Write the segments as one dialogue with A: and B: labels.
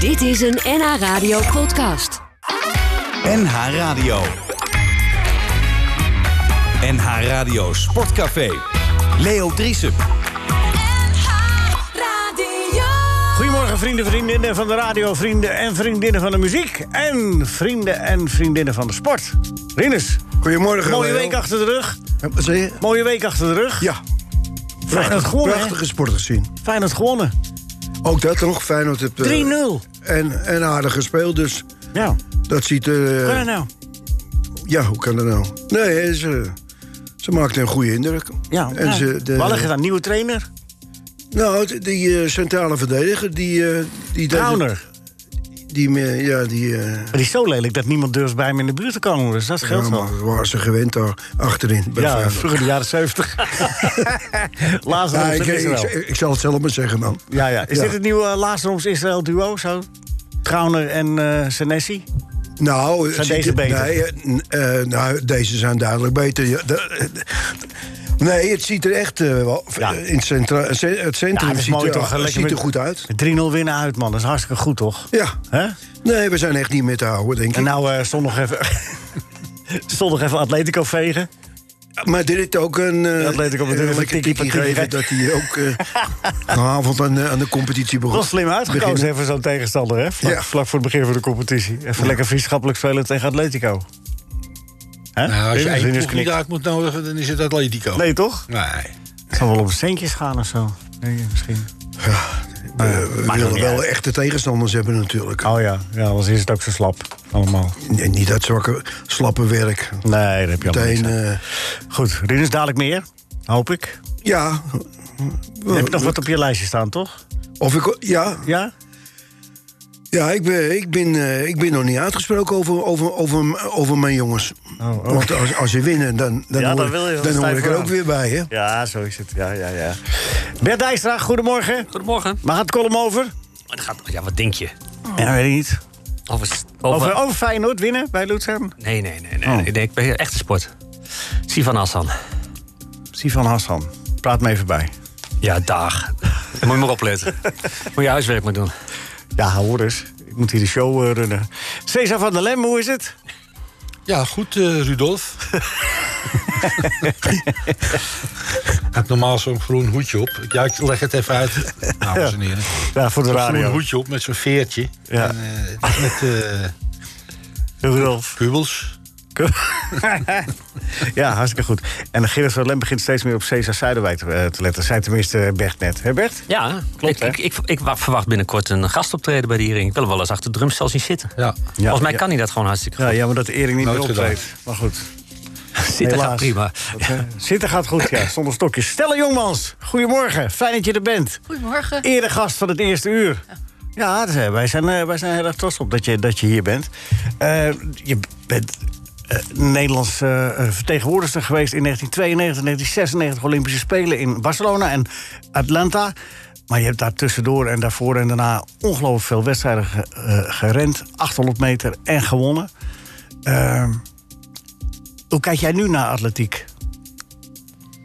A: Dit is een NH Radio podcast.
B: NH Radio. NH Radio Sportcafé. Leo Driesen.
C: Goedemorgen vrienden, vriendinnen van de radio, vrienden en vriendinnen van de muziek. En vrienden en vriendinnen van de sport. Rinus,
D: Goedemorgen.
C: mooie
D: Leo.
C: week achter de rug.
D: Ja, wat zei je?
C: Mooie week achter de rug.
D: Ja.
C: Feyenoord gewonnen, hè?
D: prachtige sport gezien.
C: Feyenoord gewonnen.
D: Ook dat nog. Feyenoord heeft... eh,
C: 3-0.
D: en, en aardig gespeeld, dus
C: Nou,
D: dat ziet er...
C: hoe
D: eh,
C: kan dat nou?
D: ja, hoe kan dat nou? Nee, ze, ze maakte een goede indruk.
C: Ja,
D: en
C: nou,
D: ze, de,
C: Waar ligt het aan? Nieuwe trainer?
D: Nou, d- die eh, centrale verdediger, die... eh die deed het-
C: Trauner.
D: Die, me- ja, die... eh
C: Maar die is zo lelijk dat niemand durft bij hem in de buurt te komen. Dus dat scheelt
D: ja,
C: wel.
D: maar waren ze gewend daar achterin. bij
C: Ja,
D: Feyenoord.
C: vroeger de jaren 70. Lazarus
D: Ja,
C: en
D: ik, ik,
C: Israël.
D: ik- ik zal het zelf maar zeggen, man.
C: Ja, ja. Is
D: Ja.
C: dit het nieuwe uh, Israël duo? Zo? Trauner en eh Senesi?
D: Nou, het ziet
C: deze
D: er-
C: beter?
D: Nee, eh, n- eh, nou, deze zijn duidelijk beter. Ja, da- eh, nee, het ziet er echt eh, wel.
C: Ja. Nou,
D: In het, centra, ce- het centrum
C: dat is
D: ziet,
C: mooi
D: er,
C: toch?
D: het
C: Lekker
D: ziet er
C: met-
D: goed uit.
C: Met 3-0 winnen uit, man. Dat is hartstikke goed, toch?
D: Ja.
C: Hè?
D: Nee, we zijn echt niet meer te houden, denk
C: En
D: ik.
C: nou eh zondag even... zondag even Atletico vegen.
D: Maar er is ook een. eh,
C: Atletico Madrid
D: een
C: heeft
D: lekker
C: een tikkie
D: tikkie gegeven
C: gekregen.
D: dat hij ook eh, vanavond aan, de- aan de competitie begon.
C: Wel slim uitgekozen
D: Beginnen.
C: even zo'n tegenstander, hè? Vlak,
D: Ja.
C: vlak voor het begin van de competitie. Even lekker vriendschappelijk spelen tegen Atletico. Hè?
E: Nou, als je
C: Rinus-
E: één
C: Rinus
E: ploeg niet
C: knikt.
E: uit moet nodigen, dan is het Atletico. Nou,
C: Nee, toch?
E: Nee.
C: Het zal wel op centjes gaan of zo. Denk je misschien.
D: We, we
C: maakt ook
D: willen
C: niet
D: wel
C: uit.
D: echte tegenstanders hebben, natuurlijk.
C: Oh ja, ja anders is het ook zo slap. Allemaal.
D: Nee, niet dat zwakke, slappe werk.
C: Nee, dat heb je allemaal
D: Meteen.
C: niet.
D: eh,
C: Goed, Rinus dadelijk meer. Hoop ik.
D: ja.
C: heb je nog wat op je lijstje staan, toch?
D: Of ik, ja,
C: Ja?
D: Ja, ik ben, ik ben, eh, ik ben nog niet uitgesproken over, over, over, over mijn jongens.
C: Oh, oh.
D: Want als, als ze winnen, dan, dan,
C: Ja, dan
D: hoor,
C: wil je-
D: ik-
C: dan
D: dan
C: sta
D: hoor
C: je
D: ik er
C: vooraan.
D: ook weer bij. Hè?
C: Ja, zo is het. Ja, ja, ja. Bert Dijstra, goedemorgen.
F: Goedemorgen.
C: Waar gaat de column over?
F: Het gaat, ja, wat denk je?
C: Ja, weet ik niet.
F: Over, s-
C: Over, over Oh. Feyenoord winnen bij Luzern?
F: Nee, nee, nee. nee, nee, nee, ik ben echte sport. Sivan Hassan.
C: Sivan Hassan, praat me even bij.
F: Ja, dag. Moet je maar opletten. Moet je huiswerk maar doen.
C: Ja, hoor eens. Ik moet hier de show eh, runnen. Cesar van der Lem, hoe is het?
E: Ja, goed, eh, Rudolf. Hij heeft normaal zo'n groen hoedje op. Ja, ik leg het even uit, Nou, dames en heren.
C: Ja, voor de
E: Groen
C: radio.
E: hoedje op met zo'n veertje.
C: Ja.
E: En, eh, het is met eh
C: Rudolf.
E: kubels.
C: ja, hartstikke goed. En Gerrit van der Lem begint steeds meer op Cesar Zuiderwijk te, eh, te letten. Zij tenminste Bert net. Hè Bert?
F: Ja, klopt.
C: hè?
F: Ik, ik, ik, wa- verwacht binnenkort een gastoptreden bij de Hering. Ik wil hem wel eens achter de drumstel zien zitten.
E: Ja.
F: Volgens mij
C: ja.
F: kan hij dat gewoon hartstikke goed.
C: Ja, jammer dat Erik niet meer
E: Nooit gedaan.
C: optreedt. Maar goed.
F: zitten
C: helaas.
F: gaat prima.
C: Dat, eh, Zitten gaat goed, ja, zonder stokjes. Stella Jongmans, goedemorgen. Fijn dat je er bent.
G: Goedemorgen.
C: Eregast van het eerste uur. Ja, dus, eh, wij, zijn, eh, wij zijn heel erg trots op dat je, dat je hier bent. Eh, je bent eh, Nederlands eh, vertegenwoordiger geweest in 1992, 1996 Olympische Spelen in Barcelona en Atlanta. Maar je hebt daar tussendoor en daarvoor en daarna ongelooflijk veel wedstrijden ge- eh, gerend. 800 meter en gewonnen. Eh, hoe kijk jij nu naar atletiek?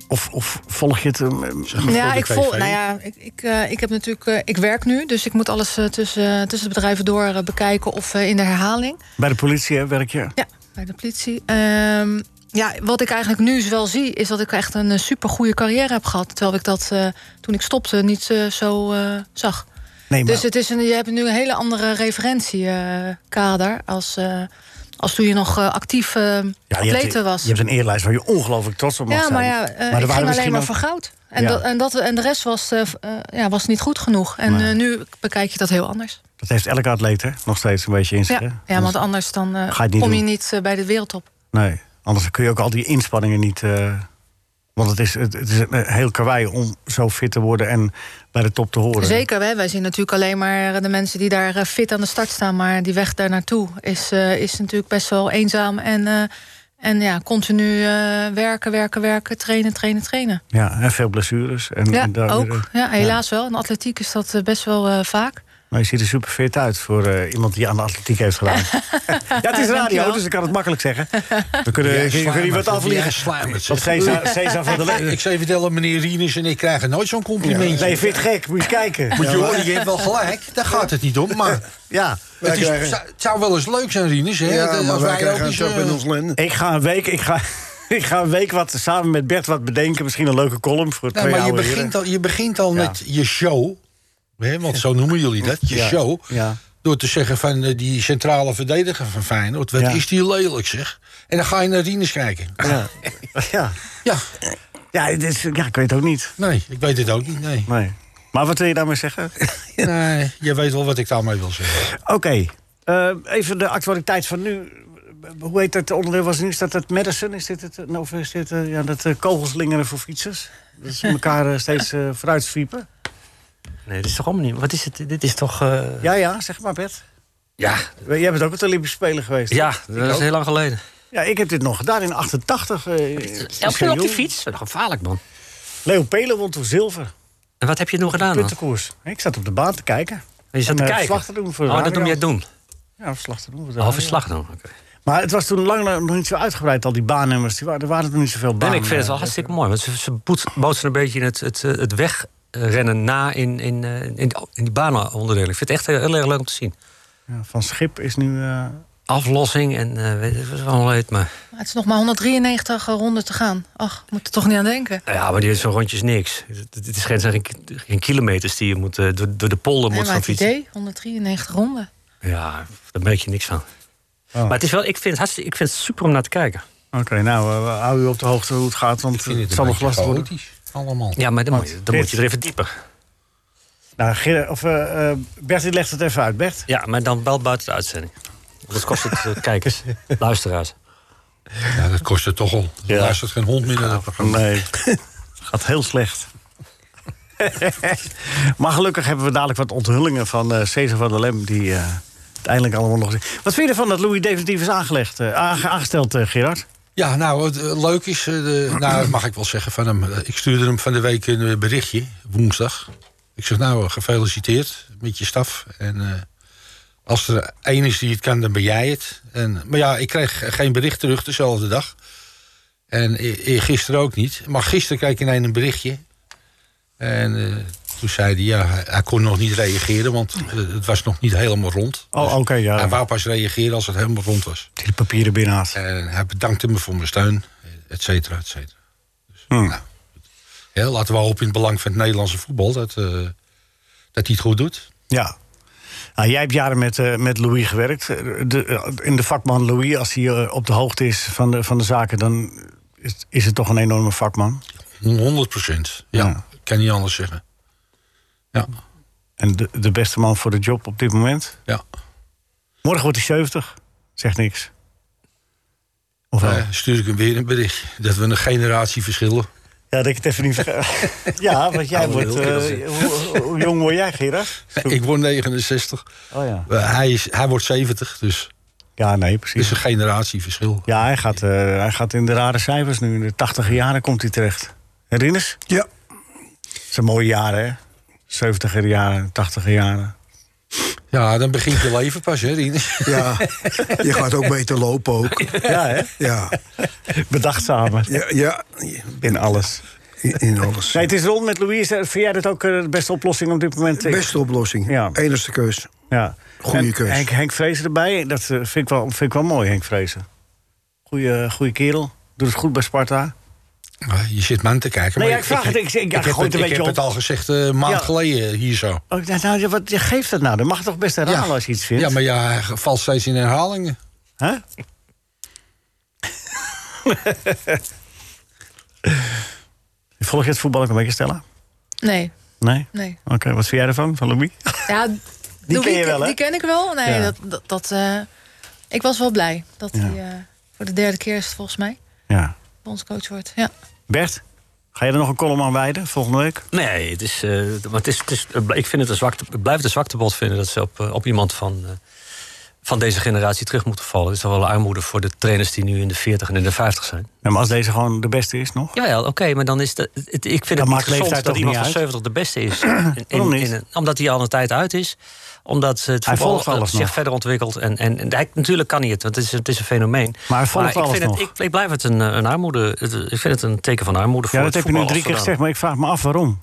C: Of, of volg je het... eh,
G: Ja, ik, vol,
E: TV.
G: nou ja, ik, ik, eh, ik heb natuurlijk, eh, ik werk nu, dus ik moet alles eh, tussen, tussen de bedrijven door eh, bekijken of eh, in de herhaling.
C: bij de politie hè, werk je?
G: Ja, bij de politie. Ehm, ja, wat ik eigenlijk nu wel zie, is dat ik echt een super goede carrière heb gehad. Terwijl ik dat eh, toen ik stopte niet eh, zo eh, zag.
C: Nee, maar...
G: Dus het is een, je hebt nu een hele andere referentiekader als, eh, als toen je nog eh, actief eh
C: Ja, je, hebt,
G: atleten was.
C: je hebt een eerlijst waar je ongelooflijk trots op mag
G: Ja,
C: zijn.
G: maar ja, eh,
C: er
G: ik
C: waren
G: ging alleen
C: misschien
G: maar
C: ook-
G: voor goud. En,
C: Ja.
G: dat, en, dat, en de rest was, eh, v- eh, ja, was niet goed genoeg. En
C: Nee.
G: eh, nu bekijk je dat heel anders.
C: Dat heeft elke atleet hè, nog steeds een beetje in zich.
G: Ja,
C: hè? Dus
G: ja, want anders dan, eh,
C: Ga je het niet
G: kom je
C: doen.
G: niet eh, bij de wereldtop.
C: Nee, anders kun je ook al die inspanningen niet... eh, want het is, het, het is een heel karwei om zo fit te worden en bij de top te horen.
G: Zeker, hè? wij zien natuurlijk alleen maar de mensen die daar eh, fit aan de start staan. Maar die weg daar naartoe is, eh, is natuurlijk best wel eenzaam. En, eh, en ja, continu eh, werken, werken, werken, trainen, trainen, trainen.
C: Ja, en veel blessures. En,
G: Ja,
C: en daar weer,
G: ook. Ja, helaas eh, wel. In atletiek is dat eh, best wel eh, vaak.
C: Maar je ziet er super fit uit voor eh, iemand die aan de atletiek heeft gedaan. ja, het is radio,
G: Dankjewel.
C: dus ik kan het makkelijk zeggen. We kunnen, we kunnen iemand afvliegen. Op Cesar, Cesar van der Lee.
E: Ik zou je vertellen, meneer Rienus en ik krijgen nooit zo'n complimentje.
C: Nee, fit gek, moet je eens kijken.
E: Moet je horen, je hebt wel gelijk. Daar gaat het niet om. Maar
C: Ja.
D: Wij
E: het, is,
D: krijgen-
E: zou- het zou wel eens leuk zijn, Rienus. Hè?
D: Ja,
E: dat-
D: maar
E: als
D: wij
E: wij ook
D: krijgen
E: eens,
D: het op in
E: eh,
D: ons lenden.
C: Ik ga een week, ik ga, ik ga een week wat samen met Bert wat bedenken. Misschien een leuke column voor
E: Nee,
C: twee
E: maar je
C: oude heren.
E: begint al, je begint al
C: Ja.
E: met je show. Hè, want zo noemen jullie dat, je
C: Ja,
E: show.
C: ja.
E: Door te zeggen van eh, die centrale verdediger van Feyenoord... wat
C: Ja.
E: is die lelijk, zeg. En dan ga je naar Rinus kijken. Ja,
C: Ja, ja, het is, ja, ik weet het ook niet.
E: nee, ik weet het ook niet, nee.
C: Nee. Maar wat wil je daarmee zeggen?
E: nee. Je weet wel wat ik daarmee wil zeggen.
C: Oké, eh, even de actualiteit van nu. Hoe heet dat onderdeel was nu? Is dat het medicine? Is dit het? eh, Of is dit eh, ja, dat eh, kogels lingeren voor fietsers? Dat ze elkaar eh, steeds eh vooruit zwiepen.
F: Nee, dit is toch allemaal niet... Wat is het? Dit is toch... eh,
C: Ja, ja, zeg maar Bert.
F: ja,
C: Jij bent ook het Olympisch Spelen geweest.
F: ja,
C: toch?
F: dat is heel lang geleden.
C: ja, ik heb dit nog gedaan in 88. eh, was
F: Elke
C: heel
F: keer op die
C: jong.
F: fiets? Dat is gevaarlijk, man.
C: Leo Pelen won toen zilver.
F: En wat heb je nog gedaan dan?
C: Puntenkoers. Ik zat op de baan te kijken.
F: Je zat te
C: En, eh,
F: kijken.
C: verslag te doen voor de
F: oh, dat
C: radio.
F: noem jij doen.
C: Ja, verslag te doen. voor de
F: Half
C: radio.
F: verslag doen. oké.
C: Maar het was toen lang nog niet zo uitgebreid, al die baannummers. Die waren, er waren toen niet zoveel
F: Nee,
C: banen.
F: maar ik vind het wel
C: eh,
F: hartstikke mooi. Want ze, ze boet- bootsen een beetje het, het, eh, het wegrennen na in, in, eh, in, in die banenonderdelen. Ik vind het echt eh, heel, heel erg leuk om te zien.
C: ja, van Schip is nu... eh,
F: Aflossing en eh weet het was wel leuk, maar...
G: Maar het is nog maar 193 ronden te gaan. Ach, moet er toch niet aan denken.
F: Nou Ja, maar dit is zo'n rondje is niks. Het- Het het is geen, zijn geen, geen kilometers die je moet, eh, door, door de polder
G: Nee,
F: moet
G: maar
F: gaan
G: het
F: fietsen.
G: idee, 193 ronden.
F: Ja, daar merk je niks van. Maar het is wel, ik vind het, hartstikke, ik vind het super om naar te kijken.
C: Oh. Oké, nou, eh, we houden u op de hoogte hoe het gaat, want eh,
E: Ik vind
C: het
E: het
C: zal
E: een
C: nog
E: beetje
C: lastig worden.
E: chaotisch, allemaal.
F: Ja, maar dan, moet, je, dan moet
C: dit-
F: je er even dieper.
C: Nou, Ger- of, eh, eh, Bert, die legt het even uit. Bert?
F: Ja, maar dan wel buiten de uitzending. Dat kost het eh, kijkers, luisteraars.
E: Ja, dat kost het toch al.
C: Ja.
E: Daar is het geen hond meer naar dat programma.
C: Nee, gaat heel slecht. maar gelukkig hebben we dadelijk wat onthullingen van eh Cesar van der Lem... die eh uiteindelijk allemaal nog... Wat vind je ervan dat Louis definitief is aangelegd, eh, aange- aangesteld, eh, Gerard?
E: Ja, nou, het eh, leuk is, eh, de, nou, dat mag ik wel zeggen van hem. Eh, Ik stuurde hem van de week een eh, berichtje, woensdag. Ik zeg, nou, eh, gefeliciteerd met je staf. En eh, als er één is die het kan, dan ben jij het. En, maar ja, ik kreeg geen bericht terug dezelfde dag. En e- eergisteren ook niet. Maar gisteren kreeg ik ineens een berichtje. En eh, toen zei hij, ja, hij, hij kon nog niet reageren, want eh, het was nog niet helemaal rond. Dus
C: Oh, oké, ja.
E: Hij wou pas reageren als het helemaal rond was.
C: Die papieren binnenhaast.
E: En hij bedankte me voor mijn steun, et cetera, et cetera. Dus,
C: Hmm.
E: nou, hè, laten we hopen in het belang van het Nederlandse voetbal dat, eh, dat hij het goed doet.
C: Ja. Nou, jij hebt jaren met, eh, met Louis gewerkt. Eh, De, eh, in de vakman Louis, als hij eh, op de hoogte is van de, van de zaken, dan is, is het toch een enorme vakman.
E: 100 procent. Ja,
C: Ja.
E: ik kan niet anders zeggen. Ja,
C: En de, de beste man voor de job op dit moment.
E: ja.
C: Morgen wordt hij 70. Zegt niks. Of wel?
E: Eh, stuur ik hem weer een bericht dat we een generatie verschillen.
C: Ja, dat ik het even niet verge- ja, want jij
E: Oh,
C: wordt.
E: heel
C: eh, hoe, hoe jong word jij, Gerard?
E: Ik word 69,
C: Oh ja.
E: eh, hij, is, hij wordt 70, dus
C: Ja, nee,
E: het is
C: precies.
E: een generatieverschil.
C: Ja, hij gaat, eh, hij gaat in de rare cijfers nu. In de 80 jaren komt hij terecht. Herinners?
D: Ja.
C: Het zijn mooie jaren, hè? 70 jaren, 80 jaren.
E: Ja, dan begint je leven pas, hè, Rinus?
D: Ja, je gaat ook beter lopen ook.
C: Ja, hè?
D: Ja,
C: Bedachtzamer.
D: ja, ja
C: In alles.
D: in, in alles.
C: Nee, het is rond met Louise. Vind jij dat ook eh, de beste oplossing op dit moment? Ik-
D: Beste oplossing.
C: Ja.
D: Enigste keus.
C: Ja.
D: Goeie
C: En
D: keus.
C: Henk, Henk Vrezen erbij, dat eh, vind ik wel, vind ik wel mooi, Henk Vrezen. Goeie, eh, goeie kerel. Doet het goed bij Sparta.
E: Ah, Je zit me aan te kijken.
C: Nee,
E: maar
C: ja, ik vraag het. Ik- ik- ik
E: heb
C: gooi het
E: het,
C: een
E: ik
C: beetje
E: heb
C: op.
E: het al gezegd eh, een maand
C: Ja.
E: geleden hier zo.
C: Oh, ik dacht, nou, wat geeft dat nou? Dat mag toch best herhalen als je iets vindt?
E: Ja, maar ja, hij valt steeds in herhalingen.
C: Hè? Volg je het voetbal ook een beetje stellen?
G: Nee,
C: Nee?
G: nee.
C: Oké, wat vind jij ervan, van Louis?
G: Ja, Louis
C: ken je wel, hè?
G: Die ken ik wel. Nee,
C: Ja.
G: dat, dat, dat, eh, ik was wel blij dat hij eh, voor de derde keer is het volgens mij
C: Ja.
G: bondscoach wordt. Ja.
C: Bert, ga je er nog een column aan wijden volgende week?
F: Nee, het is, eh, maar het is, het is, ik, vind het een zwakte, ik blijf het een zwaktebod vinden dat ze op, eh, op iemand van, eh, van deze generatie terug moeten vallen. Het is wel wel armoede voor de trainers die nu in de 40 en in de 50 zijn.
C: Ja, maar als deze gewoon de beste is nog?
F: Jawel, oké, maar dan is dat. Het, ik vind het niet
C: maakt
F: gezond
C: leeftijd
F: dat
C: toch
F: iemand
C: niet
F: van
C: uit?
F: 70 de beste is. In-
C: Waarom niet?
F: een- omdat hij al een tijd uit is. Omdat het
C: Hij
F: voetbal eh,
C: volgt alles
F: zich
C: nog.
F: verder ontwikkelt. En, en, en hij, natuurlijk kan hij het, want het is, het is een fenomeen.
C: Maar hij volgt alles
F: ik, vind
C: nog.
F: Het, ik, ik blijf het een, eh, een armoede. het- ik vind het een teken van armoede voor
C: Ja, dat
F: het
C: heb je nu
F: voetbal
C: drie
F: als
C: keer gezegd,
F: zodanig.
C: maar ik vraag me af waarom.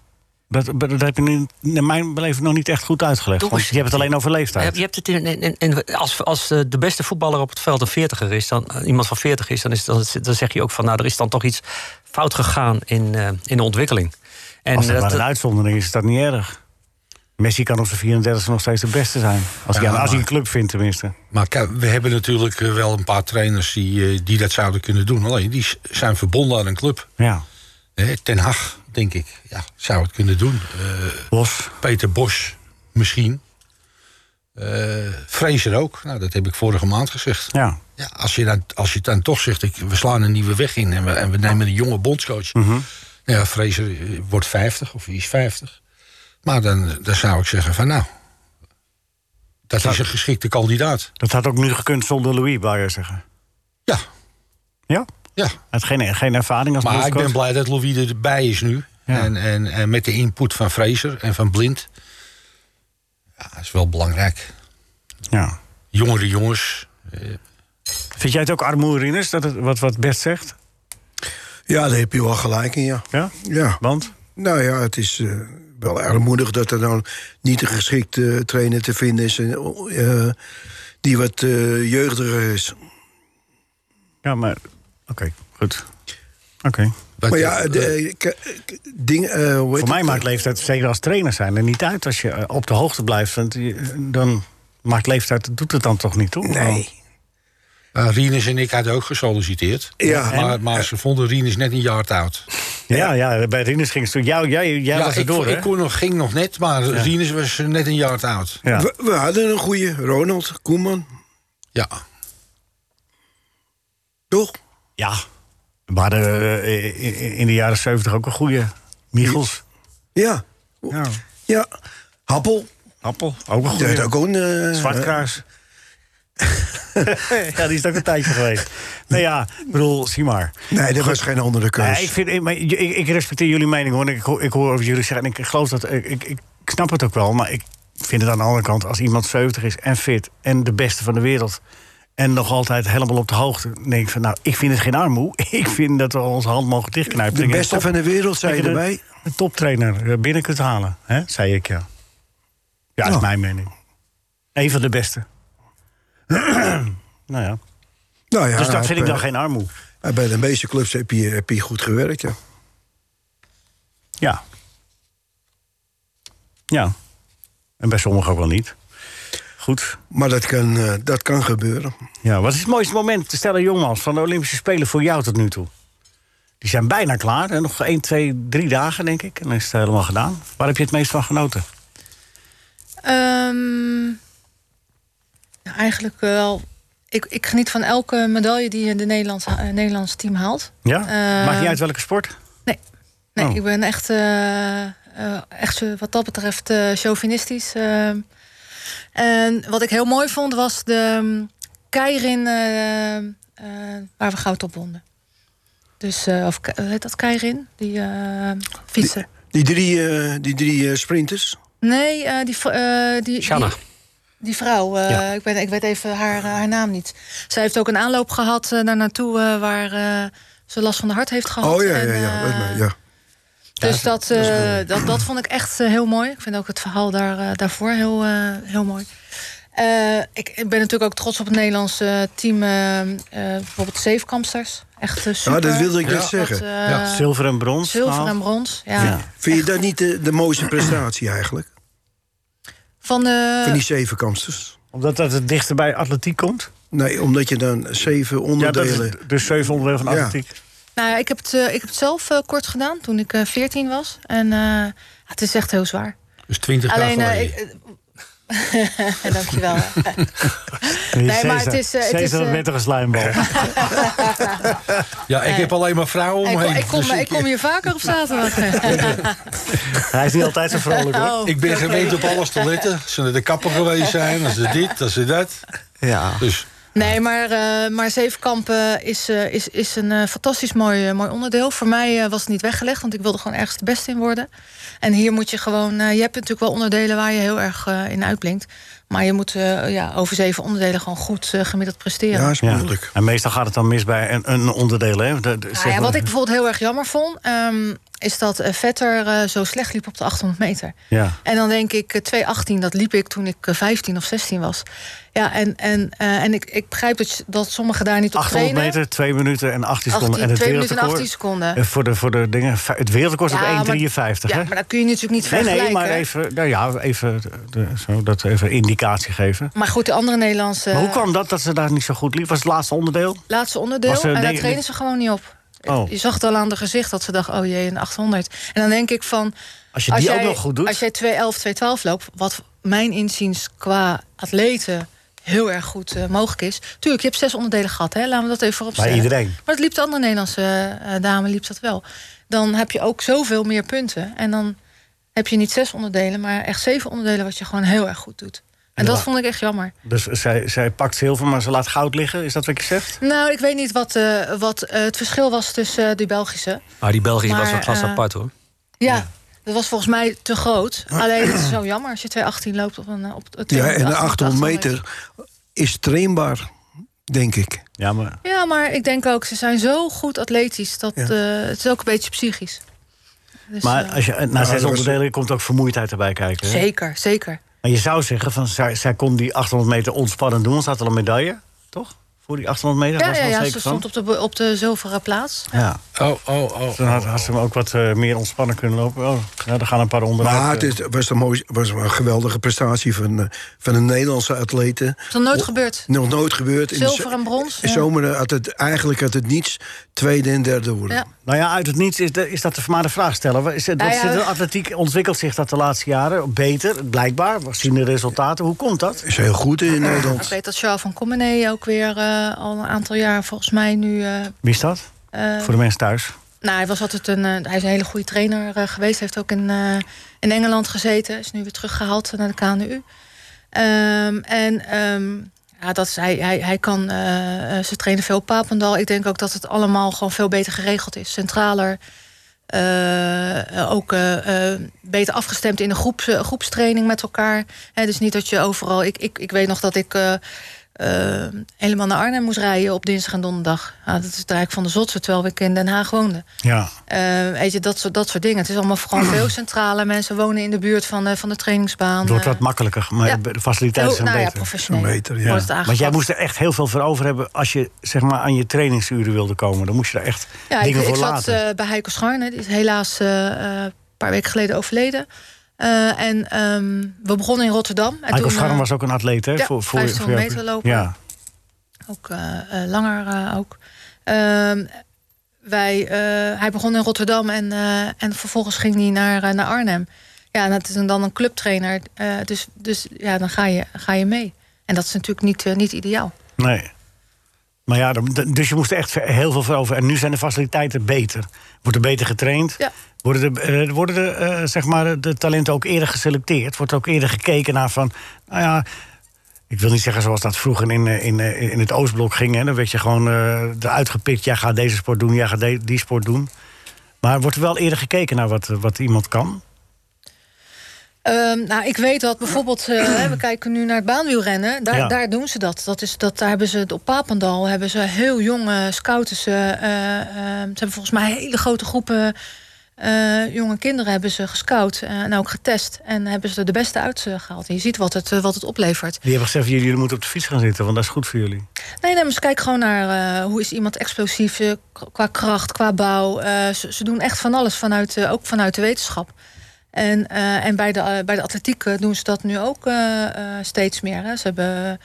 C: Dat, dat heb je nu in mijn beleving nog niet echt goed uitgelegd.
F: Doe
C: Want
F: eens.
C: je hebt het alleen over
F: Maar
C: leeftijd.
F: Je hebt het in, in- in- in- als, als eh, de beste voetballer op het veld een 40er is, dan, eh, iemand van 40 is, dan, is dan, dan zeg je ook van nou, er is dan toch iets fout gegaan in, eh, in de ontwikkeling. En
C: Als dat
F: dat-
C: maar een
F: dat-
C: uitzondering is, is dat niet erg. Messi kan op zijn 34 nog steeds de beste zijn. Als, hij,
E: Ja,
C: als hij een
E: maar-
C: club vindt, tenminste.
E: Maar kijk, we hebben natuurlijk eh, wel een paar trainers die, eh, die dat zouden kunnen doen. Alleen die s- zijn verbonden aan een club.
C: Ja.
E: Hè, Ten Hag, denk ik, ja, zou het kunnen doen. Eh,
C: Bos.
E: Peter Bosch, misschien. Eh Fraser ook. Nou, dat heb ik vorige maand gezegd.
C: Ja.
E: Ja, als, je dan, als je dan toch zegt, ik, we slaan een nieuwe weg in en we, en we nemen een jonge bondscoach.
C: Mhm.
E: Nou ja, Fraser eh, wordt 50 of wie is 50. Maar dan, dan zou ik zeggen van nou, dat is een geschikte kandidaat.
C: Dat had ook nu gekund zonder Louis, wou je zeggen.
E: Ja,
C: Ja?
E: ja.
C: Hij had geen, geen ervaring als
E: Maar ik ben
C: bondscoach.
E: blij dat Louis erbij is nu.
C: Ja.
E: En, en, en met de input van Fraser en van Blind. Ja, dat is wel belangrijk.
C: Ja.
E: Jongere jongens.
C: Vind jij het ook armoe, Rinus, dat het, wat, wat Bert zegt?
D: Ja, daar heb je wel gelijk in, ja.
C: Ja?
D: ja.
C: Want?
D: Nou ja, het is eh, wel armoedig dat er dan niet een geschikte trainer te vinden is... En, eh, die wat eh, jeugdiger is.
C: Ja, maar... Oké, goed. Oké.
E: Wat-
D: Maar ja, de,
E: eh,
D: eh, k- k- ding, eh, hoe heet
C: Voor mij
D: het?
C: maakt leeftijd, zeker als trainer zijn, er niet uit. Als je eh, op de hoogte blijft, want je- dan maakt leeftijd... doet het dan toch niet toe?
D: Nee.
E: eh, Rinus en ik hadden ook gesolliciteerd.
D: Ja.
E: Maar, maar ze vonden Rinus net een jaar te oud.
C: Ja, ja, bij Rinus ging het toen... Jou, jij jij was
E: ik,
C: er door, hè?
E: ik kon nog, ging nog net, maar Rinus was eh, net een jaar te oud.
C: Ja.
D: We, we hadden een goede, Ronald Koeman,
E: Ja.
D: toch?
C: ja. We hadden eh, in- in de jaren zeventig ook een goede. Michels.
D: Ja.
C: Ja.
D: Ja. Happel.
C: Appel, ook een
D: Die had
C: goede.
D: ook een... eh,
C: Zwartkruis. ja, die is ook een tijdje geweest. Nou ja, ik bedoel, zie maar.
D: Nee, dat was geen andere keus.
C: Nee, ik, vind, ik, maar ik, ik respecteer jullie mening, hoor. Ik, ho- ik hoor wat jullie zeggen. En ik geloof dat. Ik, ik, ik snap het ook wel. Maar ik vind het aan de andere kant. Als iemand 70 is en fit. En de beste van de wereld. En nog altijd helemaal op de hoogte. Dan denk ik van. Nou, ik vind het geen armoe. Ik vind dat we onze hand mogen dichtknijpen.
D: de
C: Dat je
D: beste
C: een top-
D: van de wereld, zei je
C: dat je
D: erbij.
C: Een toptrainer eh, binnen kunt halen. Hè? Zei ik ja. Ja, dat is
D: Nou.
C: mijn mening. Een van de beste. nou ja.
D: Nou ja,
C: Dus dat
D: hij
C: vind ik dan
D: heeft,
C: geen armoe.
D: eh, Bij de meeste clubs heb je, heb je goed gewerkt, ja.
C: Ja. Ja. En bij sommigen ook wel niet. Goed.
D: Maar dat kan, eh, dat kan gebeuren.
C: Ja, wat is het mooiste moment, Stella Jongmans, van de Olympische Spelen voor jou tot nu toe? Die zijn bijna klaar. Hè? Nog 1, 2, 3 dagen, denk ik. En dan is het helemaal gedaan. Waar heb je het meest van genoten?
G: Ehm, nou, eigenlijk wel. Ik, ik geniet van elke medaille die de Nederlands, eh, Nederlands team haalt.
C: Ja?
G: Eh,
C: Maakt niet uit welke sport?
G: Nee, nee
C: Oh.
G: ik ben echt, eh, eh, echt eh, wat dat betreft eh, chauvinistisch. eh. en wat ik heel mooi vond was de mm, Keirin eh, eh, waar we goud op wonnen. Dus, eh, of Ke- hoe heet dat Keirin? Die eh fietser.
D: Die drie, eh, die drie eh, sprinters.
G: Nee, eh, die, v- eh, die,
F: Shanna.
G: die, die vrouw, eh, ik, ben, ik weet even haar, eh, haar naam niet. Zij heeft ook een aanloop gehad eh, daar naartoe eh, waar eh, ze last van de hart heeft gehad.
D: Oh ja,
G: En,
D: ja,
G: eh,
D: ja. dat is mij, ja.
G: Dus dat, eh, dat, dat vond ik echt eh, heel mooi. Ik vind ook het verhaal daar, eh, daarvoor heel, eh, heel mooi. Eh, ik, ik ben natuurlijk ook trots op het Nederlandse eh, team. eh, eh, bijvoorbeeld zeefkampsters. Echt eh, super.
D: Ja, Ah, dat wilde ik
E: Ja.
D: net zeggen.
G: eh,
C: Zilver en brons.
G: zilver
C: gehaald?
G: en brons. Ja.
C: Ja.
D: Vind je dat niet de, de mooiste prestatie eigenlijk?
G: Van eh, de...
D: Van die zeven kampsters?
C: Omdat dat het dichter bij atletiek komt?
D: Nee, omdat je dan zeven
C: Ja, dat is
D: onderdelen...
C: dus zeven onderdelen van
D: Ja.
C: atletiek.
G: Nou ja, ik heb het, eh, ik heb het zelf eh, kort gedaan toen ik eh, 14 was. En eh, het is echt heel zwaar.
E: Dus 20 jaar
G: Alleen,
E: geleden.
G: eh, ik, eh, dankjewel. Nee, maar het is, eh, het is, eh,
C: net een slijmbal.
E: ja, ik heb alleen maar vrouwen
G: ik,
E: omheen.
G: ik, kom,
E: dus
G: ik kom hier vaker op zaterdag.
C: Hij is niet altijd zo vrolijk, hoor.
G: Oh,
E: Ik ben
G: oké.
E: gewend op alles te letten. Als ze naar de kapper geweest zijn, als ze dit, als ze dat.
C: Ja.
E: Dus
G: Nee, maar, eh, maar Zevenkampen is, eh, is, is een eh, fantastisch mooi, eh, mooi onderdeel. Voor mij eh, was het niet weggelegd, want ik wilde gewoon ergens de beste in worden. En hier moet je gewoon... eh, je hebt natuurlijk wel onderdelen waar je heel erg eh, in uitblinkt. Maar je moet eh, ja, over zeven onderdelen gewoon goed eh, gemiddeld presteren.
D: Ja, is
C: Ja.
D: moeilijk.
C: En meestal gaat het dan mis bij een, een onderdeel. Hè? De- de- zeg
G: Nou ja,
C: maar-
G: wat ik bijvoorbeeld heel erg jammer vond... ehm, is dat eh, Vetter eh, zo slecht liep op de 800 meter.
C: Ja.
G: En dan denk ik, eh, 2,18, dat liep ik toen ik eh, 15 of 16 was. Ja, en, en, eh, en ik, ik begrijp dat, dat sommigen daar niet op
C: 800
G: trainen.
C: meter, 2 minuten en 18 seconden.
G: 18,
C: en het
G: 2 minuten en 18
C: wereldrecord.
G: seconden.
C: eh, Voor de, voor de dingen, fi- het wereldrecord is
G: Ja, maar-
C: op 1,53. hè?
G: Ja, maar dat kun je natuurlijk niet
C: Nee,
G: vergelijken.
C: nee, maar even, nou ja, even, de- zo, dat even indicatie geven.
G: Maar eh, goed, de andere Nederlandse
C: Maar hoe kwam dat dat ze daar niet zo goed liep? Was het laatste onderdeel?
G: laatste onderdeel,
C: Was er
G: en daar
C: negen-
G: trainen ze gewoon niet op.
C: Oh.
G: Je zag het al aan de gezicht dat ze dacht, oh jee, een 800. En dan denk ik van,
C: Als je die ook nog goed doet.
G: Als jij 2-11, 2-12 loopt, wat mijn inziens qua atleten heel erg goed eh, mogelijk is. Tuurlijk, je hebt zes onderdelen gehad, hè? laten we dat even voorop
C: Bij
G: stellen.
C: iedereen.
G: Maar het liep de andere Nederlandse eh, dame liep dat wel. Dan heb je ook zoveel meer punten. En dan heb je niet zes onderdelen, maar echt zeven onderdelen... wat je gewoon heel erg goed doet. En dat
C: dan-
G: vond ik echt jammer.
C: Dus zij, zij pakt zilver, maar ze laat goud liggen. Is dat wat je zegt?
G: Nou, ik weet niet wat, eh, wat eh, het verschil was tussen eh, die Belgische.
F: Maar die Belgische was
G: Maar,
F: wel klas
G: eh,
F: apart hoor.
G: Ja, dat was volgens mij te groot. Alleen het is zo jammer als je 2,18 loopt op een... eh, Op, op
D: Ja, en de
G: 218,
D: 800 meter is trainbaar, denk ik.
C: Ja, maar
G: Ja, maar ik denk ook, ze zijn zo goed atletisch. Dat,
D: Ja.
G: eh, het is ook een beetje psychisch. Dus,
C: Maar
G: eh,
C: als je, eh, na
D: dat
C: zes
D: was-
C: onderdelen komt ook vermoeidheid erbij kijken. hè?
G: zeker, zeker.
C: Maar je zou zeggen, van, zij, zij kon die 800 meter ontspannen doen. Ze had al een medaille, toch? Voor die 800 meter?
G: Ja,
C: was
G: ja,
C: er
G: ja
C: al
G: ze
C: zeker
G: stond
C: van?
G: op de, op de zilveren plaats.
C: Ja,
E: oh, oh, oh.
C: toen had, had ze hem ook wat eh, meer ontspannen kunnen lopen. Oh, nou, er gaan een paar onderuit.
D: Maar het
C: eh.
D: is- was, een mooi, was een geweldige prestatie van, eh, van een Nederlandse atlete.
G: Dat is nog nooit gebeurd.
D: Nog nooit gebeurd. In de
G: Zilver en brons,
D: In
G: ja.
D: zomer had het eigenlijk had het niets tweede en derde worden.
G: Ja.
C: Nou ja, uit het niets is, de- is dat de vermaarde vraag stellen. Is, het-
G: Nou
C: dat-
G: ja,
C: de
G: we-
C: atletiek ontwikkelt zich dat de laatste jaren beter, blijkbaar. We zien de resultaten. Hoe komt dat?
D: Is heel goed in
G: Ik
D: Nederland.
G: weet dat Charles van Commenee ook weer eh, al een aantal jaar volgens mij nu... eh,
C: Wie is dat?
G: eh,
C: Voor de mensen thuis.
G: Nou, hij was altijd een, eh, hij is een hele goede trainer eh, geweest. Heeft ook in, eh, in Engeland gezeten. Is nu weer teruggehaald naar de KNU. Ehm, en ehm, ja, dat is, hij, hij, hij kan, eh, eh, ze trainen veel op Papendal. Ik denk ook dat het allemaal gewoon veel beter geregeld is. Centraler. Eh, eh, ook eh, eh, beter afgestemd in de groeps, eh, groepstraining met elkaar. Hè, dus niet dat je overal. Ik, ik, ik weet nog dat ik eh, eh, helemaal naar Arnhem moest rijden op dinsdag en donderdag. Ja, dat is het eigenlijk van de zotse, terwijl ik in Den Haag woonde.
C: Ja.
G: Eh, weet je, dat soort, dat soort dingen. Het is allemaal gewoon veel centraler. Mensen wonen in de buurt van, eh, van de trainingsbaan.
C: Het wordt
G: Eh,
C: wat makkelijker, maar
G: ja.
C: de faciliteiten
G: heel-
C: zijn
G: nou ja,
C: beter.
G: professioneel.
D: Zo'n meter, ja.
G: wordt het
C: Want jij
G: aangepakt.
C: moest er echt heel veel voor over hebben als je zeg maar, aan je trainingsuren wilde komen. Dan moest je er echt
G: Ja, ik,
C: dingen
G: ik
C: voor
G: zat
C: laten.
G: eh, bij Heiko Scharne. Die is helaas eh, eh, een paar weken geleden overleden. Eh, en ehm, we begonnen in Rotterdam. En
C: Michael
G: toen,
C: Scharm
G: eh,
C: was ook een atleet, hè?
G: ja,
C: voor, voor,
G: 500
C: voor-
G: meter lopen.
C: Ja.
G: Ook eh, eh, langer eh, ook. Ehm, wij, eh, hij begon in Rotterdam en, eh, en vervolgens ging hij naar, eh, naar Arnhem. Ja, en dat is een- dan een clubtrainer. eh, dus, dus ja, dan ga je, ga je mee. En dat is natuurlijk niet, eh, niet ideaal.
C: Nee. Maar ja, dan- dan- dus je moest er echt ver- heel veel voor over. En nu zijn de faciliteiten beter. Wordt er beter getraind?
G: Ja.
C: Worden de, eh, worden de, eh, zeg maar de talenten ook eerder geselecteerd? Wordt er ook eerder gekeken naar van... Nou ja, ik wil niet zeggen zoals dat vroeger in, eh, in, eh, in het Oostblok ging. Hè? Dan werd je gewoon eh, eruit gepikt. Jij gaat deze sport doen, jij gaat de- die sport doen. Maar wordt er wel eerder gekeken naar wat, eh, wat iemand kan?
G: Ehm, nou, ik weet dat bijvoorbeeld, eh, hè, we kijken nu naar het baanwielrennen. Daar,
C: Ja.
G: daar doen ze dat. dat, is, dat daar hebben ze het op Papendal hebben ze heel jonge scouters. eh, eh, ehm, ze hebben volgens mij hele grote groepen eh, jonge kinderen hebben ze gescout eh, en ook getest. En hebben ze er de beste uit eh, gehaald. En je ziet wat het, eh, wat het oplevert.
C: Die hebben gezegd, jullie moeten op de fiets gaan zitten, want dat is goed voor jullie.
G: Nee, nee, maar ze kijken gewoon naar eh, hoe is iemand explosief eh, k- qua kracht, qua bouw. Eh, ze, ze doen echt van alles, vanuit, eh, ook vanuit de wetenschap. En, eh, en bij, de, eh, bij de atletiek eh, doen ze dat nu ook eh, eh, steeds meer. Hè. Ze, hebben,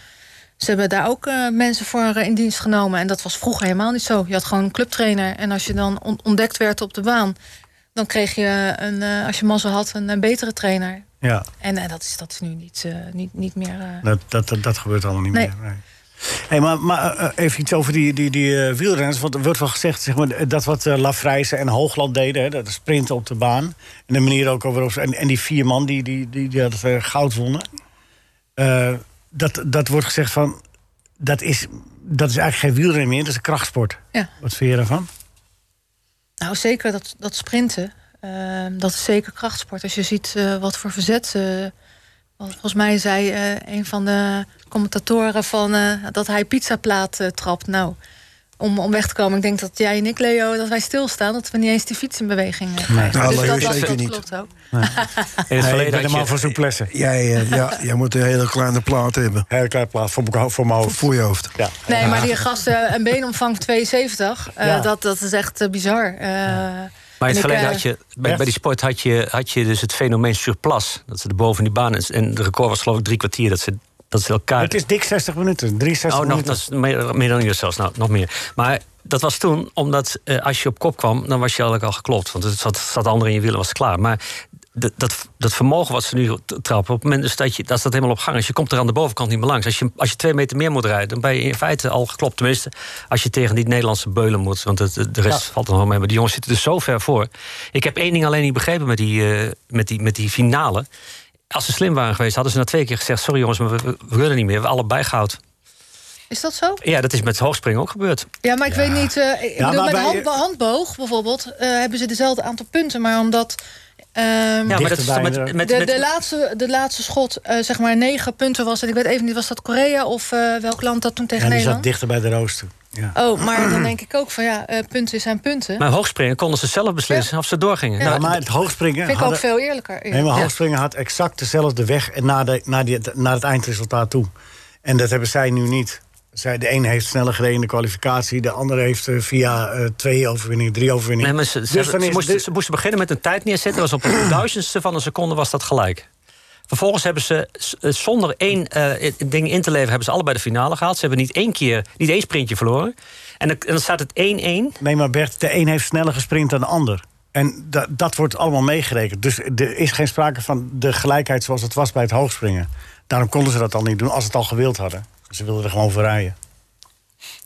G: ze hebben daar ook eh, mensen voor eh, in dienst genomen. En dat was vroeger helemaal niet zo. Je had gewoon een clubtrainer. En als je dan on- ontdekt werd op de baan... dan kreeg je, een, eh, als je mazzel had, een, eh, betere trainer.
C: Ja.
G: En eh, dat, is, dat is nu niet, eh, niet, niet meer... eh,
C: Dat, dat, dat, dat gebeurt allemaal niet
G: Nee.
C: meer. Nee. Hey, maar maar eh, eh, even iets over die, die, die eh, wielrenners. Want er wordt wel gezegd zeg maar, dat wat eh Lafrijzen en Hoogland deden... Hè, dat is sprinten op de baan. En de manier ook waarop ze... En, en die vier man die, die, die, die dat eh, goud wonnen. eh, dat, dat wordt gezegd van... dat is, dat is eigenlijk geen wielrennen meer, dat is een krachtsport.
G: Ja.
C: Wat vind je daarvan?
G: Nou, zeker dat, dat sprinten. eh, dat is zeker krachtsport. Als je ziet eh, wat voor verzet. eh, want volgens mij zei eh, een van de commentatoren van, eh, dat hij pizzaplaat eh, trapt. Nou, om, om weg te komen. Ik denk dat jij en ik, Leo, dat wij stilstaan. Dat we niet eens die fiets in beweging eh, krijgen.
D: Nou, Leo
G: dat,
D: zeker
G: dat
D: niet.
G: klopt ook.
F: In het
C: Nee, ik ben
F: verleden
C: helemaal
F: had je,
C: voor souplesse.
D: Jij, eh, ja, jij moet een hele kleine plaat hebben
C: Heel klein plaats voor, mijn- voor mijn
D: voor-
C: hoofd.
D: voor je hoofd.
C: Ja.
G: Nee, maar die gasten, eh, een beenomvang 72. eh,
C: Ja.
G: dat, dat is echt eh, bizar. Eh,
F: Maar in het
G: en ik,
F: verleden
G: eh,
F: had je, bij,
C: Echt?
F: bij die sport had je, had je dus het fenomeen surplus. Dat ze er boven in die baan. En het record was geloof ik drie kwartier dat ze, dat ze elkaar.
C: Het is dik 60 minuten, 63
F: oh, nog,
C: minuten.
F: dat is meer, meer dan een uur zelfs. Nou, nog meer. Maar dat was toen, omdat eh, als je op kop kwam, dan was je eigenlijk al geklopt. Want het zat, zat ander in je wielen, was het klaar. Maar dat, dat, dat vermogen wat ze nu t- trappen, op het moment dus dat je, dat staat helemaal op gang is, je komt er aan de bovenkant niet meer langs. Als je, als je twee meter meer moet rijden, dan ben je in feite al geklopt. Tenminste, als je tegen die Nederlandse beulen moet. Want het, de rest valt er nog mee. Maar die jongens zitten er zo ver voor. Ik heb één ding alleen niet begrepen met die, eh, met die, met die finale. Als ze slim waren geweest, hadden ze na twee keer gezegd: Sorry jongens, maar we, we, we willen niet meer. We hebben allebei goud.
G: Is dat zo?
F: Ja, dat is met hoogspringen ook gebeurd.
G: Ja, maar ik weet niet. eh, ik
C: Ja, maar
G: bedoel, met
C: bij-
G: hand, handboog bijvoorbeeld eh, hebben ze dezelfde aantal punten. Maar omdat ehm,
F: Ja, maar dat is
C: Dichterbij
F: dan met,
C: inderdaad.
F: met,
G: de,
F: met-
G: de, laatste, de laatste schot, eh, zeg maar, negen punten was. En ik weet even niet, was dat Korea of eh, welk land dat toen tegen
C: En die zat
G: Nederland?
C: dichter bij de rooster. Ja.
G: Oh, maar dan denk ik ook van ja, eh, punten zijn punten.
F: Maar hoogspringen konden ze zelf beslissen of ze doorgingen.
C: Ja,
F: Nou,
C: maar het hoogspringen
G: Vind ik
C: hadden-
G: ook veel eerlijker.
C: Nee, maar
G: Ja.
C: hoogspringen had exact dezelfde weg en naar, de, naar, die, naar het eindresultaat toe. En dat hebben zij nu niet. Zij, de een heeft sneller gereden in de kwalificatie, de andere heeft eh, via eh, twee overwinningen, drie overwinningen.
F: nee, maar ze, ze-
C: Dus
F: ze
C: dan is
F: moesten,
C: dit-
F: ze moesten beginnen met een tijd neerzetten. Dat was op een duizendste van een seconde was dat gelijk. Vervolgens hebben ze s- eh, zonder één eh, ding in te leveren... hebben ze allebei de finale gehaald. Ze hebben niet één keer, niet één sprintje verloren. En dan, en dan staat het 1-1.
C: Nee, maar Bert, de een heeft sneller gesprint dan de ander. En da- dat wordt allemaal meegerekend. Dus er is geen sprake van de gelijkheid zoals het was bij het hoogspringen. Daarom konden ze dat al niet doen als ze het al gewild hadden. Ze wilden er gewoon voor rijden.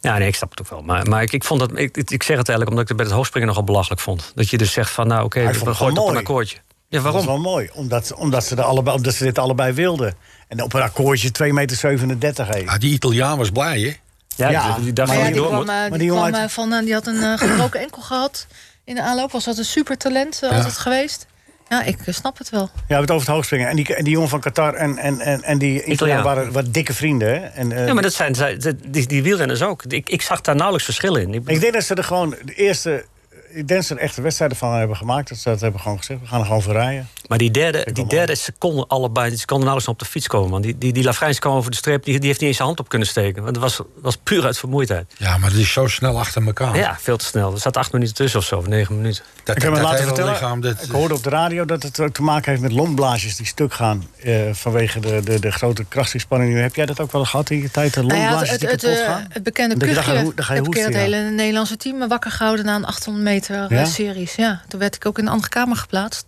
F: Ja, nee, ik snap het ook wel. Maar, maar ik, ik, vond dat, ik, ik ik zeg het eigenlijk omdat ik het bij het hoogspringen nogal belachelijk vond. Dat je dus zegt van, nou oké,
C: Maar ik
F: we
C: vond het
F: gooien het
C: wel
F: op een
C: mooi.
F: akkoordje.
C: Dat
F: Ja,
C: is
F: waarom?
C: wel mooi, omdat, ze- omdat, ze er allebei, omdat ze dit allebei wilden. En op een akkoordje 2,37 meter heeft.
E: Ah, die Italiaan was blij, hè?
F: Ja,
C: Ja,
F: die, die dacht
G: Maar ja,
F: dat je
G: die
F: door
G: kwam,
F: moet.
G: eh,
C: Maar die
G: die
C: jongen
G: kwam,
C: uit-
G: eh, van, eh, die had een eh, gebroken enkel gehad in de aanloop. Was dat een supertalent eh, altijd geweest? Ja, ik eh, snap het wel.
C: Ja, we hebben het over het hoogspringen. En die, en die jongen van Qatar en, en, en, en die Italiaan waren wat dikke vrienden. Hè? En, eh,
F: Ja, maar dat zijn, zij- dat- die, die wielrenners ook. Ik, ik zag daar nauwelijks verschil in. Ik-
C: Ik denk dat ze er gewoon de eerste... Ik denk dat ze er echte wedstrijden van hebben gemaakt. Dat ze dat hebben gewoon gezegd. We gaan er gewoon voor rijden.
F: maar die derde, die
C: wel
F: derde seconde allebei, ze konden nauwelijks op de fiets komen. Want die, die, die Lafrijns kwam over de streep, die, die heeft niet eens zijn hand op kunnen steken. Want dat was, was puur uit vermoeidheid.
E: Ja, maar dat is zo snel achter elkaar.
F: Ja, veel te snel. Er zat acht minuten tussen of zo, of negen minuten.
E: Dat,
C: Ah. Ik heb me
E: dat
C: laten
E: hele
C: vertellen,
E: lichaam, dat-
C: ik hoorde op de radio dat het ook te maken heeft met longblaasjes die stuk gaan. eh, vanwege de, de, de grote krachtsinspanning. Heb jij dat ook wel gehad in je tijd? De
G: Nou ja,
C: longblaasjes
G: het,
C: die
G: het,
C: kapot
G: eh,
C: gaan?
G: het bekende
C: Dat je- daar
G: kuchje.
C: ga je ho- daar ga je
G: heb ik een keer het
C: hoesten, ja.
G: hele Nederlandse team eh, wakker gehouden na een 800 meter eh,
C: Ja?
G: series. Ja, toen werd ik ook in een andere kamer geplaatst.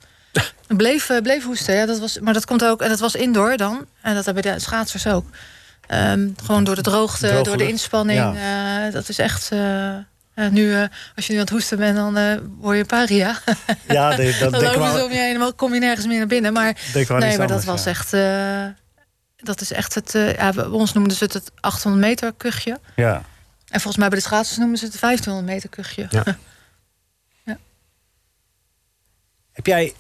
G: Ik bleef, eh, bleef hoesten, ja, dat was, maar dat komt ook, en dat was indoor dan. En dat hebben de schaatsers ook. Ehm, gewoon door de droogte,
C: Droge
G: door de
C: lucht,
G: inspanning. eh, dat is echt. eh, eh, nu, eh, als je nu aan het hoesten bent, dan eh, word je paria.
C: Ja, de- Ah, dat
G: Dan
C: denk ik
G: lopen ze
C: wel.
G: om je heen, dan kom je nergens meer naar binnen. Maar
C: denk wel
G: nee,
C: iets
G: maar dat
C: anders,
G: was
C: ja.
G: echt. eh, dat is echt het. eh, ja, bij ons noemden ze het het 800 meter kuchje.
C: Ja.
G: En volgens mij bij de schaatsers noemen ze het 1500 meter kuchje.
F: Ja.
C: Heb jij,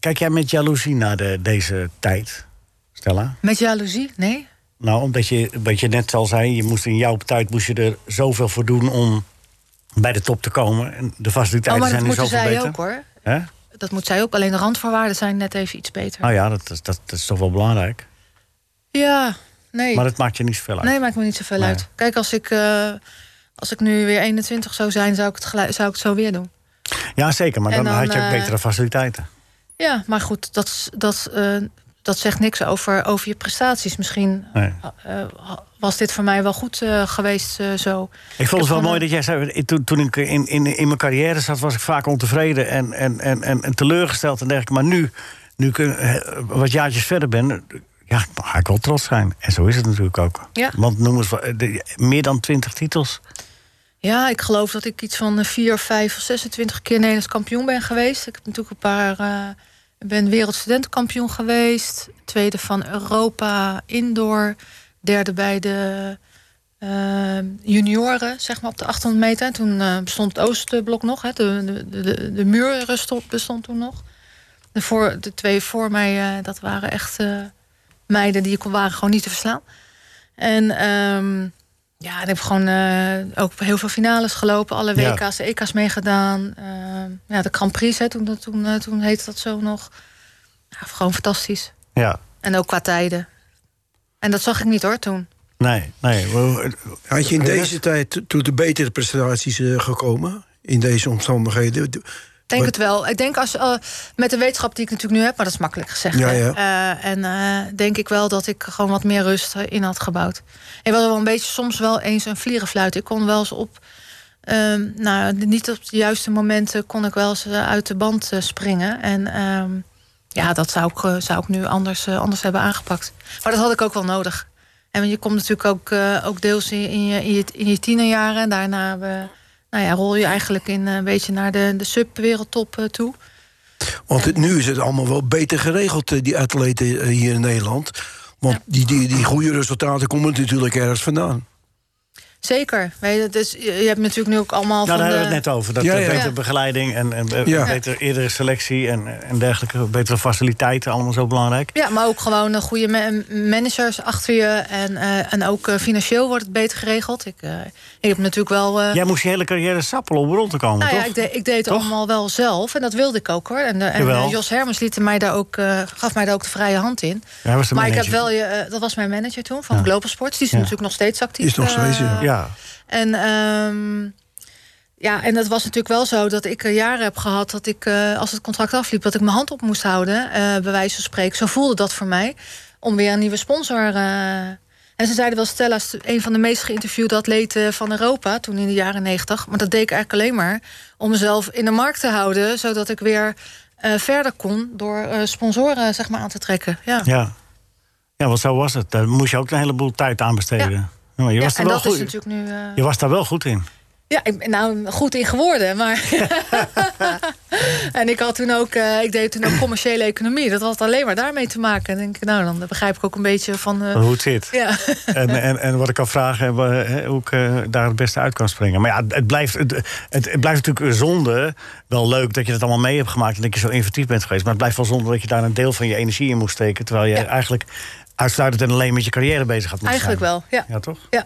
C: kijk jij met jaloezie naar de, deze tijd, Stella?
G: Met jaloezie? Nee.
C: Nou, omdat je, wat je net al zei, je moest in jouw tijd moest je er zoveel voor doen om bij de top te komen. En de
G: Oh,
C: faciliteiten
G: maar dat
C: zijn nu
G: moeten
C: zoveel
G: zij
C: beter.
G: ook hoor.
C: Hè?
G: Dat moet zij ook. Alleen de randvoorwaarden zijn net even iets beter.
C: Nou ja, dat, is- dat, dat is toch wel belangrijk.
G: Ja, nee.
C: Maar dat maakt je niet zoveel uit.
G: Nee, maakt me niet zoveel
C: Nee.
G: uit. Kijk, als ik, eh, als ik nu weer 21 zou zijn, zou ik het, gelu- zou ik het zo weer doen.
C: Ja, zeker, maar
G: En
C: dan,
G: dan,
C: had je ook
G: eh,
C: betere faciliteiten.
G: Ja, maar goed, dat, is- dat, eh, dat zegt niks over, over je prestaties. Misschien
C: Nee.
G: eh, was dit voor mij wel goed eh, geweest eh, zo.
C: Ik vond het wel
G: gewoon
C: mooi
G: een-
C: dat jij zei... ik- Toen, toen ik in, in, in mijn carrière zat, was ik vaak ontevreden en, en, en, en, en teleurgesteld en dergelijke. Maar nu, nu ik eh, wat jaartjes verder ben, eh, ja, dan ga ik wel trots zijn. En zo is het natuurlijk ook.
G: Ja.
C: Want noem eens, wat, eh, de- meer dan twintig titels.
G: Ja, ik geloof dat ik iets van eh, 4, 5 of 26 keer Nederlands kampioen ben geweest. Ik heb natuurlijk een paar. eh, Ik ben wereldstudentenkampioen geweest. Tweede van Europa indoor. Derde bij de eh, eh, junioren, zeg maar, op de 800 meter. Toen eh, bestond het Oostblok nog, hè, de, de, de, de muur rust- bestond toen nog. De, voor, de twee voor mij, eh, dat waren echt eh, meiden die kon- waren gewoon niet te verslaan. En ehm, ja, ik heb gewoon eh, ook heel veel finales gelopen. Alle
C: Ja.
G: WK's, EK's meegedaan. Ehm, ja, de Grand Prix, hè, toen, dat- toen, eh, toen heette dat zo nog. Ja, gewoon fantastisch.
C: Ja,
G: En ook qua tijden. En dat zag ik niet hoor toen.
C: nee, nee. we-
D: Had je in deze tijd tot de betere prestaties eh, gekomen? In deze omstandigheden?
G: Ik denk
D: Wat-
G: het wel. Ik denk als eh, met de wetenschap die ik natuurlijk nu heb, maar dat is makkelijk gezegd.
D: Ja,
G: hè.
D: ja.
G: Eh, en eh, denk ik wel dat ik gewoon wat meer rust eh, in had gebouwd. Ik was wel een beetje soms wel eens een vlierenfluit. Ik kon wel eens op, ehm, nou niet op de juiste momenten kon ik wel eens eh, uit de band eh, springen. En ehm, ja, dat zou ik, eh, zou ik nu anders, eh, anders hebben aangepakt. Maar dat had ik ook wel nodig. En je komt natuurlijk ook, eh, ook deels in, in, je, in, je, in je tienerjaren. En daarna eh, nou ja, rol je eigenlijk in, eh, een beetje naar de, de subwereldtop eh, toe.
D: Want het- nu is het allemaal wel beter geregeld, eh, die atleten eh, hier in Nederland. Want die, die, die goede resultaten komen natuurlijk ergens vandaan.
G: Zeker. Weet je, dus je je hebt natuurlijk nu ook allemaal
C: Nou,
G: van
C: daar
G: de...
C: hebben we het net over. Dat
D: Ja,
C: eh,
D: ja.
C: betere
G: Ja.
C: begeleiding en, en eh,
D: Ja.
C: betere eerdere selectie en, en dergelijke. Betere faciliteiten, allemaal zo belangrijk.
G: Ja, maar ook gewoon eh, goede ma- managers achter je. En, eh, en ook eh, financieel wordt het beter geregeld. Ik, eh, ik heb natuurlijk wel... eh,
C: Jij moest je hele carrière sappelen om rond te komen,
G: nou
C: toch?
G: ja, ik, deed- ik deed het
C: Toch?
G: allemaal wel zelf. En dat wilde ik ook hoor. En, eh, en
C: Jawel.
G: eh, Jos Hermans liet mij daar ook, eh, gaf mij daar ook de vrije hand in.
C: Hij was de
G: Maar ik heb
C: manager.
G: wel je, eh, dat was mijn manager toen van Global Sports. Die is
C: Ja.
G: natuurlijk nog steeds actief.
D: Is nog steeds, ja.
G: eh,
C: Ja,
G: En ehm, ja, en dat was natuurlijk wel zo dat ik eh, jaren heb gehad dat ik, eh, als het contract afliep, dat ik mijn hand op moest houden, eh, bij wijze van spreken. Zo voelde dat voor mij. Om weer een nieuwe sponsor. eh, en ze zeiden wel, Stella is een van de meest geïnterviewde atleten van Europa toen in de jaren negentig. Maar dat deed ik eigenlijk alleen maar om mezelf in de markt te houden, zodat ik weer eh, verder kon door eh, sponsoren zeg maar, aan te trekken. Ja.
C: ja. Ja, want zo was het. Daar moest je ook een heleboel tijd aan besteden.
G: Ja.
C: Ja, maar je,
G: Ja,
C: was er
G: en
C: wel
G: dat is
C: goed,
G: natuurlijk nu. eh,
C: je was daar wel goed in.
G: Ja, ik ben nou goed in geworden, maar... en ik had toen ook, eh, ik deed toen ook commerciële economie. Dat had alleen maar daarmee te maken. En denk ik, nou, dan begrijp ik ook een beetje van... eh,
C: Hoe het zit.
G: ja.
C: En, en, en wat ik kan vragen, en wa- hè, hoe ik eh, daar het beste uit kan springen. Maar ja, het blijft, het, het, het blijft natuurlijk een zonde. Wel leuk dat je dat allemaal mee hebt gemaakt en dat je zo inventief bent geweest. Maar het blijft wel zonde dat je daar een deel van je energie in moest steken. Terwijl je
G: Ja.
C: eigenlijk uitsluitend en alleen met je carrière bezig had moeten
G: Eigenlijk
C: zijn.
G: wel, ja.
C: Ja, toch?
G: ja.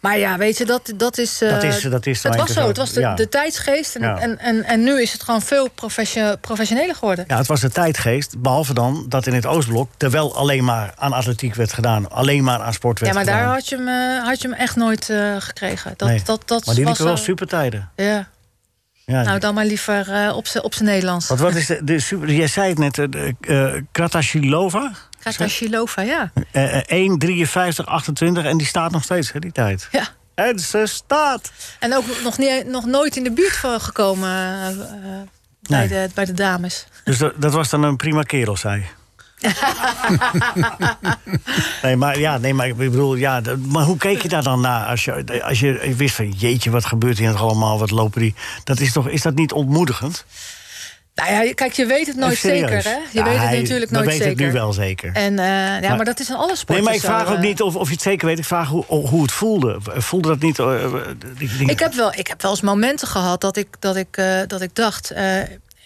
G: Maar ja, weet je, dat, dat is... eh,
C: Dat is- dat is
G: het
C: dan
G: was
C: een
G: zo,
C: keer
G: het
C: zo.
G: was de,
C: Ja.
G: de tijdsgeest. En,
C: Ja.
G: en, en, en nu is het gewoon veel profession- professioneler geworden.
C: Ja, het was de tijdgeest. Behalve dan dat in het Oostblok er wel alleen maar aan atletiek werd gedaan. Alleen maar aan sport
G: Ja,
C: werd
G: maar
C: gedaan.
G: daar had je hem, eh, had je hem echt nooit eh, gekregen. Dat,
C: Nee.
G: dat, dat
C: maar die
G: was
C: liepen wel
G: zo-
C: supertijden.
G: Ja.
C: Ja,
G: Nou, dan maar liever eh, op z'n- op zijn Nederlands.
C: Want wat is de, de super... Jij zei het net, eh, de, eh, Kratashilova?
G: Gaat naar Shilova, ja.
C: Eh, eh, 1, 53, 28 en die staat nog steeds, hè, die tijd.
G: Ja.
C: En ze staat.
G: En ook nog, niet, nog nooit in de buurt van gekomen eh, eh, bij, de, bij de dames.
C: Dus dat, dat was dan een prima kerel, zei. nee, maar, ja, nee, maar ik bedoel, ja, dat- maar hoe keek je daar dan naar? Als je, als je wist van, jeetje, wat gebeurt hier nog allemaal? Wat lopen die? Dat is, toch, is dat niet ontmoedigend?
G: Nou ja, kijk, je weet het nooit
C: Even Eh, serieus.
G: zeker, hè? Je
C: Ja,
G: weet het
C: hij-
G: natuurlijk
C: we
G: nooit
C: weten
G: zeker.
C: het nu wel zeker.
G: En, eh, ja, maar,
C: Maar-
G: dat is in alle sporten
C: Nee, maar ik
G: zo,
C: vraag ook
G: eh.
C: niet of, of je het zeker weet. Ik vraag hoe, hoe het voelde. Voelde dat niet... eh, eh, die dingen-
G: Ik heb, wel, ik heb wel eens momenten gehad dat ik, dat ik, eh, dat ik dacht... eh,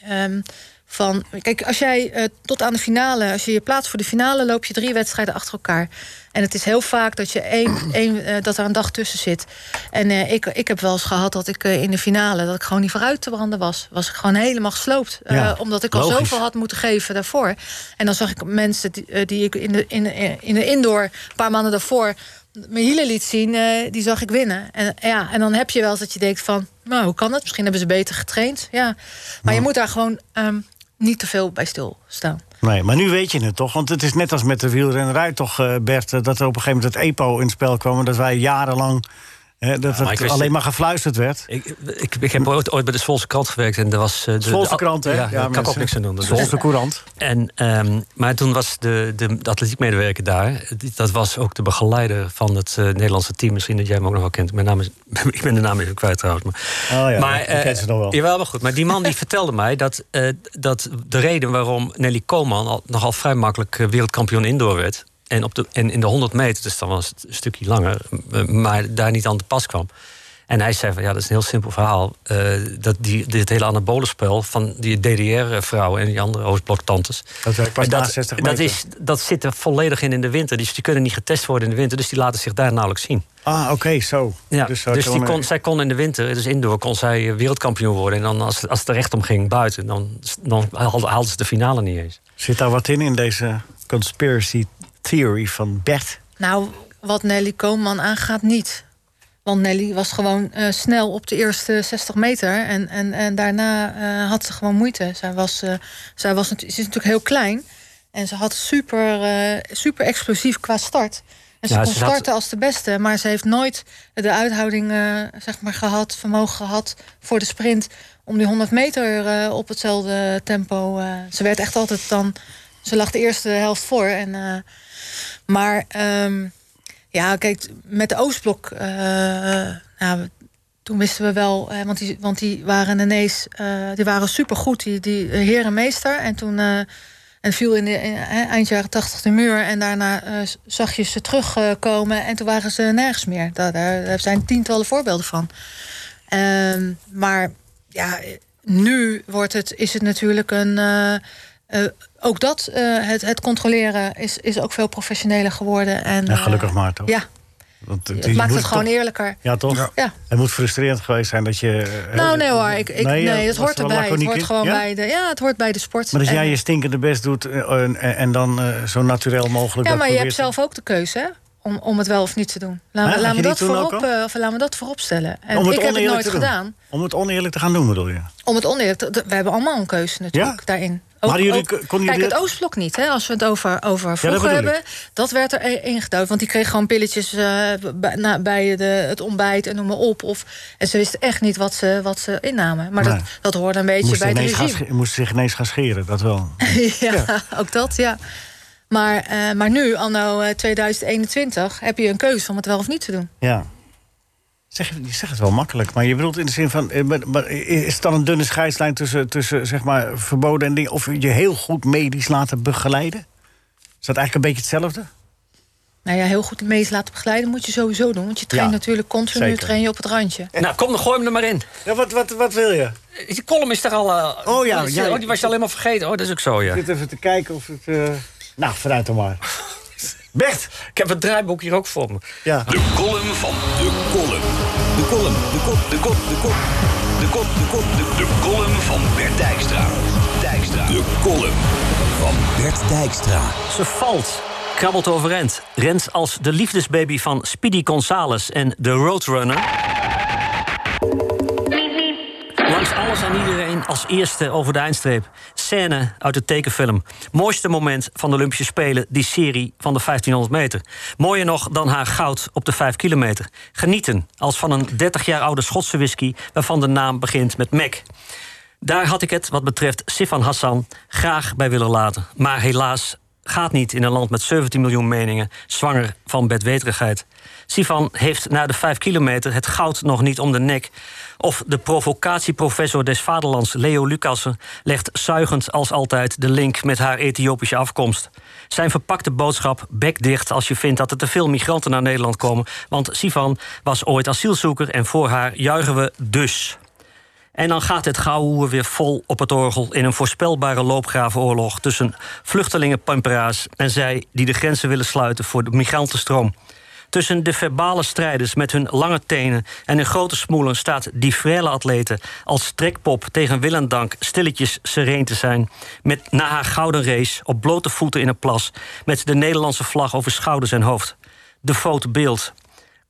G: ehm, van, kijk, als jij eh, tot aan de finale, als je je plaatst voor de finale, loop je drie wedstrijden achter elkaar. En het is heel vaak dat, je één, één, eh, dat er een dag tussen zit. En eh, ik, ik heb wel eens gehad dat ik eh, in de finale, dat ik gewoon niet vooruit te branden was. Was ik gewoon helemaal gesloopt. eh,
C: Ja,
G: omdat ik al
C: logisch.
G: zoveel had moeten geven daarvoor. En dan zag ik mensen die, eh, die ik in de, in, eh, in de indoor, een paar maanden daarvoor, mijn hielen liet zien, eh, die zag ik winnen. En, ja, en dan heb je wel eens dat je denkt van, nou, hoe kan dat? Misschien hebben ze beter getraind. Ja. Maar je moet daar gewoon ehm, niet te veel bij stilstaan.
C: Nee, maar nu weet je het toch? Want het is net als met de wielrennerij toch, eh, Bert... eh, dat er op een gegeven moment het EPO in het spel kwam... en dat wij jarenlang... eh, dat
F: maar ik
C: het
F: wist
C: alleen
F: het-
C: maar gefluisterd werd.
F: Ik, ik, ik heb ooit, ooit bij de Zwolse krant gewerkt en er was... eh, De,
C: Zwolse
F: de-
C: krant, hè?
F: Ja, daar kan ik ook
C: mensen.
F: niks aan doen. Dat is-
C: Zwolse Courant.
F: En, ehm, maar toen was de, de, de atletiekmedewerker daar. die- Dat was ook de begeleider van het eh, Nederlandse team. Misschien dat jij hem ook nog wel kent. Mijn naam is, ik ben de naam even kwijt trouwens. Maar,
C: Oh ja, ik
F: eh,
C: ken ze nog wel.
F: Jawel, maar goed. Maar die man die vertelde mij dat, eh, dat de reden waarom Nelly Koolman... Al, nogal vrij makkelijk eh, wereldkampioen indoor werd... En, op de, en in de 100 meter, dus dan was het een stukje langer, m- maar daar niet aan te pas kwam. En hij zei van, ja, dat is een heel simpel verhaal. eh, dat die, dit hele anabole spel van die DDR-vrouwen en die andere Oostblok-tantes...
C: Dat werkt pas na
F: dat,
C: 60
F: dat,
C: meter.
F: is, dat zit er volledig in in de winter. Dus die kunnen niet getest worden in de winter, dus die laten zich daar nauwelijks zien.
C: Ah, oké, zo.
F: Ja,
C: Dus
F: dus,
C: zou het
F: die
C: wel
F: kon, zij kon in de winter, dus indoor, kon zij eh, wereldkampioen worden. En dan als, als het er echt om ging buiten, dan, dan haalde- haalden ze de finale niet eens.
C: Zit daar wat in, in deze eh, conspiracy theory van Bert?
G: Nou, wat Nelly Koopman aangaat, niet. Want Nelly was gewoon eh, snel op de eerste 60 meter. En, en, en daarna eh, had ze gewoon moeite. Zij, was, eh, zij was, natu- ze is natuurlijk heel klein. En ze had super, eh, super explosief qua start. En ze
F: Ja,
G: kon
F: ze zat-
G: starten als de beste. Maar ze heeft nooit de uithouding eh, zeg maar gehad, vermogen gehad voor de sprint. Om die 100 meter eh, op hetzelfde tempo. eh, ze werd echt altijd dan. Ze lag de eerste helft voor. En, eh, maar ehm, ja, kijk, met de Oostblok. eh, nou, toen wisten we wel, hè, want, die, want die waren ineens. eh, die waren supergoed, die, die herenmeester. En toen. eh, en viel in de in- hè, eind jaren tachtig de muur. En daarna eh, z- zag je ze terugkomen. en toen waren ze nergens meer. Daar, daar daar zijn tientallen voorbeelden van. Ehm, maar ja, nu wordt het, is het natuurlijk een. eh, eh, ook dat, eh, het, het controleren, is, is ook veel professioneler geworden. En,
C: Ja, gelukkig
G: eh,
C: maar, toch?
G: Ja,
C: Want
G: het maakt
C: moet
G: het gewoon
C: toch-
G: eerlijker.
C: Ja, toch?
D: Ja.
G: Ja.
C: Het moet frustrerend geweest zijn dat je... eh,
G: Nou, nee hoor, ik, ik, nee,
C: eh,
G: het
C: was
G: hoort
C: er wel
G: erbij. Het
C: laconiek
G: hoort
C: in?
G: gewoon
C: Ja?
G: bij de, ja, het hoort bij de sport.
C: Maar dat jij
G: En-
C: je stinkende best doet eh, en, en dan eh, zo natuurlijk mogelijk...
G: ja,
C: dat
G: maar je hebt
C: probeert te-
G: zelf ook de keuze hè, om, om het wel of niet te doen. Laat,
C: Hè,
G: me-
C: had
G: laat,
C: je
G: me,
C: die
G: dat
C: toen ook
G: voorop, eh, of laat me dat voorop stellen. En
C: Om het
G: ik heb het
C: oneerlijk
G: nooit
C: te doen.
G: gedaan.
C: Om het oneerlijk te gaan doen, bedoel je?
G: Om het oneerlijk te- d- We hebben allemaal een keuze natuurlijk
C: Ja?
G: daarin.
C: Maar hadden jullie- konden jullie
G: kijk, het
C: dat-
G: Oostblok niet. Hè? Als we het over, over vroeger
C: bedoel ik.
G: hebben, dat werd er e- ingeduwd. Want die kreeg gewoon pilletjes eh, bij, na- bij de, het ontbijt en noem maar op. Of, en ze wisten echt niet wat ze, wat ze innamen. Maar
C: Nee.
G: dat, dat hoorde een beetje
C: Moest,
G: bij het
C: ineens gaan
G: regime.
C: sche- moest zich ineens gaan scheren, dat wel.
G: ja, ook dat, ja. Maar, eh, maar nu, anno eh, 2021, heb je een keuze om het wel of niet te doen.
C: Ja. Zeg, je zegt het wel makkelijk, maar je bedoelt in de zin van... eh, maar- maar is het dan een dunne scheidslijn tussen, tussen zeg maar, verboden en dingen... of je heel goed medisch laten begeleiden? Is dat eigenlijk een beetje hetzelfde?
G: Nou ja, heel goed meest laten begeleiden moet je sowieso doen. Want je traint
C: Ja,
G: natuurlijk continu,
C: zeker.
G: train je op het randje.
F: Nou, kom, dan gooi hem er maar in.
C: Ja, wat, wat, wat wil je?
F: Die column is er al... eh,
C: Oh ja,
F: is-
C: ja, ja.
F: oh, die was je al helemaal vergeten. Oh, dat is ook zo, ja.
C: Ik zit even te kijken of het... eh, Nou, vooruit dan maar. Bert!
F: Ik heb het draaiboek hier ook voor me.
C: Ja.
B: De column van de column. De column, de kop, de kop, de kop. De kop, de kop, de De column van Bert Dijkstra. Dijkstra. De column van Bert Dijkstra.
F: Ze valt, krabbelt overeind, rent als de liefdesbaby van Speedy Gonzales en de Roadrunner. Langs alles en iedereen als eerste over de eindstreep. Scène uit de tekenfilm. Mooiste moment van de Olympische Spelen, die serie van de 1500 meter. Mooier nog dan haar goud op de 5 kilometer. Genieten als van een 30 jaar oude Schotse whisky... waarvan de naam begint met Mac. Daar had ik het, wat betreft Sifan Hassan, graag bij willen laten. Maar helaas gaat niet in een land met 17 miljoen meningen, zwanger van bedweterigheid. Sifan heeft na de 5 kilometer het goud nog niet om de nek. Of de provocatieprofessor des vaderlands Leo Lucassen legt zuigend als altijd de link met haar Ethiopische afkomst. Zijn verpakte boodschap bek dicht als je vindt dat er te veel migranten naar Nederland komen. Want Sifan was ooit asielzoeker en voor haar juichen we dus. En dan gaat het gauwhoer weer vol op het orgel... in een voorspelbare loopgravenoorlog... tussen vluchtelingenpamperaars en zij die de grenzen willen sluiten... voor de migrantenstroom. Tussen de verbale strijders met hun lange tenen en hun grote smoelen... staat die frele atlete als trekpop tegen wil en dank... stilletjes sereen te zijn. Met na haar gouden race op blote voeten in een plas... met de Nederlandse vlag over schouders en hoofd. De foto beeld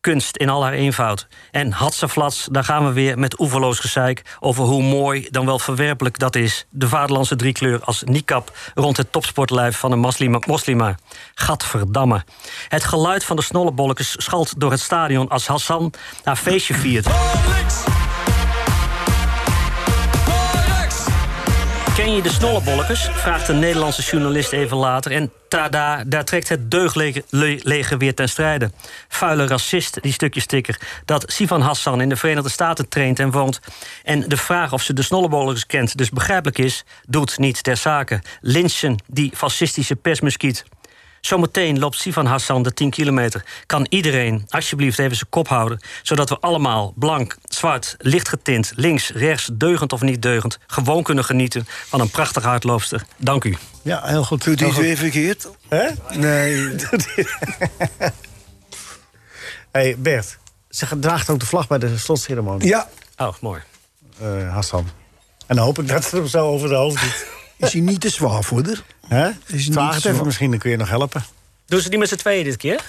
F: kunst in al haar eenvoud. En hatsaflats, daar gaan we weer met oeverloos gezeik... over hoe mooi, dan wel verwerpelijk dat is... de vaderlandse driekleur als niqab rond het topsportlijf van een moslima. moslima. Gadverdamme. Het geluid van de snollebolletjes schalt door het stadion... als Hassan haar feestje viert. Ken je de snollebolletjes? Vraagt een Nederlandse journalist even later. En tada, daar trekt het deugdleger le- leger weer ten strijde. Vuile racist, die stukje sticker. Dat Sivan Hassan in de Verenigde Staten traint en woont. En de vraag of ze de snollebolletjes kent, dus begrijpelijk is... doet niet ter zake. Lynchen, die fascistische persmuskiet. Zometeen loopt Sivan Hassan de 10 kilometer. Kan iedereen alsjeblieft even zijn kop houden... zodat we allemaal blank, zwart, licht getint... links, rechts, deugend of niet deugend... gewoon kunnen genieten van een prachtige hardloopster. Dank u.
C: Ja, heel goed.
D: Doet
C: Heel
D: hij het
C: goed.
D: weer verkeerd?
C: Hè?
D: Nee.
C: hey, Bert, ze draagt ook de vlag bij de slotceremonie.
D: Ja,
F: Oh, mooi.
C: eh, Hassan. En dan hoop ik dat ze hem zo over de hoofd doet.
D: is hij niet te zwaar voor haar?
C: Hè?
D: niet
C: Vraag het
D: zo.
C: even, misschien dan kun je nog helpen.
F: Doen ze niet met z'n tweeën dit keer?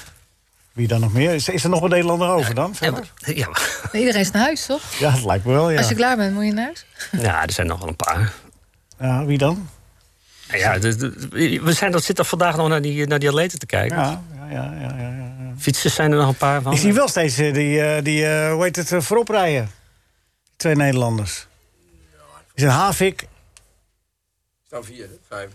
C: Wie dan nog meer? Is, is er nog een Nederlander over dan?
F: Ja,
C: verder?
F: maar- ja, maar-
G: Iedereen is naar huis, toch?
C: Ja, dat lijkt me wel, Oh ja.
G: Als je klaar bent, moet je naar huis.
F: ja, er zijn nog wel een paar.
C: ja wie dan?
F: Ja, de- de- we zijn, dat zitten vandaag nog naar die, naar die atleten te kijken.
C: Ja, ja, ja. ja, ja, ja.
F: Fietsers zijn er nog een paar van.
C: Ik zie wel steeds eh, die, eh, die eh, hoe heet het, eh, voorop rijden. Twee Nederlanders. Is het Havik...
H: staan vier, hè? vijf.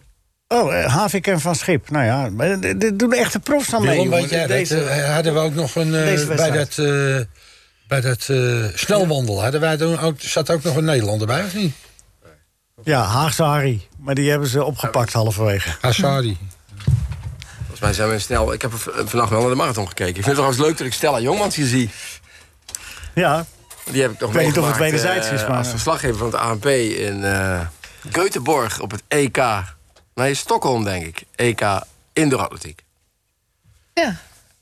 C: Oh, eh, Havik en Van Schip. Nou ja, maar dit- dit doen echte profs aan mee.
E: Willem,
C: jongen.
E: weet jij, dat,
C: Deze-
E: eh, hadden we ook nog een. eh,
C: Deze
E: bij
C: wedstrijd.
E: dat, eh, bij dat eh, snelwandel hadden wij toen ook, zat ook nog een Nederlander bij, of niet?
C: Ja, Haagse Harry. Maar die hebben ze opgepakt halverwege.
E: Hassari.
H: Volgens mij zijn we snel. Ik heb v- eh, vannacht wel naar de marathon gekeken. Ik vind het trouwens leuk dat ik Stella Jongmans hier zie.
C: Ja,
H: Die heb ik nog
C: Ik weet niet of het
H: meegemaakt,
C: wederzijds
H: eh,
C: is, maar-
H: Als verslaggever van het ANP in eh Göteborg op het EK. Nee, Stockholm, denk ik. E EK Indooratletiek.
G: Ja,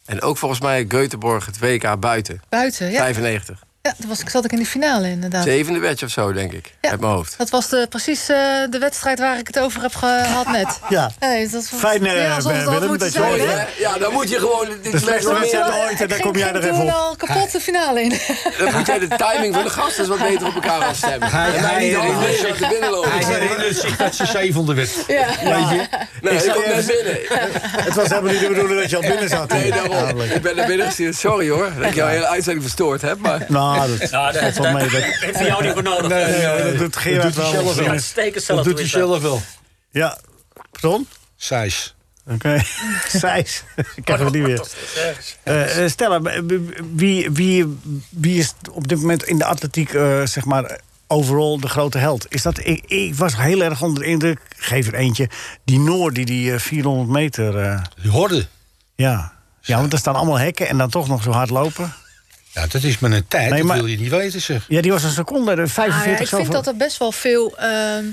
H: En ook volgens mij Göteborg het WK buiten.
G: buiten. Ja,
H: 95.
G: ja toen was, ik- zat ik in de finale inderdaad.
H: Zevende wedstrijd of zo, denk ik.
G: Ja.
H: Uit mijn hoofd.
G: Dat was de, precies eh, de wedstrijd waar ik het over heb gehad net.
C: ja.
G: Nee, dat was,
C: Fijn, eh,
G: alsof het al
C: Willem,
G: moeten
C: dat je-
G: zijn,
H: Mooi,
G: hè?
H: hè? Ja, dan moet je gewoon... Dit
C: De slechtste
H: meer-
C: wedstrijd ooit en
G: Ik
C: daar
G: ging-
C: kom jij
G: ging
C: er even
G: toen
C: op.
G: al kapot de finale in.
H: Dan moet jij de timing van de gasten wat beter op elkaar afstemmen.
E: Hij-
H: En mij
E: hij-
H: niet
E: hij-
H: altijd mee laten binnenlopen.
E: Hij herinnert zich dat ze zevende werd. Weet je?
H: Nee, ik
C: zei
H: kom net
C: eerst-
H: binnen.
C: Het was helemaal niet de bedoeling dat je al binnen zat.
H: Nee, daarom.
C: Namelijk.
H: Ik ben naar binnen gestuurd. Sorry hoor, dat ik jouw hele uitzending verstoord heb. Maar
C: Nou, dat
F: Ja, dat
C: valt wel mee. Dat,
F: Heeft hij jou niet voor nodig?
C: nee, nee, dat doet
E: Dat
C: Gerard
E: doet hij zelf
C: wel.
E: wel.
F: Steken zelf
E: Dat doet hij
F: erin, dan.
E: zelf wel.
C: Ja, pardon?
E: Sijs.
C: Oké, Sijs. Ik heb het
F: Oh,
C: niet weer. Eh, eh, Stella, b- b- wie, wie, wie is op dit moment in de atletiek, eh, zeg maar, eh, overal de grote held? Is dat, ik, ik was heel erg onder de indruk, geef er eentje, die Noor die die eh, 400 meter, eh,
E: Die horde.
C: ja. Ja, want er staan allemaal hekken en dan toch nog zo hard lopen.
E: Ja, dat is maar een tijd.
C: Nee, maar-
E: Dat wil je niet weten, zeg.
C: Ja, die was een seconde, de 45
G: Ah, ja, ik vind
C: zoveel.
G: dat er best wel veel... ehm,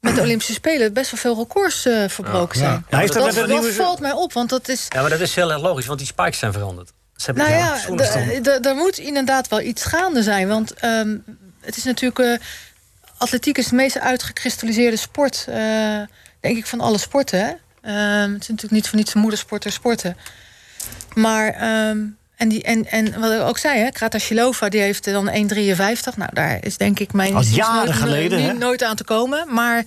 G: met de Olympische Spelen best wel veel records eh, verbroken
E: Ja.
G: zijn.
C: Ja, heeft dat
G: dat
C: met een nieuwe-
G: dat valt mij op, want dat is...
F: Ja, maar dat is heel erg logisch, want die spikes zijn veranderd. Ze hebben
G: Nou
F: ja,
G: ja,
F: schoenen
G: d-
F: veranderd.
G: d- er moet inderdaad wel iets gaande zijn. Want ehm, het is natuurlijk... eh, atletiek is de meest uitgekristalliseerde sport... eh, denk ik van alle sporten. Hè? Ehm, het is natuurlijk niet voor niets moedersport er sporten. Maar... ehm, en, die, en, en wat ik ook zei, hè, Kratashilova die heeft dan 1,53. Nou, daar is denk ik mijn...
C: Al
G: is
C: jaren
G: nooit-
C: geleden,
G: nu-
C: hè?
G: nooit aan te komen. Maar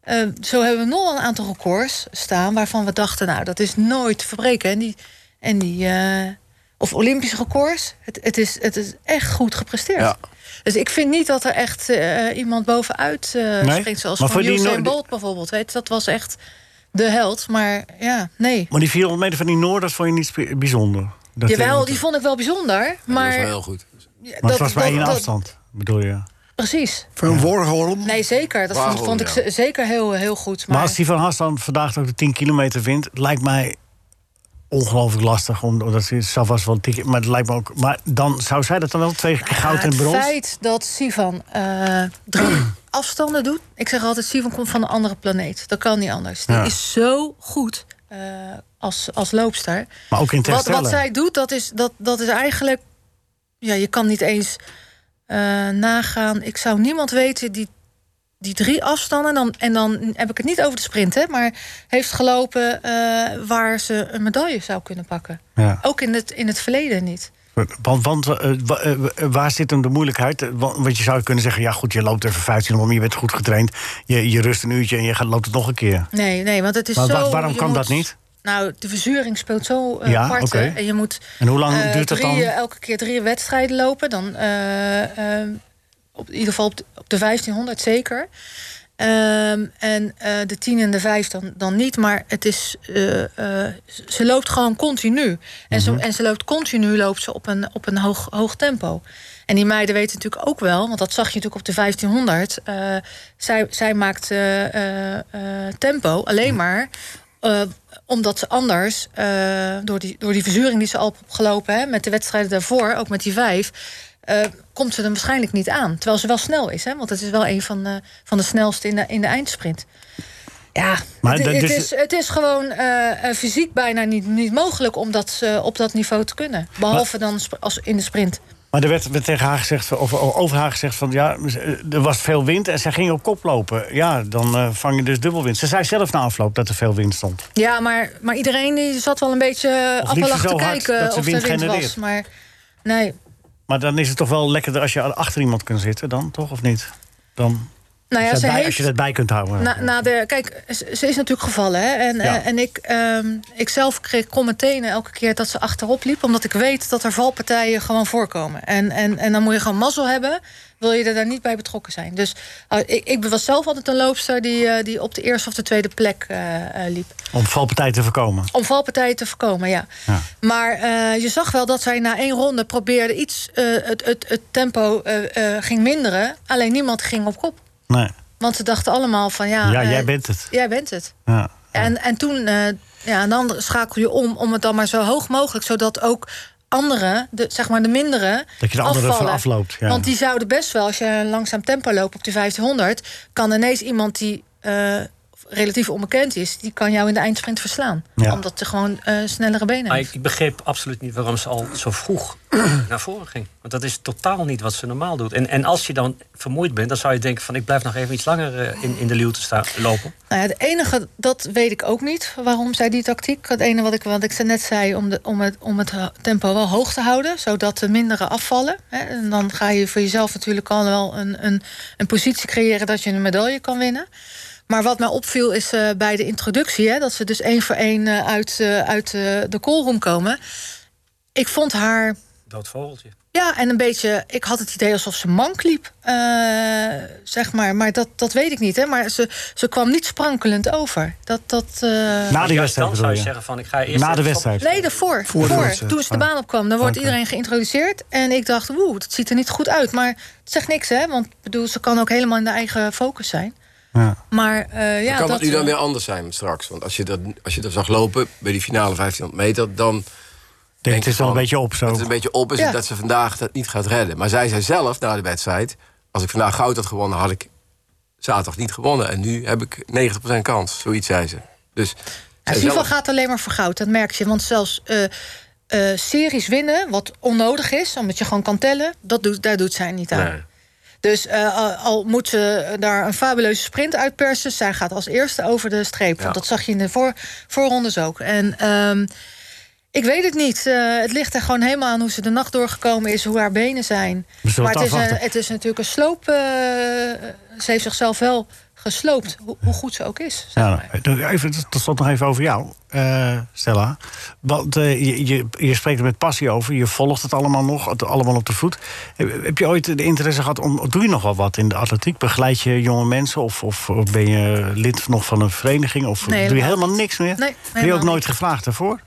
G: eh, zo hebben we nog een aantal records staan... waarvan we dachten, nou, dat is nooit te verbreken. En die, en die, eh, of Olympische records. Het, het, is, het is echt goed gepresteerd.
H: Ja.
G: Dus ik vind niet dat er echt eh, iemand bovenuit eh,
C: Nee,
G: springt... zoals
C: maar
G: van
C: voor die
G: Usain
C: Noor-
G: Bolt bijvoorbeeld. Weet, je, dat was echt de held, maar ja, nee.
C: Maar die 400 meter van die Noor, dat vond je niet spe- bijzonder? Dat
G: Jawel,
C: dat-
G: die vond ik wel bijzonder,
H: dat
G: maar...
H: is wel heel goed.
G: ja,
C: Maar het was maar één
G: dat-
C: afstand, bedoel je?
G: Precies.
D: Van Warholm.
G: Nee, zeker. Dat vond,
H: Waarom,
G: vond ik
H: ja.
G: ze- zeker heel, heel goed.
C: Maar
G: Maar,
C: als die van Hassan vandaag ook de 10 kilometer wint, lijkt mij ongelooflijk lastig. Omdat ze zelf was wel tikken, maar het lijkt me ook. Maar dan zou zij dat dan wel twee keer
G: Nou Ja,
C: goud en
G: het
C: brons.
G: feit dat Sivan eh, drie afstanden doet. Ik zeg altijd, Sivan komt van een andere planeet. Dat kan niet anders. Die
C: Ja.
G: is zo goed eh, als, als loopster.
C: Maar ook in
G: Wat,
C: terstellen.
G: wat zij doet, dat is, dat, dat is eigenlijk... Ja, je kan niet eens eh, nagaan. Ik zou niemand weten die, die drie afstanden... Dan, en dan heb ik het niet over de sprint, hè, maar heeft gelopen... eh, waar ze een medaille zou kunnen pakken.
C: Ja.
G: Ook in het, in het verleden niet.
C: Want, want eh, wa- eh, waar zit hem de moeilijkheid? Eh, wa- Want je zou kunnen zeggen: ja, goed, je loopt even 15 om, je bent goed getraind. Je, je rust een uurtje en je gaat, loopt het nog een keer.
G: Nee, nee, want het is
C: Maar
G: zo...
C: wa- waarom
G: je
C: kan
G: moet-
C: dat niet?
G: Nou, de verzuring speelt zo eh
C: Ja,
G: apart.
C: oké.
G: hè. En je moet
C: En hoe lang
G: eh,
C: duurt dat
G: drie,
C: dan?
G: eh, elke keer drie wedstrijden lopen. Dan eh, ehm, op, in ieder geval op de, op de 1500 zeker. Ehm, en eh, de 10 en de 5 dan, dan niet. Maar het is, eh, eh, ze loopt gewoon continu. En, ze, en ze loopt continu loopt ze op een, op een hoog, hoog tempo. En die meiden weten natuurlijk ook wel, want dat zag je natuurlijk op de 1500. eh, zij, zij maakt eh, eh, eh, tempo alleen maar eh, omdat ze anders, eh, door, die, door die verzuring die ze al opgelopen hè, met de wedstrijden daarvoor, ook met die vijf, eh, komt ze er waarschijnlijk niet aan. Terwijl ze wel snel is, hè, want het is wel een van de, van de snelste in de, in de eindsprint. Ja,
C: Maar dus-
G: het,
C: dat
G: het
C: is-
G: is, het is gewoon eh, eh, fysiek bijna niet, niet mogelijk om dat eh, op dat niveau te kunnen. Behalve dan sp- als in de sprint.
C: Maar er werd, werd tegen haar gezegd, of over haar gezegd van ja, eh, er was veel wind en zij ging op kop lopen. Ja, dan eh, vang je dus dubbel wind. Ze zei zelf na afloop dat er veel wind stond.
G: Ja, maar, maar iedereen die zat wel een beetje
C: Of liep ze
G: appelachtig te
C: zo hard
G: kijken
C: dat ze
G: of er
C: wind
G: wind was.
C: genereert?
G: Maar nee,
C: Maar dan is het toch wel lekkerder als je achter iemand kunt zitten, dan toch of niet? Dan,
G: nou ja,
C: als,
G: ze
C: je bij, als
G: heeft... Nou-
C: je dat bij kunt houden.
G: Na, na de, kijk, ze, ze is natuurlijk gevallen. Hè? En,
C: Ja.
G: eh, en ik, ehm ik zelf kreeg kon mijn tenen elke keer dat ze achterop liep. Omdat ik weet dat er valpartijen gewoon voorkomen. En, en, en dan moet je gewoon mazzel hebben. Wil je er daar niet bij betrokken zijn. Dus ah, ik, ik was zelf altijd een loopster die, eh, die op de eerste of de tweede plek eh, eh, liep.
C: Om valpartij te voorkomen.
G: Om valpartijen te voorkomen, ja.
C: Ja.
G: Maar eh, je zag wel dat zij na één ronde probeerde iets... eh, het, het, het tempo eh, eh, ging minderen. Alleen niemand ging op kop.
C: Nee.
G: Want ze dachten allemaal van ja...
C: ja,
G: eh,
C: jij bent het.
G: Jij bent het.
C: Ja.
G: En, en toen, eh, ja, en dan schakel je om om het dan maar zo hoog mogelijk, zodat ook anderen, de, zeg maar de mindere,
C: Dat je de anderen van
G: afvallen.
C: afloopt, ja.
G: Want die zouden best wel, als je een langzaam tempo loopt op de 1500, kan ineens iemand die eh, relatief onbekend is, die kan jou in de eindsprint verslaan,
C: Ja.
G: omdat ze gewoon eh, snellere benen
F: Maar
G: heeft.
F: ik, ik begreep absoluut niet waarom ze al zo vroeg naar voren ging. Want dat is totaal niet wat ze normaal doet. En, en als je dan vermoeid bent, dan zou je denken van... ik blijf nog even iets langer eh, in, in de luw te staan, lopen.
G: Nou ja, het enige, dat weet ik ook niet, waarom zij die tactiek. Het ene wat ik, wat ik net zei, om, de, om, het, om het tempo wel hoog te houden... zodat de mindere afvallen. Hè. En dan ga je voor jezelf natuurlijk al wel een, een, een positie creëren... dat je een medaille kan winnen. Maar wat mij opviel is eh, bij de introductie... Hè, dat ze dus één voor één eh, uit, eh, uit eh, de callroom komen. Ik vond haar...
F: Dood vogeltje.
G: Ja, en een beetje. Ik had het idee alsof ze mank liep. eh, zeg maar. Maar dat, dat weet ik niet. Hè? Maar ze, ze kwam niet sprankelend over. Dat. dat eh,
C: Na die
F: Juist
C: wedstrijd
F: dan zou
C: bedoel
F: je
C: je.
F: zeggen van ik ga eerst...
C: Na de
F: even
C: wedstrijd.
G: Nee, daarvoor.
D: Voor
G: Voor,
D: de wedstrijd.
G: toen ze de baan opkwam. Dan wordt
C: Oké.
G: iedereen geïntroduceerd. En ik dacht, woe, dat ziet er niet goed uit. Maar het zegt niks, hè? Want ik bedoel, ze kan ook helemaal in haar eigen focus zijn.
C: Ja.
G: Maar eh, ja,
H: kan dat, nu dan
G: eh,
H: weer anders zijn straks? Want als je dat, als je dat zag lopen bij die finale 1500 meter, dan
C: Ik denk, het is wel een
H: van,
C: beetje op zo.
H: Dat het een beetje op is
G: Ja.
H: en dat ze vandaag dat niet gaat redden. Maar zij zei zelf na de wedstrijd... als ik vandaag goud had gewonnen, had ik zaterdag niet gewonnen. En nu heb ik 90% kans, zoiets zei ze. Dus
G: Ja,
H: zij
G: FIFA
H: zelf-
G: gaat alleen maar voor goud, dat merk je. Want zelfs eh, eh, series winnen, wat onnodig is, omdat je gewoon kan tellen, dat doet, daar doet zij niet aan.
H: Nee.
G: Dus eh, al, al moet ze daar een fabuleuze sprint uitpersen, zij gaat als eerste over de streep.
H: Ja.
G: Want dat zag je in de voor, voorrondes ook. En ehm, ik weet het niet. Eh, het ligt er gewoon helemaal aan hoe ze de nacht doorgekomen is, hoe haar benen zijn.
C: We zullen het
G: Maar het is, een,
C: afwachten.
G: het is natuurlijk een sloop. eh, ze heeft zichzelf wel gesloopt, hoe, hoe goed ze ook is. zeg
C: Ja,
G: maar.
C: nou, even, tot slot nog even over jou, eh, Stella. Want eh, je, je, je spreekt er met passie over, je volgt het allemaal nog, het allemaal op de voet. Heb, heb je ooit de interesse gehad om. Doe je nog wel wat in de atletiek? Begeleid je jonge mensen? Of, of ben je lid nog van een vereniging? Of
G: Nee,
C: doe je
G: helemaal
C: helemaal
G: niet.
C: niks meer?
G: Nee,
C: ben je
G: helemaal
C: ook nooit
G: niet.
C: gevraagd daarvoor?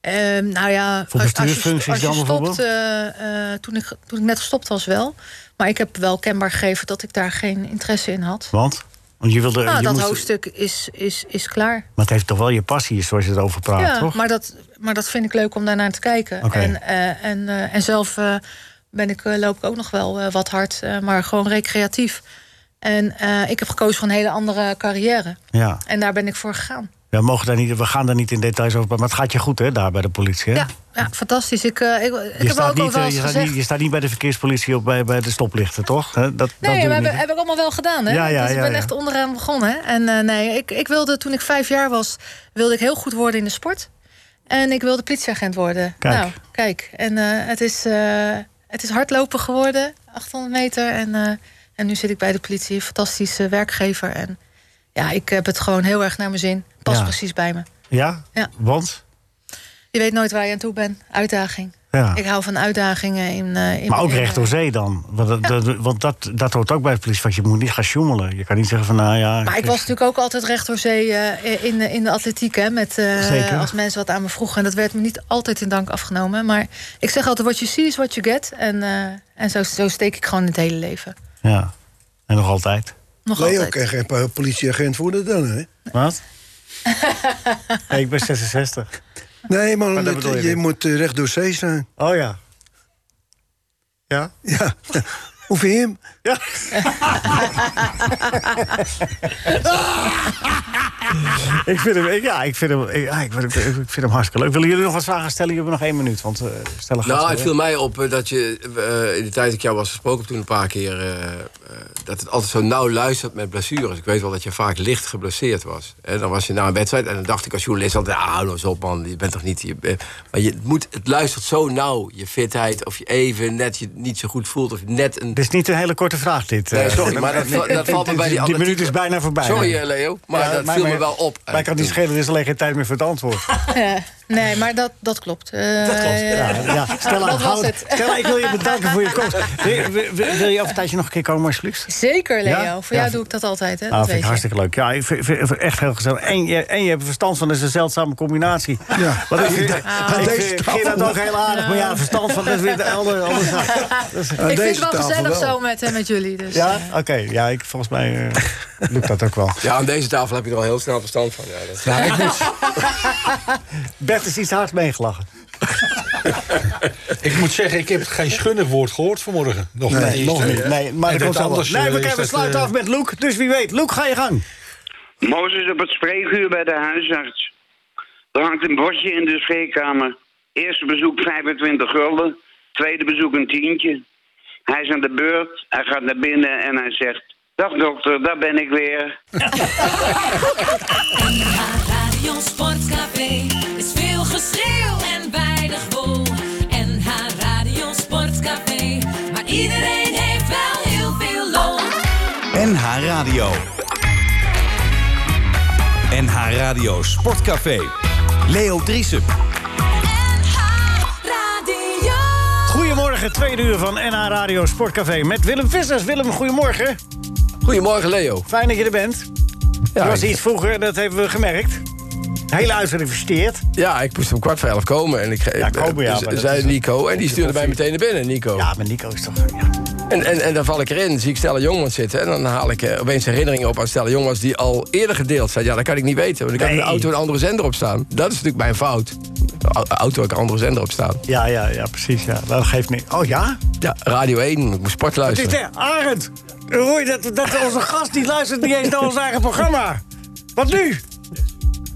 G: Ehm, nou ja,
C: Voor
G: als, als je, sto- als
C: bestuursfuncties
G: je
C: dan
G: stopt, eh, eh, toen, ik, toen ik net gestopt was wel. Maar ik heb wel kenbaar gegeven dat ik daar geen interesse in had.
C: Want? Want je wilde.
G: Nou,
C: je
G: dat
C: moest-
G: hoofdstuk is, is, is klaar.
C: maar het heeft toch wel je passie, zoals je erover praat,
G: ja,
C: toch?
G: Maar, dat, maar dat vind ik leuk om daarnaar te kijken.
C: Oké.
G: En, eh, en, eh, en zelf eh, ben ik, eh, loop ik ook nog wel eh, wat hard, eh, maar gewoon recreatief. En eh, ik heb gekozen voor een hele andere carrière.
C: Ja.
G: En daar ben ik voor gegaan.
C: We, mogen daar niet, we gaan daar niet in details over praten. Maar het gaat je goed, hè, daar bij de politie. Hè?
G: Ja, ja fantastisch. Ik, eh, ik, ik heb ook al
C: eh,
G: wel eens
C: je, staat
G: gezegd...
C: niet, je staat niet bij de verkeerspolitie op bij, bij de stoplichten, toch? Hè, Dat, dat doe je
G: Nee, we
C: niet,
G: hebben,
C: hè?
G: heb ik allemaal wel gedaan. Hè?
C: Ja, ja,
G: dus ik
C: ja,
G: ben
C: ja.
G: echt onderaan begonnen. Hè? En eh, nee, ik, ik wilde toen ik vijf jaar was, wilde ik heel goed worden in de sport. En ik wilde politieagent worden.
C: Kijk.
G: Nou, kijk. En eh, het, is, eh, het is hardlopen geworden, 800 meter. En, eh, en nu zit ik bij de politie, fantastische werkgever. En ja, ik heb het gewoon heel erg naar mijn zin. Pas
C: Ja.
G: precies bij me.
C: Ja?
G: Ja.
C: Want?
G: Je weet nooit waar je aan toe bent. Uitdaging.
C: Ja.
G: Ik hou van uitdagingen. In, eh, in
C: Maar ook
G: in, eh,
C: recht door zee dan. Want, dat- dat, want dat, dat hoort ook bij de politie. Want je moet niet gaan sjoemelen. Je kan niet zeggen van, nou ja...
G: Maar ik was natuurlijk ook altijd recht door zee eh, in, de- in de atletiek. Hè, met, eh,
C: Zeker.
G: Als mensen wat aan me vroegen. En dat werd me niet altijd in dank afgenomen. Maar ik zeg altijd, what you see is what you get. En, eh, en zo, zo steek ik gewoon het hele leven.
C: Ja. En nog altijd.
G: Nog
D: Ben je ook
G: altijd.
D: geen politieagent worden dan, hè?
C: Wat? Nee, ik ben 66.
D: Nee, maar,
C: dat
D: het-
C: bedoel je
D: je
C: niet.
D: moet eh, recht door zee zijn.
C: Oh ja. Ja?
D: Ja. Hoe vind je hem?
C: Ja. ik vind hem, ik- ja, ik vind hem, ik, ja, ik, vind hem, ik vind hem hartstikke leuk. Willen jullie nog wat vragen stellen? Jullie hebben nog één minuut, want eh stellen gaat zo,
H: Nou,
C: hè?
H: het viel mij op eh, dat je eh, in de tijd dat ik jou was gesproken heb toen een paar keer... eh, eh, dat het altijd zo nauw luistert met blessures. Ik weet wel dat je vaak licht geblesseerd was. En dan was je na een wedstrijd en dan dacht ik als journalist altijd... ah, hou nou eens op man, je bent toch niet... Je, bent- maar je moet, het luistert zo nauw, je fitheid. Of je even net je niet zo goed voelt of je net een...
C: Het is niet een hele korte vraag, dit. eh,
H: Nee, sorry, maar dat,
C: Willem.
H: va- dat valt me bij die
C: Die
H: andere...
C: minuut is bijna voorbij.
H: Sorry eh, Leo, maar
C: Ja,
H: dat viel me
C: maar-
H: wel op.
C: Maar ik kan niet
H: Toen-
C: schelen, er is alleen geen tijd meer voor het antwoord.
G: Ja. Nee, maar dat, dat klopt. dat klopt,
C: Ja, ja. Stella,
G: Dat was
C: hou-
G: het.
C: Stella, ik wil je bedanken voor je komst. Wil, wil- wil- wil je over een tijdje nog een keer komen, alsjeblieft?
G: Zeker, Leo.
C: Ja?
G: Voor
C: Ja,
G: jou
C: v-
G: doe ik dat altijd, hè?
C: Ah,
G: dat
C: vind ik
G: weet je.
C: hartstikke leuk. Ja, ik vind, vind- vind echt heel gezellig. En je, en je hebt er verstand van, dat is een zeldzame combinatie.
D: Ja.
C: Wat ik vind,
D: aan
C: ik
D: deze
C: vind-
D: tafel.
C: vind dat ook heel aardig. Maar ja, verstand van, dat is weer de andere, andere zaak. Dat is-
D: Aan
G: Ik vind
D: deze
G: het wel
D: tafel
G: gezellig
D: wel.
G: zo met, eh, met jullie. Dus,
C: Ja,
G: eh,
C: oké. Ja, ik, volgens mij eh, lukt dat ook wel.
H: Ja, aan deze tafel heb je er al heel snel verstand van. Ja, dat-
E: Ja, ik, moet,
C: Bert is iets hard meegelachen.
E: ik moet zeggen, ik heb geen schunnig woord gehoord vanmorgen. Nog
C: Nee, nog
E: eh,
C: niet. Nee, maar
E: en
C: dat komt allemaal.
E: anders,
C: Nee,
E: eh,
C: we,
E: is
C: kunnen- we
E: dat,
C: sluiten
E: eh,
C: af met Loek. Dus wie weet. Loek, ga je gang.
I: Mozes op het spreekuur bij de huisarts. Er hangt een bordje in de spreekkamer. Eerste bezoek 25 gulden. Tweede bezoek een tientje. Hij is aan de beurt. Hij gaat naar binnen en hij zegt... Dag dokter, daar ben ik weer.
J: Radio Sportcafé is veel geschreeuw en weinig wol. En haar Radio Sportcafé, maar iedereen heeft wel heel veel lol.
B: NH Radio. NH Radio Sportcafé. Leo Driesen.
J: NH Radio.
C: Goedemorgen, tweede uur van NH Radio Sportcafé met Willem Vissers. Willem, goedemorgen.
H: Goedemorgen Leo.
C: Fijn dat je er bent.
H: Ja,
C: je was
H: ik-
C: iets vroeger, dat hebben we gemerkt. De hele uitzending versteerd.
H: Ja, ik moest om kwart voor elf komen. En ik ge-
C: Ja, komen, ja,
H: eh,
C: maar dat
H: zei
C: is-
H: Nico. En die stuurde mij meteen naar binnen, Nico.
C: Ja, maar Nico is toch... Ja.
H: En, en, en dan val ik erin, zie ik Stella Jongmans zitten. En dan haal ik eh, opeens herinneringen op aan Stella Jongmans... die al eerder gedeeld zijn. Ja, dat kan ik niet weten. Want ik had in de
C: Nee.
H: auto een andere zender op staan. Dat is natuurlijk mijn fout. Au- Auto had ik een andere zender op staan.
C: ja, ja, ja, precies. Ja. Dat geeft niet. Oh ja?
H: Ja, Radio 1, ik moest sport
C: Het is
H: luisteren.
C: de Arend. Roei, dat, dat onze gast die luistert niet eens naar ons eigen programma. Wat nu?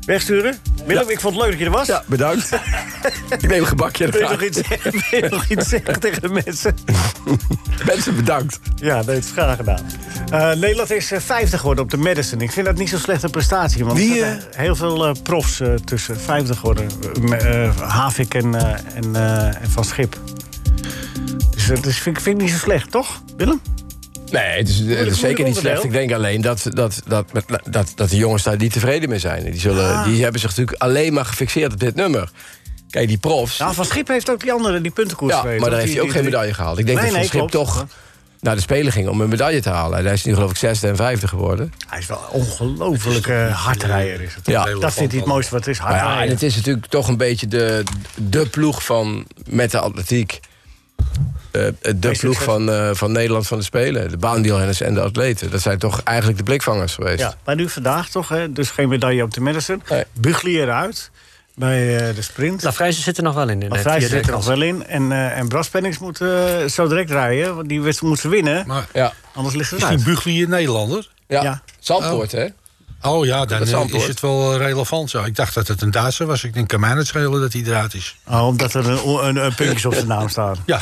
C: Wegsturen? Willem, ik vond het leuk dat je er was.
H: Ja, bedankt. ik neem een gebakje en
C: Wil je,
H: een
C: nog
H: vraag.
C: iets, wil je nog iets zeggen tegen de mensen?
H: Mensen, bedankt.
C: Ja, dat is graag gedaan. Eh, Nederland is eh, 50 geworden op de Madison. Ik vind dat niet zo'n slechte prestatie. Want
D: Wie,
C: er zitten heel veel eh, profs eh, tussen 50 geworden. Eh, me- eh, Havik en, eh, en, eh, en Van Schip. Dus dat is- vind, ik- vind ik niet zo slecht, toch, Willem?
H: Nee, het is, het is
C: Oh, moeilijk
H: zeker niet
C: onderdeel.
H: slecht. Ik denk alleen dat, dat, dat, met- dat, dat de jongens daar niet tevreden mee zijn. Die, zullen,
C: Ah.
H: die hebben zich natuurlijk alleen maar gefixeerd op dit nummer. Kijk, die profs.
C: Nou, Van Schip heeft ook die andere, die puntenkoers
H: ja,
C: gereden,
H: maar daar
C: toch?
H: heeft hij
C: Die-
H: ook geen
C: die-
H: medaille gehaald. Ik denk
C: Nee,
H: dat Van
C: nee,
H: Schip
C: klopt.
H: toch naar de Spelen ging om een medaille te halen. En hij is nu geloof ik zesde en vijfde geworden.
C: Hij is wel een ongelofelijke hardrijder. Is het.
H: Ja.
C: Dat vindt hij het mooiste wat er is,
H: Maar ja, en
C: hardrijden.
H: het is natuurlijk toch een beetje de, de ploeg van met de atletiek. Eh, de ploeg van, eh, van Nederland van de Spelen. De baandeelrenners en de atleten. Dat zijn toch eigenlijk de blikvangers geweest.
C: Ja, maar nu vandaag toch, hè? dus geen medaille op de Madison.
H: Nee.
C: Bugli eruit bij eh, de sprint.
F: Lafrijzen Nou, zit er nog wel in.
C: Maar Vrijs zit er nog wel in. En, eh, en Braspennings moet eh, zo direct rijden. Want die wedstrijd moet ze winnen.
E: Maar
H: Ja.
C: Anders ligt het
E: is die
C: uit.
E: Bugli een Nederlander?
H: Ja.
C: Ja.
H: Zandvoort, hè?
E: Oh ja, dan
H: Dat is
E: eh,
H: antwoord.
E: is het wel relevant. Ja. Ik dacht dat het een Duitser was. Ik denk, kan mij het schelen dat hij eruit is.
C: Oh, omdat er een, o- een, een puntjes op zijn naam staan.
E: Ja.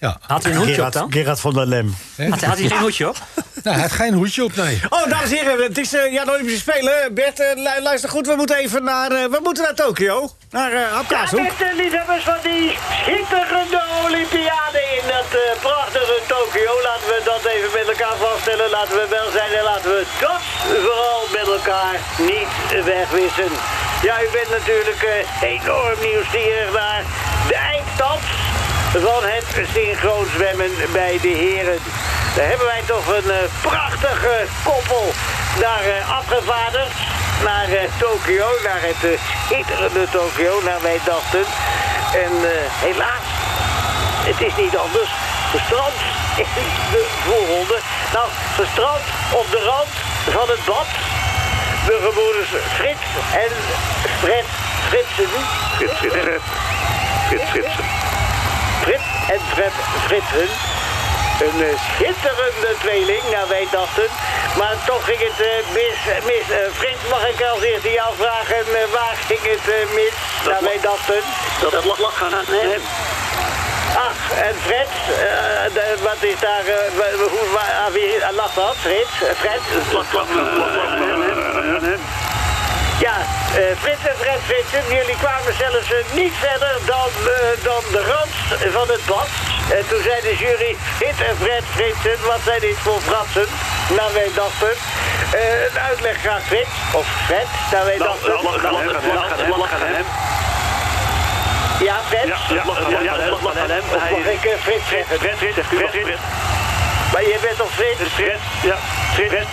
E: ja.
F: Had hij een hoedje op
C: Gerard,
F: dan?
C: Gerard van der Lem.
F: Had, had hij geen hoedje op?
E: Nou, hij heeft geen hoedje op, nee.
C: Oh, dames en heren, het is eh, ja, de Olympische Spelen. Bert, eh, lu- luister goed, we moeten even naar, eh, we moeten naar Tokio. Naar eh Hapkaashoek.
K: Met de liefhebbers van die schitterende Olympiade in dat eh, prachtige Tokio. Laten we dat even met elkaar vaststellen. Laten we wel zijn en laten we dat vooral met elkaar niet wegwissen. Ja, u bent natuurlijk eh, enorm nieuwsgierig naar de eindstand van het synchroonzwemmen bij de heren. Daar hebben wij toch een eh, prachtige koppel naar eh, afgevaardigd. Naar eh, Tokio, naar het eh, schitterende Tokio, naar wij dachten. En eh, helaas, het is niet anders. Gestrand in de voorronde. Nou, gestrand op de rand van het bad. de gebroeders Frits en Fred Fritsen. Frits, Fritsen. Frits, Fritsen. Frits en Fred Fritsen. Een eh, schitterende tweeling, naar wij dachten. Maar toch ging het eh, mis. mis. Eh, Frits, mag ik als eerste jou vragen eh, waar ging het eh, mis, naar wij dachten? Dat, dat lag gaan aan hem. Ach, en Fred, eh, de- wat is daar, eh, wa- hoe, waar, aan wie aan lag dat, Frits? Eh, Fred? Ja, eh, Frits en Fred Fritsen, jullie kwamen zelfs eh, niet verder dan, eh, dan de rand van het bad. En toen zei de jury, Hit en Fred Fritsen, wat zijn dit voor fratsen? Nou, wij dachten. Eh, een uitleg graag, Frits, of Fred, nou, wij dachten. Ja, Fred? Ja, Mag ik eh, Frits zeggen? Fred, Fred, Maar je bent toch Frits? Frits, ja. Frits.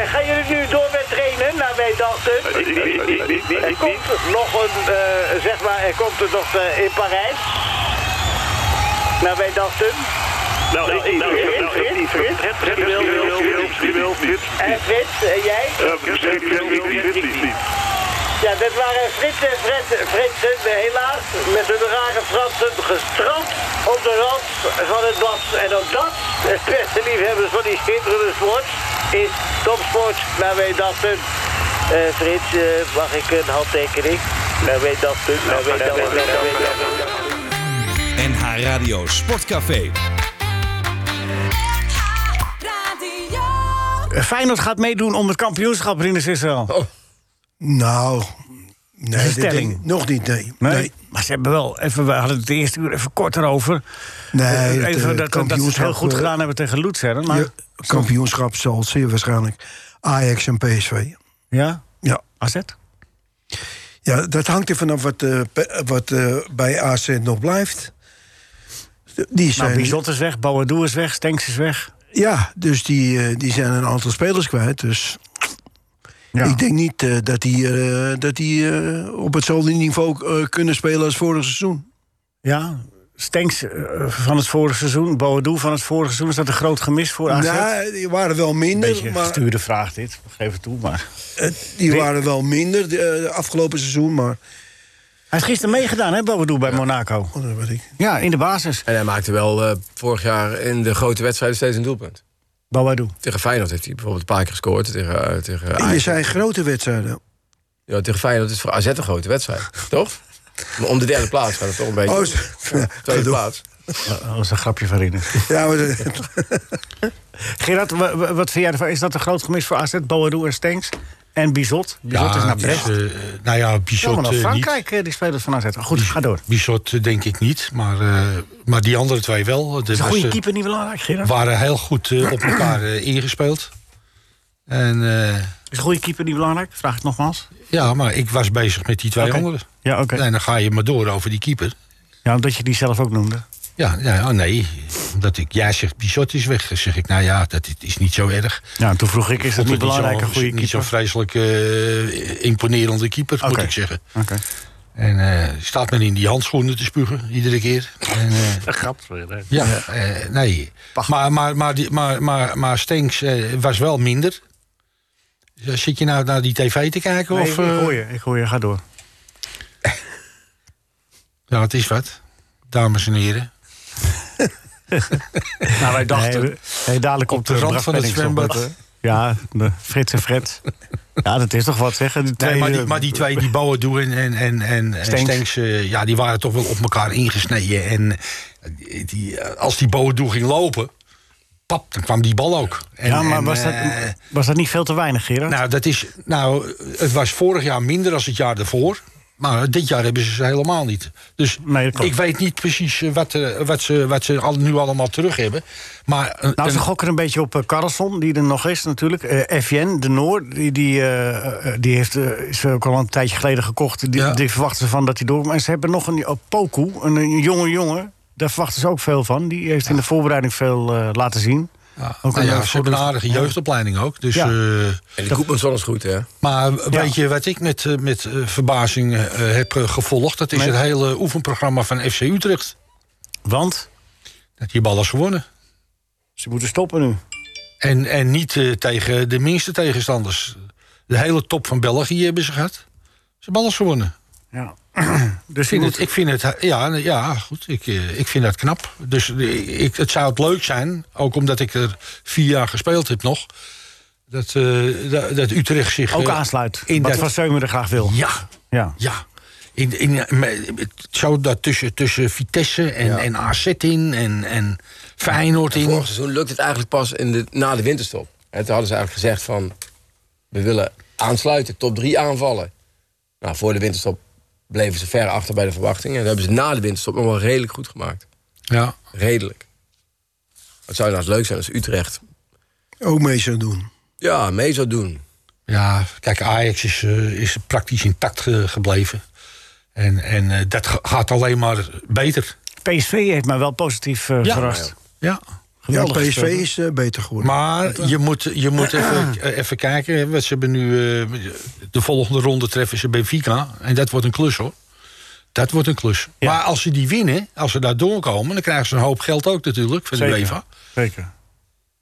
K: En gaan jullie nu door met trainen? Nou, wij dachten. Er komt nog een, eh, zeg maar, er komt er nog eh, in Parijs. Nou, wij dachten. Nou, ik niet. En Frits, en jij? Ja, dat waren Frits en Fred, Fritsen, helaas, met hun rare fratsen gestrand op de rand van het bad. En ook dat, het beste liefhebbers van die schitterende sport, is topsport. Nou, wij dachten, eh, Frits, eh, mag ik een handtekening? Nou, weet dat, nou, weet dat, nou, weet dat.
B: NH Radio Sportcafé.
C: Eh, Feyenoord gaat meedoen om het kampioenschap, Rinus Israël.
E: Oh.
D: Nou,
C: Dat is
D: nee,
C: een
D: dit
C: stelling.
D: ding, nog niet, nee.
C: Nee?
D: Nee,
C: Maar ze hebben wel, even, we hadden het de eerste uur even kort erover.
D: nee,
C: even,
D: eh,
C: dat- dat, dat ze het heel goed
D: eh,
C: gedaan hebben tegen Loets, hè, maar...
D: ja, kampioenschap zal zeer waarschijnlijk Ajax en PSV.
C: Ja?
D: Ja.
C: AZ?
D: Ja, dat hangt er vanaf wat, eh, pe- wat eh, bij AZ nog blijft. Die zijn,
C: Nou, Bizot is weg, Bouwadou is weg, Stenks is weg.
D: Ja, dus die, eh, die zijn een aantal spelers kwijt. Dus
C: Ja.
D: ik denk niet eh, dat die, eh, dat die eh, op hetzelfde niveau eh, kunnen spelen als vorig seizoen.
C: Ja, Stenks eh, van het vorige seizoen, Boadu van het vorige seizoen. Is dat een groot gemis voor AZ?
D: Nou, die waren wel
C: een
D: minder.
C: beetje een
D: maar,
C: gestuurde vraag dit, geef het toe. Maar...
D: eh, die waren wel minder de afgelopen seizoen, maar...
C: Hij is gisteren meegedaan, hè, Boadu, bij Monaco.
D: Oh, dat weet ik.
C: Ja, in de basis,
H: En hij maakte wel eh, vorig jaar in de grote wedstrijden steeds een doelpunt.
C: Boadu.
H: Tegen Feyenoord heeft hij bijvoorbeeld een paar keer gescoord. Tegen, eh, tegen,
D: Je
H: Ajax.
D: zei grote wedstrijden.
H: ja, tegen Feyenoord is voor AZ een grote wedstrijd, toch? Maar om de derde plaats gaat het toch een beetje.
D: Oh,
H: Ja, tweede
D: gedoe.
H: plaats.
C: Oh, Dat was een grapje van Rinus.
D: Ja, maar, dat-
C: Gerard, wa- wa- wat vind jij ervan? Is dat een groot gemis voor AZ, Boadu en Stenks? En Bizot? Bizot is naar
E: het is,
C: Brest.
E: eh, nou ja,
C: Ja, maar
E: Bizot
C: naar
E: eh, niet.
C: Frankrijk, eh, die spelers van AZ. Goed, ga door.
E: Bizot eh, denk ik niet, maar, eh, maar die andere twee wel. De
C: Is een goede
E: Westen
C: keeper niet belangrijk, Gerard?
E: waren heel goed eh, op elkaar eh, ingespeeld. En eh,
C: Is een goede keeper niet belangrijk? Vraag het nogmaals.
E: ja, maar ik was bezig met die twee
C: Oké.
E: anderen.
C: Ja, oké.
E: En dan ga je maar door over die keeper.
C: Ja, omdat je die zelf ook noemde.
E: Ja, ja oh nee. Omdat ik, jij zegt Bizot is weg. Dan zeg ik, nou ja, dat is niet zo erg.
C: Ja, en toen vroeg ik, is
E: Vond
C: het niet
E: het zo'n-
C: belangrijk, een goede
E: Niet zo'n
C: keeper?
E: vreselijk eh, imponerende keeper, moet
C: Oké.
E: ik zeggen.
C: Oké.
E: En eh staat men in die handschoenen te spugen, iedere keer. En, eh,
F: Een grap. weer, hè.
E: ja, eh, nee. Maar, maar, maar, die- maar, maar, maar Stenks eh, was wel minder. Zit je nou naar die tv te kijken?
C: Nee,
E: of, eh,
C: ik hoor je, ik hoor je, ga door.
E: Ja, het is wat. Dames en heren.
F: Nou, wij dachten.
C: Nee, nee, dadelijk komt
E: de
C: er
E: rand
C: Bras
E: van het
C: Pennings op, eh,
E: zwembad,
C: Ja, de Frits en Fred. Ja, dat is toch wat, zeg. Die twee,
E: Nee, maar, die,
C: eh,
E: maar die twee, die Bowen en, en, en, en en
C: Stenks.
E: Stenks, eh, ja, die waren toch wel op elkaar ingesneden. En eh, die, eh, als die Bowen ging lopen, pap, dan kwam die bal ook. En,
C: ja, maar
E: en,
C: was, dat,
E: eh,
C: was dat niet veel te weinig, Gerard?
E: nou, dat is, nou, het was vorig jaar minder dan het jaar daarvoor. Maar dit jaar hebben ze ze helemaal niet. Dus
C: Nee, dat klopt.
E: ik weet niet precies eh, wat, eh, wat ze, wat ze al, nu allemaal terug hebben. Maar een-
C: Nou, ze
E: een-
C: gokken een beetje op eh, Carlson, die er nog is natuurlijk. Eh FN, de Noor, die, die, eh, eh, die heeft, eh, is ook al een tijdje geleden gekocht. Die,
E: Ja.
C: die verwachten ze van dat hij door. Maar ze hebben nog een oh, Poku, een, een jonge jongen. Daar verwachten ze ook veel van. Die heeft in de voorbereiding veel eh, laten zien.
E: ja,
C: ook
E: nou
C: een,
E: ja,
C: eh,
E: ze hebben een aardige jeugdopleiding ook. Dus,
C: Ja.
E: eh,
H: En die Koepmanson is goed, hè?
E: Maar weet je wat ik met, eh, met eh, verbazing eh, heb eh, gevolgd? Dat is het hele oefenprogramma van FC Utrecht.
C: Want
E: Dat die bal is gewonnen.
C: ze moeten stoppen nu.
E: En, en niet eh, tegen de minste tegenstanders. De hele top van België hebben ze gehad. Ze hebben alles gewonnen.
C: Ja.
E: Dus ik, vind het, ik vind het, ja, nee, ja goed, ik, eh, ik vind dat knap. Dus eh, ik, het zou het leuk zijn, ook omdat ik er vier jaar gespeeld heb nog... dat, eh, dat, dat Utrecht zich...
C: Ook
E: eh,
C: aansluit.
E: in
C: wat
E: dat-
C: Van Seumer er graag wil.
E: Ja,
C: Ja.
E: ja. In, in, eh, me- het zou dat tussen, tussen Vitesse en, en AZ in en, en Feyenoord in.
H: Vorig seizoen lukt het eigenlijk pas in de, na de winterstop. En toen hadden ze eigenlijk gezegd van... we willen aansluiten, top 3 aanvallen. Nou, voor de winterstop bleven ze ver achter bij de verwachtingen. En dat hebben ze na de winterstop nog wel redelijk goed gemaakt.
E: Ja.
H: Redelijk. Het zou nou eens leuk zijn als Utrecht...
D: Ook mee zou doen.
H: ja, mee zou doen.
E: Ja, kijk, Ajax is, eh, is praktisch intact ge- gebleven. En, en eh, dat ge- gaat alleen maar beter.
C: PSV heeft mij wel positief eh,
E: Ja.
C: verrast.
E: Ja.
D: Ja,
C: Geweldig
D: PSV
C: gespeeld.
D: is eh, beter geworden.
E: Maar
C: eh,
E: je moet, je moet even, eh, even kijken. hè, Want ze hebben nu eh, de volgende ronde treffen ze Benfica. En dat wordt een klus hoor. Dat wordt een klus.
C: Ja.
E: Maar als ze die winnen, als ze daar doorkomen, dan krijgen ze een hoop geld ook natuurlijk van de
C: Zeker.
E: UEFA.
C: Zeker.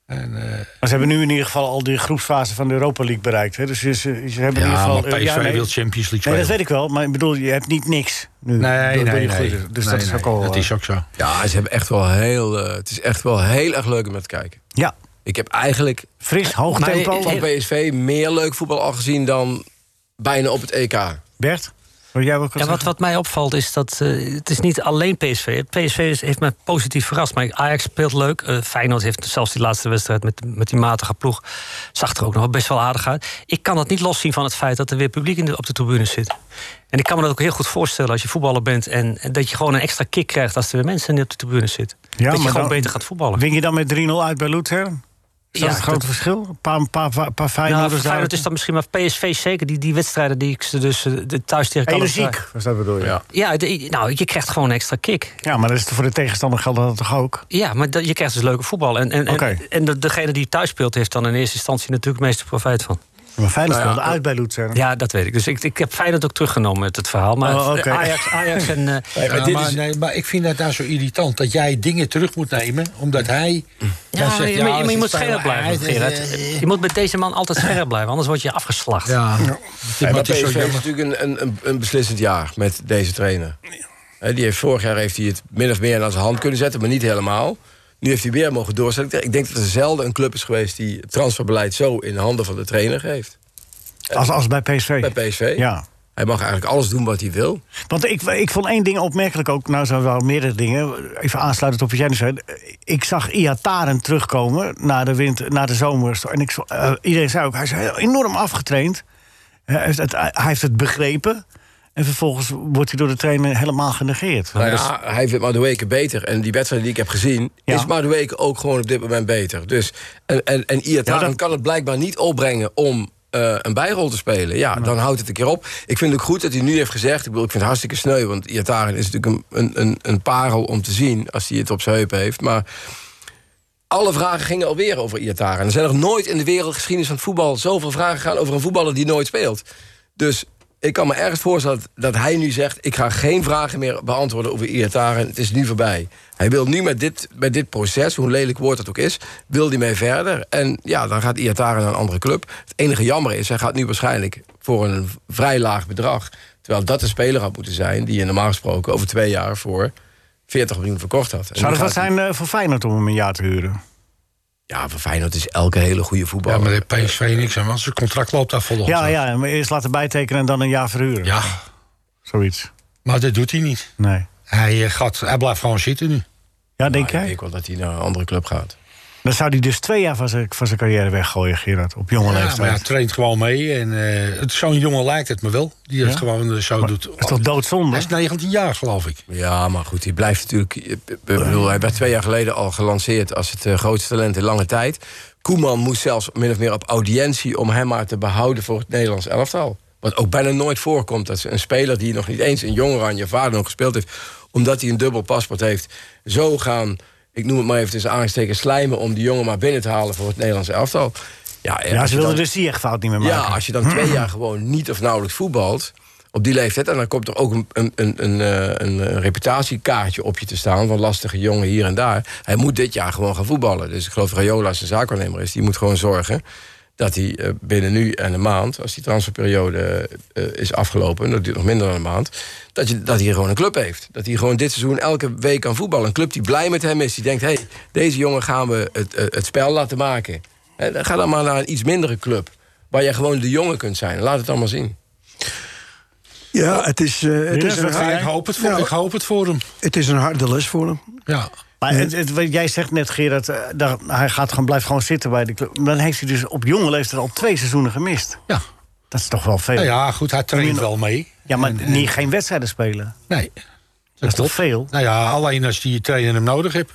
E: En, eh,
C: Maar ze hebben nu in ieder geval al die groepsfase van de Europa League bereikt. Hè? Dus ze, ze- ze hebben in ieder
E: ja,
C: geval...
E: maar PSV
C: eh, ja, nee.
E: wil Champions League
C: Nee,
E: spelen.
C: dat weet ik wel. Maar ik bedoel, je hebt niet niks nu.
E: nee,
C: door- door
E: nee,
C: die
E: nee.
C: groepen. Dus
E: Nee,
C: dat is
E: nee,
C: ook al...
E: dat
C: eh,
E: is ook zo.
H: Ja, ze hebben echt wel heel... eh, het is echt wel heel erg leuk om naar te kijken.
C: Ja,
H: Ik heb eigenlijk
C: fris, hoog
H: Maar
C: tempo.
H: van PSV meer leuk voetbal al gezien dan bijna op het E EK.
C: Bert, wil jij ook
F: Ja, wat, wat mij opvalt is dat eh, het is niet alleen PSV. Het PSV is, heeft me positief verrast. Maar Ajax speelt leuk. Eh, Feyenoord heeft zelfs die laatste wedstrijd met, met die matige ploeg... zag er ook nog wel best wel aardig uit. Ik kan dat niet loszien van het feit dat er weer publiek in de- op de tribune zit. En ik kan me dat ook heel goed voorstellen als je voetballer bent... en en dat je gewoon een extra kick krijgt als er weer mensen op de tribune zitten.
C: maar
F: dat je gewoon
C: dan-
F: beter gaat voetballen.
C: Win je dan met 3-0 uit bij Luzern? Is dat
F: Ja,
C: het grote
F: dat-
C: verschil? Een paar, paar, paar, paar
F: Nou,
C: Feyenoorders
F: voor
C: daar-
F: Feyenoord is dat misschien, maar PSV zeker. Die, die wedstrijden die ik ze dus eh, de- thuis tegen kan.
C: Energiek, was dat bedoel je? Ja.
F: Ja, de- nou, je krijgt gewoon een extra kick.
C: maar dat is voor de tegenstander geldt dat toch ook?
F: Ja, maar dat- je krijgt dus leuke voetbal. En, en, en-
C: Oké.
F: en, de- degene die thuis speelt, heeft dan in eerste instantie natuurlijk het meeste profijt van. eh,
C: Maar Feyenoord
H: Nou ja,
C: speelde uit bij Luzern.
F: Ja, dat weet ik. Dus ik, ik heb Feyenoord ook teruggenomen met het verhaal. Maar
C: Oh, oké.
F: Ajax, Ajax en... eh,
E: Ja, maar, nee, maar ik vind dat daar zo irritant. Dat jij dingen terug moet nemen, omdat hij... dan
F: ja,
E: zegt,
F: je, maar je
E: ze
F: moet
E: spelen
F: scherp blijven,
E: uit,
F: Gerard.
E: eh,
F: Je moet met deze man altijd scherp blijven, anders word je afgeslacht.
E: Ja, ja.
H: En
E: maar
H: bij
E: het is
H: PSV
E: zo
H: is
E: jammer.
H: natuurlijk een, een, een beslissend jaar met deze trainer. Hè, die heeft, vorig jaar heeft hij het min of meer aan zijn hand kunnen zetten, maar niet helemaal. Nu heeft hij weer mogen doorzetten. Ik denk dat er zelden een club is geweest die het transferbeleid zo in de handen van de trainer heeft.
C: Als, als bij PSV.
H: Bij PSV.
C: Ja.
H: Hij mag eigenlijk alles doen wat hij wil.
C: Want ik, ik vond één ding opmerkelijk ook. Nou, zijn er wel meerdere dingen. Even aansluitend op wat jij nu zei. Ik zag Iataren terugkomen na de, winter, na de zomer. En ik, zo- eh, iedereen zei ook, hij is heel enorm afgetraind. Hij heeft, het, hij heeft het begrepen. En vervolgens wordt hij door de trainer helemaal genegeerd. Dus
H: Nou ja, hij vindt Madueke beter. En die wedstrijd die ik heb gezien,
C: Ja.
H: is Madueke ook gewoon op dit moment beter. Dus, en en, en Iataren
C: Ja, dat-
H: kan het blijkbaar niet opbrengen om eh, een bijrol te spelen. Ja, dan houdt het een keer op. Ik vind het ook goed dat hij nu heeft gezegd... Ik, bedoel, ik vind het hartstikke sneu, want Iataren is natuurlijk een, een, een, een parel om te zien... als hij het op zijn heup heeft, maar... Alle vragen gingen alweer over Iataren. Er zijn nog nooit in de wereldgeschiedenis van het voetbal... zoveel vragen gegaan over een voetballer die nooit speelt. Dus ik kan me ergens voorstellen dat, dat hij nu zegt... ik ga geen vragen meer beantwoorden over Iataren. Het is nu voorbij. Hij wil nu met dit, met dit proces, hoe lelijk woord dat ook is... wil hij mee verder. En ja, dan gaat Iataren naar een andere club. Het enige jammer is, hij gaat nu waarschijnlijk voor een vrij laag bedrag... terwijl dat de speler had moeten zijn... die je normaal gesproken over twee jaar voor 40 miljoen verkocht had. En
C: Zou
H: nu
C: dat wat
H: gaat hij-
C: zijn eh, voor Feyenoord om hem een jaar te huren?
H: Ja, voor Feyenoord is elke hele goede
E: Ja,
H: voetballer.
E: maar de PSV niks aan, want zijn contract loopt daar volgens
C: Ja, ja, maar eerst laten bijtekenen en dan een jaar verhuren.
E: ja,
C: Zoiets.
E: maar dat doet hij niet.
C: Nee.
E: Hij, eh, gaat, hij blijft gewoon zitten nu.
C: Ja, denk
H: Maar Nou ik
C: jij?
H: denk wel dat hij naar een andere club gaat.
C: Dan zou hij dus twee jaar van zijn, van zijn carrière weggooien, Gerard. Op jonge
E: Ja, maar hij
C: leeftijd.
E: traint gewoon mee. En eh, het- zo'n jongen lijkt het me wel, die dat
C: Ja?
E: gewoon eh, zo
C: Maar
E: doet.
C: dat is toch doodzonde?
E: Hij is 19 jaar, geloof ik.
H: Ja, maar goed, hij blijft natuurlijk... eh, Ik bedoel, hij werd twee jaar geleden al gelanceerd als het eh, grootste talent in lange tijd. Koeman moest zelfs min of meer op audiëntie om hem maar te behouden voor het Nederlands elftal. Wat ook bijna nooit voorkomt dat ze een speler die nog niet eens een jonger aan je vader nog gespeeld heeft, omdat hij een dubbel paspoort heeft, zo gaan, ik noem het maar even tussen aangestekens, slijmen om die jongen maar binnen te halen voor het Nederlands elftal. Ja, eh,
C: Ja,
H: als
C: ze
H: je
C: wilden
H: dan-
C: dus die echt fout niet meer maken.
H: Ja, als je dan twee jaar gewoon niet of nauwelijks voetbalt op die leeftijd... en dan komt er ook een, een, een, een, eh, een, eh, reputatiekaartje op je te staan... van lastige jongen hier en daar. Hij moet dit jaar gewoon gaan voetballen. Dus ik geloof dat Rayola zijn zaakwaarnemer is. Die moet gewoon zorgen dat hij eh, binnen nu en een maand, als die transferperiode eh, is afgelopen, en dat duurt nog minder dan een maand, dat, je, dat hij gewoon een club heeft. Dat hij gewoon dit seizoen elke week kan voetballen. Een club die blij met hem is, die denkt: hé, hey, deze jongen gaan we het, eh, het spel laten maken. Eh, dan ga dan maar naar een iets mindere club, waar jij gewoon de jongen kunt zijn. Laat het allemaal zien.
D: Ja, het is, eh, het is een
E: ik, hoop het voor, ik hoop het voor hem.
D: Het is een harde les voor hem.
E: Ja.
C: Maar het, het- wat jij zegt net, Gerard, eh, daar, hij gaat gewoon, blijft gewoon zitten bij de club. Maar Dan heeft hij dus op jonge leeftijd al twee seizoenen gemist.
E: Ja.
C: Dat is toch wel veel.
E: Nou ja, goed, hij traint wel mee.
C: Ja, maar niet, geen wedstrijden spelen.
E: Nee. Dat,
C: Dat is toch veel?
E: Nou ja, alleen als die trainer hem nodig hebt.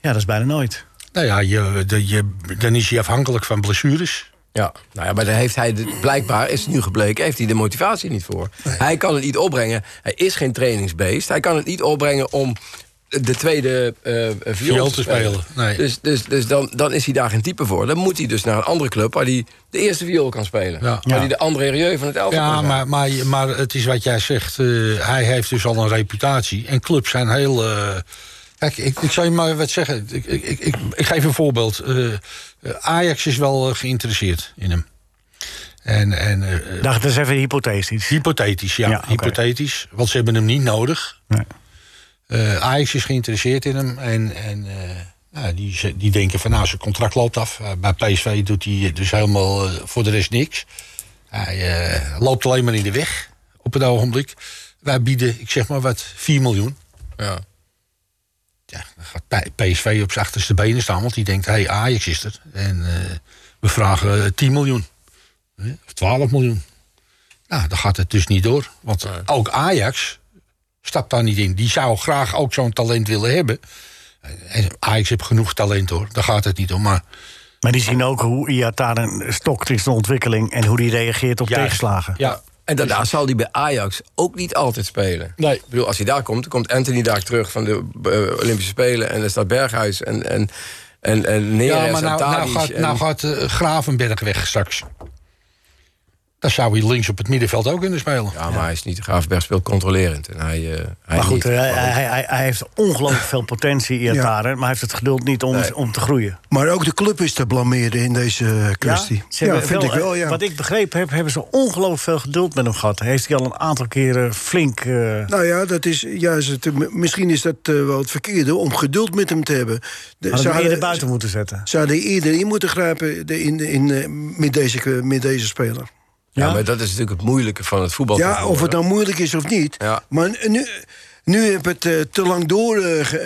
C: Ja, dat is bijna nooit.
E: Nou ja, je, de, je, dan is hij afhankelijk van blessures.
H: Ja, nou ja, maar daar heeft hij de- blijkbaar, is het nu gebleken, heeft hij de motivatie niet voor. Hij kan het niet opbrengen. Hij is geen trainingsbeest. Hij kan het niet opbrengen om de tweede eh eh,
E: Viool te spelen. Nee.
H: Dus, dus, dus dan, dan is hij daar geen type voor. Dan moet hij dus naar een andere club waar hij de eerste viool kan spelen.
E: Ja.
H: Waar hij de andere Rieu van het elftal kan
E: Ja,
H: zijn.
E: maar, maar, maar het is wat jij zegt. eh, hij heeft dus al een reputatie. En clubs zijn heel. eh, kijk, ik, ik zal je maar wat zeggen. Ik, ik, ik, ik, ik geef een voorbeeld. Eh, eh, Ajax is wel eh, geïnteresseerd in hem. En, en eh,
C: Dacht, dat is even hypothetisch.
E: Hypothetisch, ja.
C: Ja, oké.
E: Hypothetisch, want ze hebben hem niet nodig.
C: Nee.
E: Eh, Ajax is geïnteresseerd in hem. En, en eh, nou, die, ze- die denken van nou, zijn contract loopt af. Eh, bij PSV doet hij dus helemaal eh, voor de rest niks. Hij eh, loopt alleen maar in de weg op het ogenblik. Wij bieden, ik zeg maar wat, 4 miljoen.
H: Ja.
E: Ja, dan gaat P- PSV op zijn achterste benen staan. Want die denkt, hé, hey, Ajax is er. En eh, we vragen eh, 10 miljoen. Hè, Of 12 miljoen. Nou, dan gaat het dus niet door. Want ook Ajax stapt daar niet in. Die zou graag ook zo'n talent willen hebben. En Ajax heeft genoeg talent hoor. Daar gaat het niet om. Maar
C: Maar die zien ook hoe Iataren stokt in zijn ontwikkeling... en hoe die reageert op
E: Juist.
C: tegenslagen.
E: ja,
H: En daarna zal hij bij Ajax ook niet altijd spelen.
E: Nee.
H: Ik bedoel, als hij daar komt, dan komt Anthony daar terug van de eh, Olympische Spelen. En dan staat Berghuis en, en, en, en Neres
E: ja maar
H: en
E: nou, nou
H: Tadic
E: gaat,
H: en-
E: nou gaat eh, Gravenberg weg straks. Dan zou hij links op het middenveld ook kunnen spelen.
H: Ja, maar hij is niet Graafberg speelt controlerend. En hij, eh, hij
C: Maar goed,
H: niet.
C: hij, hij, hij, hij heeft ongelooflijk veel potentie, Iataren... maar hij heeft het geduld niet om,
H: Nee.
C: om te groeien.
D: Maar ook de club is te blameren in deze eh, kwestie.
C: Ze hebben
D: vind
C: veel-
D: ik wel, ja.
C: Wat ik begrepen heb, hebben ze ongelooflijk veel geduld met hem gehad. Heeft hij al een aantal keren flink... eh,
D: Nou ja, dat is juist het, m- misschien is dat eh, wel het verkeerde om geduld met hem te hebben. De,
C: hadden
D: ze
C: hem eerder
D: hadden-
C: buiten moeten zetten.
D: ze hadden eerder in moeten grijpen de, in, in, eh, met, deze, met deze speler.
H: ja. maar dat is natuurlijk het moeilijke van het voetbal.
D: Ja,
H: tegenwoordig.
D: of het nou moeilijk is of niet.
H: Ja.
D: Maar nu, nu heb het eh, te lang door eh, ge-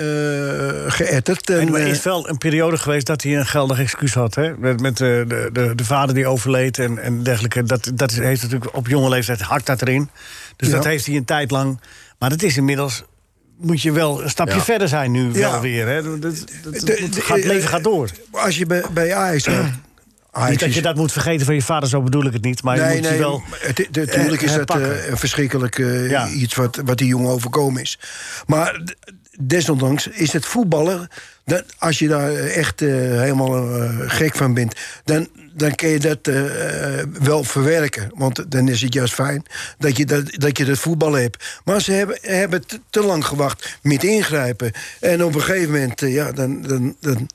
D: eh, geëtterd. En,
C: En er
D: eh,
C: is wel een periode geweest dat hij een geldig excuus had. Hè? Met, met eh, de, de, de vader die overleed en, en dergelijke. Dat, dat is, heeft natuurlijk op jonge leeftijd hakt dat erin. Dus
D: Ja.
C: dat heeft hij een tijd lang. Maar dat is inmiddels. Moet je wel een stapje
H: Ja.
C: verder zijn nu
D: Ja.
C: wel weer. Hè? Dat, dat- dat-
D: De- de-
C: het gaat- het leven gaat door.
D: als je bij, bij Ajax... eh, Ajax
C: Niet dat
D: is-
C: je dat moet vergeten van je vader, zo bedoel ik het niet. Maar je moet je wel.
D: maar het- het- Natuurlijk is dat
C: herpakken.
D: eh, een verschrikkelijk eh,
C: Ja.
D: iets wat, wat die jongen overkomen is. Maar d- desondanks is het voetballen... Dat, als je daar echt eh, helemaal eh, gek van bent... dan, dan kun je dat eh, eh, wel verwerken. Want dan is het juist fijn dat je dat, dat, je dat voetballen hebt. Maar ze hebben, hebben te, te lang gewacht met ingrijpen. En op een gegeven moment, eh, ja, dan... dan, dan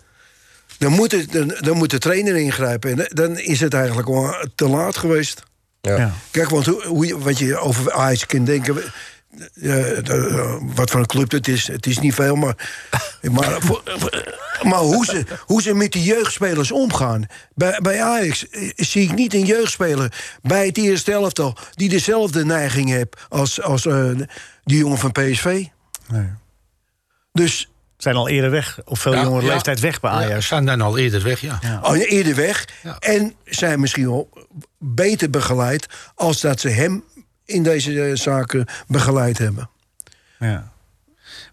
D: dan moet, het, dan, dan moet de trainer ingrijpen. En dan- dan is het eigenlijk al te laat geweest.
H: Ja.
C: Ja.
D: Kijk, want hoe, hoe, je- wat je over Ajax kunt denken... eh, eh, eh, wat voor een club het is, het is niet veel, maar... Maar, voor- voor- maar hoe, ze, hoe ze met die jeugdspelers omgaan... Bij, bij Ajax eh, zie ik niet een jeugdspeler bij het eerste elftal... die dezelfde neiging heeft als, als eh, die jongen van PSV.
C: Nee.
D: Dus
C: Zijn al eerder weg, of veel
E: Ja,
C: jongere
E: ja.
C: leeftijd weg bij
E: Ja,
C: Ajax.
E: staan dan al eerder weg, ja.
D: al Oh, eerder weg.
E: Ja.
D: En zijn misschien wel beter begeleid... als dat ze hem in deze eh, zaken begeleid hebben.
C: Ja.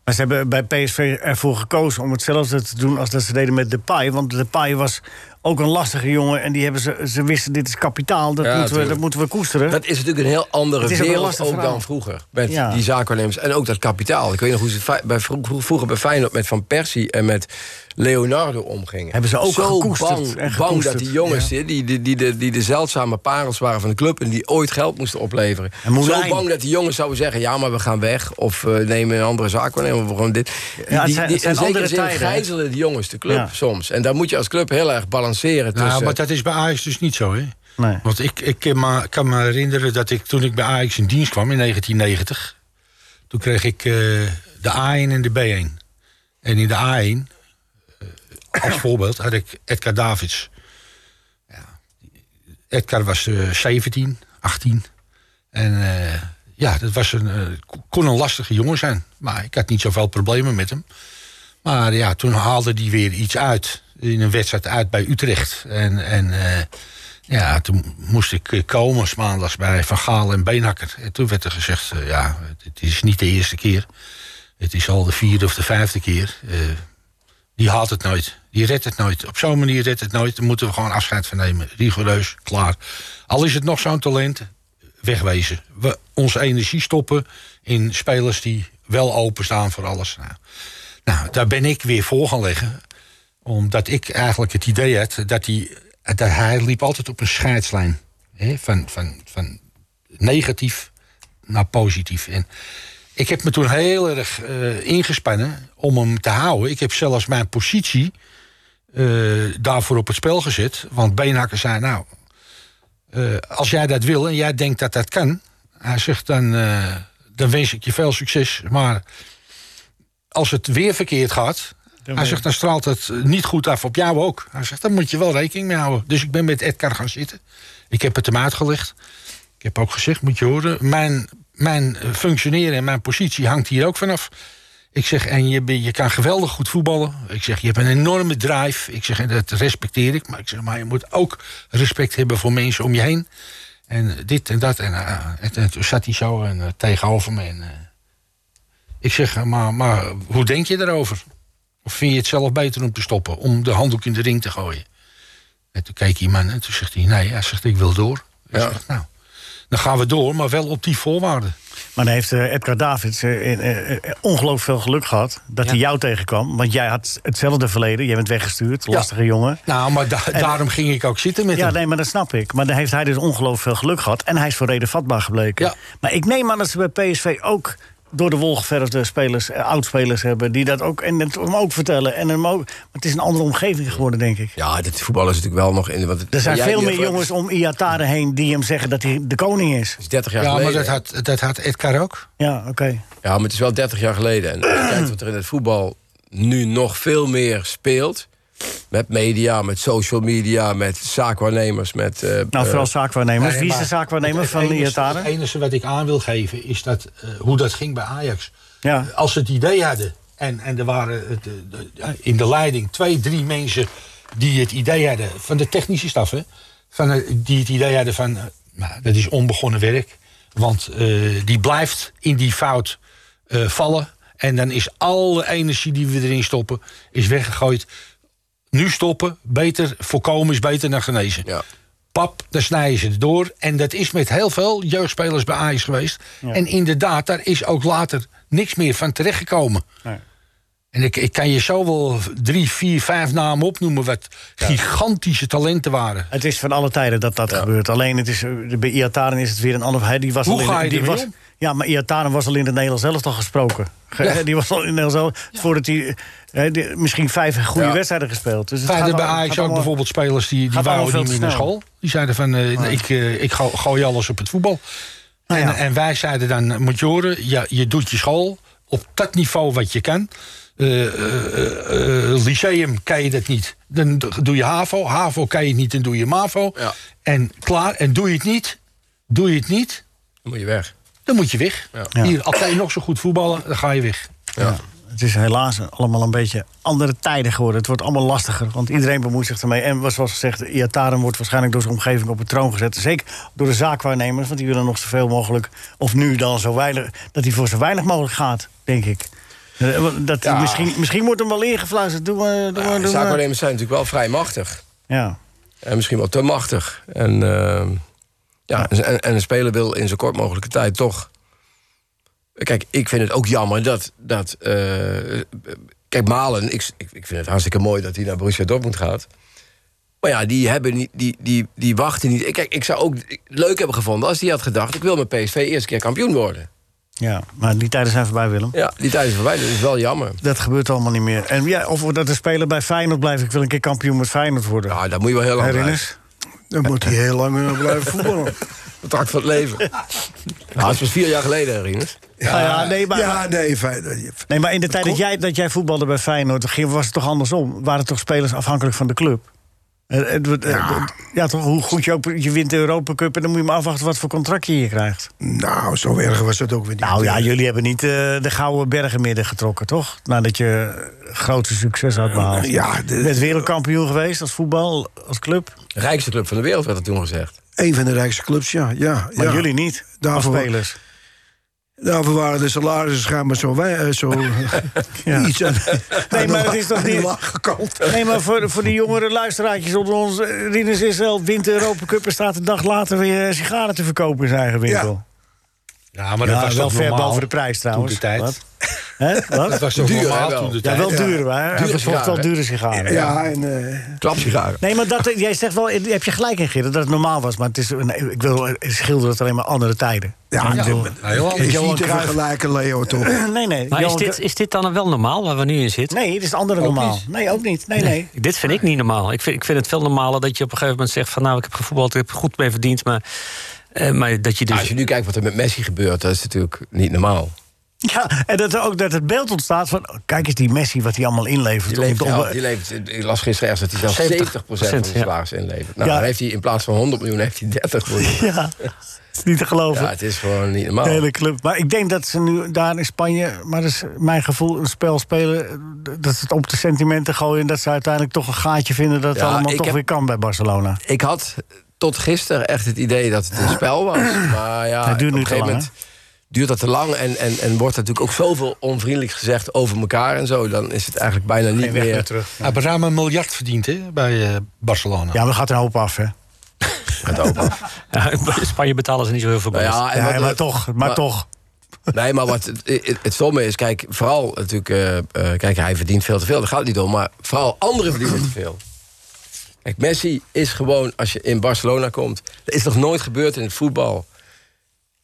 C: Maar ze hebben bij PSV ervoor gekozen om hetzelfde te doen als dat ze deden met Depay. Want Depay was ook een lastige jongen. En die hebben ze, ze wisten, dit is kapitaal, dat,
H: Ja,
C: moeten, we,
H: tuurlijk.
C: dat moeten we koesteren.
H: Dat is natuurlijk een heel andere
C: Het is ook een
H: wereld
C: lastig
H: ook
C: verhaal.
H: dan vroeger. Met
C: Ja.
H: die zaakwaarnemers. En ook dat kapitaal. Ik weet nog hoe ze fi- bij vro- vro- vroeger bij Feyenoord met Van Persie en met Leonardo omgingen.
C: Hebben ze ook
H: Zo
C: gekoesterd
H: bang,
C: en
H: bang
C: gekoesterd,
H: dat die jongens, die, die, die, die, de- die de zeldzame parels waren van de club... en die ooit geld moesten opleveren.
C: En Moulijn.
H: Zo bang dat die jongens zouden zeggen... ja, maar we gaan weg of eh, nemen een andere zaakwaarnemer over gewoon dit. Die-
C: het
H: die-
C: zijn-
H: die-
C: het zijn
H: in zekere
C: andere
H: zin
C: tijden, hè?
H: gijzelen de jongens de club
C: Ja.
H: soms. En daar moet je als club heel erg balanceren
E: Nou,
H: tussen...
E: maar dat is bij Ajax dus niet zo, hè?
C: Nee.
E: Want ik, ik kan me- kan me herinneren dat ik toen ik bij Ajax in dienst kwam in 1990... toen kreeg ik eh, de A1 en de B1. En in de A1, eh, als voorbeeld, had ik Edgar Davids. Ja. Edgar was eh, 17, 18. En eh, ja, dat was een, eh, kon een lastige jongen zijn. Maar ik had niet zoveel problemen met hem. Maar ja, toen haalde hij weer iets uit. In een wedstrijd uit bij Utrecht. En, en eh, ja, toen moest ik eh, komen 's maandags bij Van Gaal en Beenhakker. En toen werd er gezegd, eh, ja, het is niet de eerste keer. Het is al de vierde of de vijfde keer. Eh, die haalt het nooit. Die redt het nooit. Op zo'n manier redt het nooit. Daar moeten we gewoon afscheid van nemen. Rigoureus, klaar. Al is het nog zo'n talent, wegwezen. We onze energie stoppen in spelers die wel openstaan voor alles. Nou, nou, daar ben ik weer voor gaan leggen. Omdat ik eigenlijk het idee had dat hij... Dat hij liep altijd op een scheidslijn. Hè, van, van, van negatief naar positief. En ik heb me toen heel erg eh, ingespannen om hem te houden. Ik heb zelfs mijn positie eh, daarvoor op het spel gezet. Want Beenhakker zei, nou, eh, als jij dat wil en jij denkt dat dat kan... Hij zegt, dan, eh, dan wens ik je veel succes. Maar als het weer verkeerd gaat. hij zegt, dan straalt het eh, niet goed af op jou ook. Hij zegt, daar moet je wel rekening mee houden. Dus ik ben met Edgar gaan zitten. Ik heb het hem uitgelegd. Ik heb ook gezegd, moet je horen. Mijn, mijn eh, functioneren en mijn positie hangt hier ook vanaf. Ik zeg, en je, ben- je kan geweldig goed voetballen. Ik zeg, je hebt een enorme drive. Ik zeg, en dat respecteer ik. Maar ik zeg, maar je moet ook respect hebben voor mensen om je heen. En dit en dat. En, eh, en, en toen zat hij zo en, eh, tegenover me. En, eh, ik zeg, maar, maar hoe denk je daarover? Of vind je het zelf beter om te stoppen? Om de handdoek in de ring te gooien? En toen keek die man en toen zegt hij... Nee, hij zegt, ik wil door. Ik
H: Ja.
E: zeg, nou, dan gaan we door, maar wel op die voorwaarden.
C: Maar dan heeft eh, Edgar Davids eh, eh, eh, ongelooflijk veel geluk gehad dat hij jou tegenkwam. Want jij had hetzelfde verleden. Jij bent weggestuurd, lastige jongen.
E: Nou, maar da- daarom ging ik ook zitten met
C: Ja,
E: hem.
C: nee, maar dat snap ik. Maar dan heeft hij dus ongelooflijk veel geluk gehad. En hij is voor reden vatbaar gebleken.
E: Ja.
C: Maar ik neem aan dat ze bij PSV ook door de wol geverfde spelers, eh, oudspelers hebben... die dat ook, en het hem ook vertellen. En hem ook, maar het is een andere omgeving geworden, denk ik.
H: Ja, dit voetbal is natuurlijk wel nog... In, want het-
C: Er zijn
H: jij-
C: veel
H: je-
C: meer jongens om Iatare heen die hem zeggen dat hij de koning is.
H: Het is 30 jaar
E: Ja, maar
H: geleden.
E: dat had, dat had Edgar ook.
C: Ja, oké.
H: Ja, maar het is wel 30 jaar geleden. En als je kijkt wat er in het voetbal nu nog veel meer speelt. Met media, met social media, met zaakwaarnemers, met... eh,
C: Nou,
H: eh,
C: vooral zaakwaarnemers.
E: Nee,
C: Wie is de
E: maar
C: zaakwaarnemer
E: het
C: van
E: enige-
C: Iatare?
E: Het enige wat ik aan wil geven is dat, eh, hoe dat ging bij Ajax.
C: Ja.
E: Als ze het idee hadden, en, en er waren het, eh, de- ja, in de leiding twee, drie mensen die het idee hadden, van de technische staf, hè, van, eh, die het idee hadden van, eh, nou, dat is onbegonnen werk. Want eh, die blijft in die fout eh, vallen. En dan is alle energie die we erin stoppen, is weggegooid. Nu stoppen, beter voorkomen is beter dan genezen
H: Ja.
E: pap, dan snijden ze het door. En dat is met heel veel jeugdspelers bij Ajax geweest. En inderdaad, daar is ook later niks meer van terechtgekomen.
C: Nee.
E: En ik, ik kan je zo wel drie, vier, vijf namen opnoemen... wat gigantische talenten waren.
C: Het is van alle tijden dat dat gebeurt. Alleen het is, eh, bij Iataren is het weer een ander. Hij die was
E: Hoe
C: al in de-
E: ga je
C: die
E: ermee
C: was,
E: om?
C: Ja, maar Iataren was al in het Nederlands zelf al gesproken. Ge-
E: Ja.
C: Die was al in het Nederlands zelf. Voordat hij eh, die- misschien vijf goede
H: Ja.
C: wedstrijden gespeeld. Dus het
E: Verder
C: gaat
E: bij
C: al-
E: Ajax ook
C: gaat allemaal-
E: bijvoorbeeld spelers... die, die
C: gaat allemaal
E: wouden niet
C: veel
E: meer
C: te
E: naar
C: snel.
E: school. Die zeiden van, eh, ik, eh, ik go- gooi alles op het voetbal.
C: Nou
E: en, en wij zeiden dan, moet je horen, ja, je doet je school... op dat niveau wat je kan... Eh, eh, eh, eh, lyceum kan je dat niet. Dan do- doe je HAVO. HAVO kan je het niet, dan doe je MAVO.
H: Ja.
E: En klaar. En doe je het niet, doe je het niet,
H: Dan moet je weg.
E: dan moet je weg. Hier, al kan je nog zo goed voetballen, dan ga je weg.
C: Het is helaas allemaal een beetje andere tijden geworden. Het wordt allemaal lastiger, want iedereen bemoeit zich ermee. En zoals gezegd, Iataren wordt waarschijnlijk door zijn omgeving op het troon gezet. Zeker door de zaakwaarnemers, want die willen nog zoveel mogelijk... of nu dan zo weinig, dat hij voor zo weinig mogelijk gaat, denk ik. Eh, want Dat hij
H: Ja.
C: misschien, misschien wordt hem wel ingefluisterd. Doe maar, doe maar,
H: de
C: doe maar.
H: zaakwaarnemers zijn natuurlijk wel vrij machtig.
C: Ja.
H: En misschien wel te machtig. En, ehm, ja, en, en een speler wil in zo kort mogelijke tijd toch... Kijk, ik vind het ook jammer dat... dat eh, kijk, Malen, ik, ik, ik vind het hartstikke mooi dat hij naar Borussia Dortmund gaat. Maar ja, die, hebben niet, die, die, die wachten niet. Ik- Kijk, ik zou ook leuk hebben gevonden als die had gedacht... ik wil met PSV eerst een keer kampioen worden.
C: Ja, maar die tijden zijn voorbij, Willem.
H: Ja, die tijd is voorbij, dat is wel jammer.
C: Dat gebeurt allemaal niet meer. En ja, of dat de speler bij Feyenoord blijft. Ik wil een keer kampioen met Feyenoord worden.
H: Ja, daar moet je wel heel lang
C: Herinner
H: blijven.
C: je?
D: Dan moet hij heel lang eh, blijven voetballen.
H: Het hart van het leven. Nou, het was vier jaar geleden, Herinus.
C: Ah ja, nee, maar-
D: Ja, nee, fijn.
C: Nee, maar in de tijd dat jij, dat jij voetbalde bij Feyenoord... ging- was het toch andersom? Waren toch spelers afhankelijk van de club? Eh, eh, d- eh, d- Ja, toch? Hoe goed je ook... Je wint de Europa Cup en dan moet je maar afwachten... wat voor contract je hier krijgt.
D: Nou, zo erg was dat ook weer niet.
C: Nou ja, jullie hebben niet eh, de gouden bergen midden getrokken, toch? Nadat je grote succes had behaald.
D: Ja,
C: Je
D: de-
C: bent wereldkampioen geweest als voetbal, als club.
H: De rijkste club van de wereld werd er toen gezegd.
D: Een van de rijkste clubs, ja. ja
C: Maar
D: ja.
C: jullie niet,
D: Daarvoor-
C: als spelers.
D: Daarvoor waren de salarissen schijnbaar zo, wij, eh, zo
C: Ja.
D: iets aan, aan de
C: maar het
D: la-
C: is toch
D: aan de
C: niet-
D: lage kant.
C: Nee, maar voor, voor de jongere luisteraartjes onder ons... eh, Rinus Israël wint de Europa Cup... en staat een dag later weer eh, sigaren te verkopen in zijn eigen winkel.
E: Ja, maar
C: Ja,
E: dat was
C: wel
E: toch
C: ver
E: normaal
C: boven de prijs trouwens.
E: toen de tijd.
C: Wat? Hè? Wat?
E: Dat was toch
H: Duur, hè,
E: normaal
H: wel.
E: toen de
C: Ja,
E: tijd.
C: wel duur, maar hij
H: Dure
C: verkocht wel
H: sigaren.
C: dure sigaren.
D: Ja, en eh,
H: Klapsigaren.
C: Nee, maar dat, jij zegt wel, heb je gelijk in Gerrit, dat het normaal was. Maar het is, nee, ik wil ik schilder het alleen maar andere tijden.
D: Ja,
C: Ik bedoel-
E: Ja, heel anders.
D: is
C: Johan
D: niet te
C: Cruijff-
D: vergelijken, Leo, toch?
C: nee, nee.
F: Maar is
C: Johan
F: dit,
C: Cru-
F: is dit dan wel normaal waar we nu in zitten?
C: Nee, dit is het andere normaal. Nee, ook niet. Nee, nee.
F: Dit vind ik niet normaal. Ik vind, ik vind het veel normaler dat je op een gegeven moment zegt van nou ik heb gevoetbald, ik heb er goed mee verdiend, maar, eh, maar dat je
E: Nou,
F: dus.
H: Als je nu kijkt wat er met Messi gebeurt, dat is natuurlijk niet normaal.
C: Ja, en dat er ook dat het beeld ontstaat van... oh, kijk eens die Messi wat hij allemaal inlevert.
H: Die levert,
C: Om- om- eh,
H: ja, die levert, ik las gisteren ergens dat hij zelfs 70%,
F: 70%
H: van zijn
F: ja.
H: salaris inlevert. Nou,
C: Ja.
H: dan heeft hij in plaats van 100 miljoen, heeft hij 30 miljoen.
C: ja, het is niet te geloven.
H: Ja, het is gewoon niet normaal.
C: De hele club. Maar ik denk dat ze nu daar in Spanje, maar dat is mijn gevoel, een spel spelen. eh, Dat ze het op de sentimenten gooien. En dat ze uiteindelijk toch een gaatje vinden dat het
H: Ja,
C: allemaal
H: ik
C: toch
H: heb-
C: weer kan bij Barcelona.
H: Ik had tot gisteren echt het idee dat het een spel was. Maar ja,
C: Het Ah. duurt
H: op
C: nu
H: een
C: te
H: gegeven
C: lang,
H: moment duurt dat te lang. En, en, en wordt er natuurlijk ook zoveel onvriendelijk gezegd over elkaar en zo. Dan is het eigenlijk bijna niet meer...
E: Hij heeft ruim een miljard verdiend hè, bij eh, Barcelona.
C: Ja, maar er gaat een hoop af, hè?
F: Ja, in Spanje betalen ze niet zo heel veel
H: Nou
F: belasting.
H: ja, en
C: Ja,
H: wat-
C: maar toch, maar, toch.
H: Nee, maar wat het, het, het stomme is, kijk, vooral natuurlijk... eh, eh, kijk, hij verdient veel te veel, daar gaat het niet om. Maar vooral anderen verdienen te veel. Kijk, Messi is gewoon, als je in Barcelona komt... Dat is nog nooit gebeurd in het voetbal.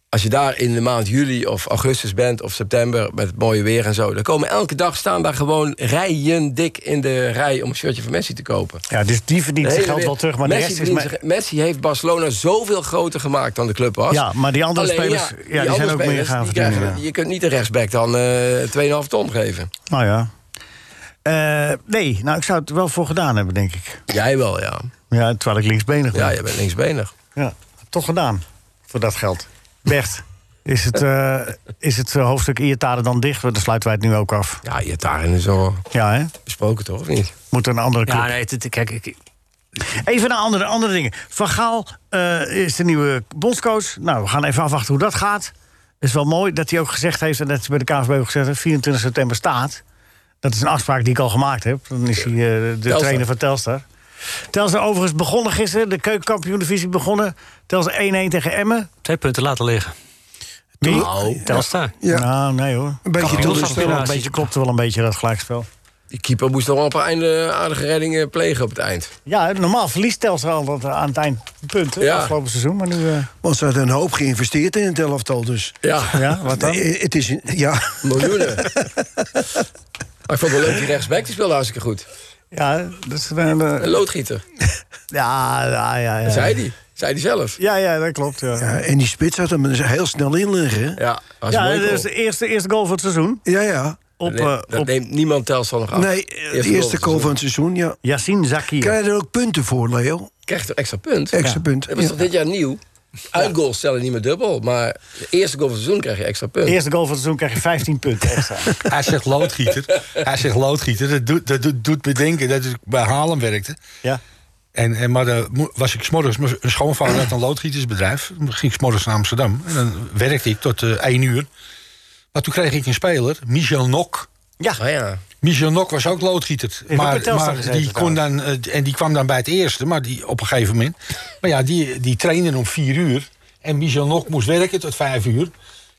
H: Als je daar in de maand juli of augustus bent of september... met het mooie weer en zo... dan komen elke dag staan daar gewoon rijen dik in de rij... om een shirtje van Messi te kopen.
C: Ja, dus die verdient
H: De
C: zijn
H: hele
C: geld wel
H: wereld-
C: terug, maar
H: Messi,
C: de rest is...
H: verdient
C: me-
H: zich- Messi heeft Barcelona zoveel groter gemaakt dan de club was.
C: Ja, maar die andere
H: Alleen,
C: spelers, ja, die zijn
H: andere
C: ook meer
H: spelers,
C: gaan
H: die
C: verdienen,
H: krijgen-
C: ja.
H: Je kunt niet de rechtsback dan eh 2,5 ton geven.
C: Nou ja. Eh, nee, nou, ik zou het wel voor gedaan hebben, denk ik.
H: Jij wel, ja.
C: Ja, terwijl ik linksbenig ben.
H: Ja, jij bent linksbenig.
C: Ja, toch gedaan. Voor dat geld. Bert, is het, eh, is het eh, hoofdstuk Iertaren dan dicht? Want Dan sluiten wij het nu ook af.
H: Ja, je hebt daarin is al
C: Ja, hè?
H: besproken, toch? Of niet?
C: Moet er een andere club.
F: Ja, nee, het- het- kijk, ik,
C: Even naar andere, andere dingen. Van Gaal eh, is de nieuwe bondscoach. Nou, we gaan even afwachten hoe dat gaat. Het is wel mooi dat hij ook gezegd heeft... en dat is bij de KNVB ook gezegd heeft, 24 september staat. Dat is een afspraak die ik al gemaakt heb. Dan is hij eh, de trainer van Telstar. Telstar overigens begonnen gisteren. De keukenkampioen-divisie begonnen. Telstar 1-1 tegen Emmen.
F: twee punten laten liggen.
C: Wie?
F: Telstar.
D: Ja.
C: Nou, nee hoor.
D: Een beetje
F: Kampioen.
C: Klopte wel een
F: Inspiratie.
C: beetje, klopte wel een beetje dat gelijkspel.
H: Die keeper moest nog wel een paar einde, aardige reddingen plegen op het eind.
C: Ja, normaal verliest Telstra altijd aan het eind punten
H: Ja.
C: afgelopen seizoen. Maar nu, eh,
D: Want ze hadden een hoop geïnvesteerd in het elftal, dus...
H: Ja,
C: ja, wat dan?
D: Nee, het is, ja,
H: miljoenen. maar ik vond het wel leuk, die rechtsback die speelde hartstikke goed.
C: Ja, dat is, eh, eh,
H: Een loodgieter,
C: ja, ja, ja. ja.
H: zei die. Zei die zelf.
C: Ja, ja, dat klopt. Ja, ja,
D: ja, en die spits had hem er heel snel in liggen. hè?
H: Ja, was een mooie
C: dat
H: goal.
C: is de eerste, eerste goal van het seizoen.
D: Ja, ja.
C: Op,
H: Nee,
C: eh
H: dat
C: op
H: neemt niemand Telstar nog af.
D: Nee, eh, de eerste goal van het seizoen, ja.
C: Yassine Zakir.
D: Krijg je er ook punten voor, Leo?
H: Krijgt er extra punt.
D: Extra punt.
H: Dat was toch dit jaar nieuw? Uitgoals stellen niet meer dubbel, maar de eerste goal van het seizoen krijg je extra punt.
C: De eerste goal van het seizoen krijg je 15 punten extra.
E: Hij zegt loodgieter. Hij zegt loodgieter. Dat doet, dat doet, doet me denken dat ik bij Haarlem werkte.
C: Ja.
E: En, en, maar dan mo- was ik s'morgens, mijn schoonvader had een loodgietersbedrijf. Dan ging ik s'morgens naar Amsterdam. En dan werkte ik tot eh 1 uur. Maar toen kreeg ik een speler, Michel Nok.
C: Ja,
H: Ah ja.
E: Michel Nok was ook loodgieter.
C: ook bij
E: Maar,
C: Telstar
E: maar
C: gezeten
E: die kon dan, eh, en die kwam dan bij het eerste, maar die, op een gegeven moment. Maar ja, die, die trainde om vier uur. En Michel Nok moest werken tot vijf uur.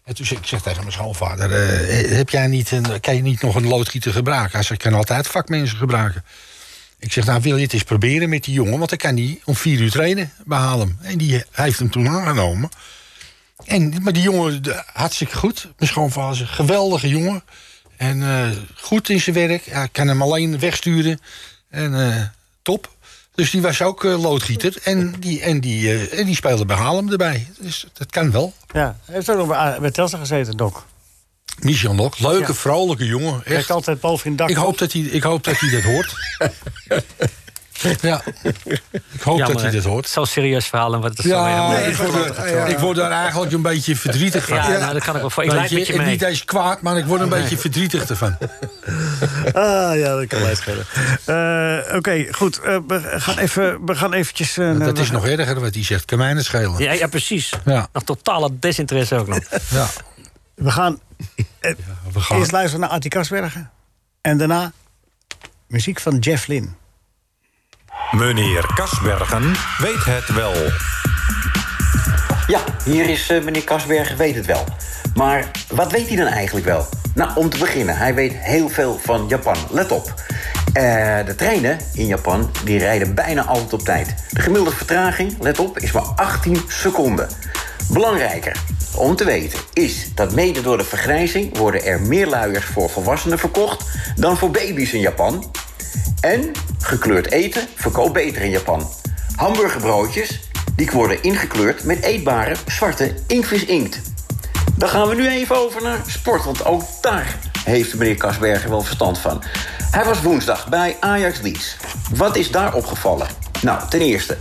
E: En toen zeg Dus ik zeg tegen mijn schoonvader: eh, heb jij niet een, Kan je niet nog een loodgieter gebruiken? Hij zegt: Ik kan altijd vakmensen gebruiken. Ik zeg: Nou, wil je het eens proberen met die jongen? Want dan kan die om vier uur trainen bij Haarlem. En die heeft hem toen aangenomen. En, maar die jongen, de- hartstikke goed. Mijn schoonvader is een geweldige jongen. En eh, goed in zijn werk. Ja, ik kan hem alleen wegsturen. En eh, top. Dus die was ook eh, loodgieter. En die, en, die, eh, en die speelde bij Haarlem erbij. Dus dat kan wel.
C: Ja, hij heeft ook nog bij, bij Telstra gezeten, Doc.
E: Michel nog. Leuke,
C: Ja.
E: vrolijke jongen.
C: Hij heeft
E: Echt.
C: altijd boven in het dak.
E: Ik hoop dat hij, ik hoop dat hij dat hoort. ja. Ik hoop dat hij dat hoort.
F: Zo'n serieus verhaal en wat het zo
E: Ja,
F: helemaal-
E: ik, word er, ik word daar eigenlijk een beetje verdrietig van.
F: Ja, nou, dat kan ik wel voor. Ik
E: Weet
F: lijk met je mee.
E: Niet eens kwaad, maar ik word een beetje verdrietig ervan.
C: Ah, ja, dat kan mij schelen. Eh, Oké, goed. eh, we, gaan even, we gaan eventjes... eh, naar
E: Dat
C: de-
E: is nog erger wat hij zegt. Kan mij niet schelen.
F: Ja, ja, precies.
E: Ja.
F: Nog totale desinteresse ook nog.
E: Ja,
C: We gaan eh,
E: we gaan.
C: eerst luisteren naar Attie Kasbergen. En daarna muziek van Jeff Lynne.
B: Meneer Kasbergen weet het wel.
L: Ja, hier is eh, meneer Kasberg, weet het wel. Maar wat weet hij dan eigenlijk wel? Nou, om te beginnen, hij weet heel veel van Japan. Let op. Eh, de treinen in Japan die rijden bijna altijd op tijd. De gemiddelde vertraging, let op, is maar 18 seconden. Belangrijker om te weten is dat mede door de vergrijzing worden er meer luiers voor volwassenen verkocht dan voor baby's in Japan. En gekleurd eten verkoopt beter in Japan. Hamburgerbroodjes die worden ingekleurd met eetbare zwarte inktvis-inkt. Dan gaan we nu even over naar sport, want ook daar heeft meneer Kasberger wel verstand van. Hij was woensdag bij Ajax Leeds. Wat is daar opgevallen? Nou, ten eerste,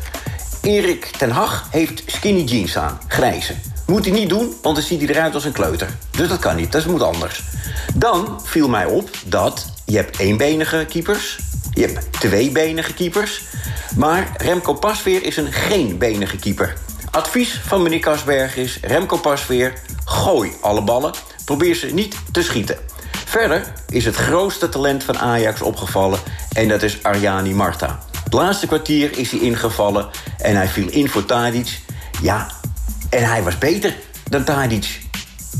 L: Erik ten Hag heeft skinny jeans aan, grijze. Moet hij niet doen, want dan ziet hij eruit als een kleuter. Dus dat kan niet, dat moet anders. Dan viel mij op dat je hebt eenbenige keepers, je hebt tweebenige keepers... maar Remco Pasveer is een geenbenige keeper. Advies van meneer Kasberg is Remco Pasveer... gooi alle ballen, probeer ze niet te schieten. Verder is het grootste talent van Ajax opgevallen... en dat is Arjani Marta. Het laatste kwartier is hij ingevallen en hij viel in voor Tadic. Ja, en hij was beter dan Tadic.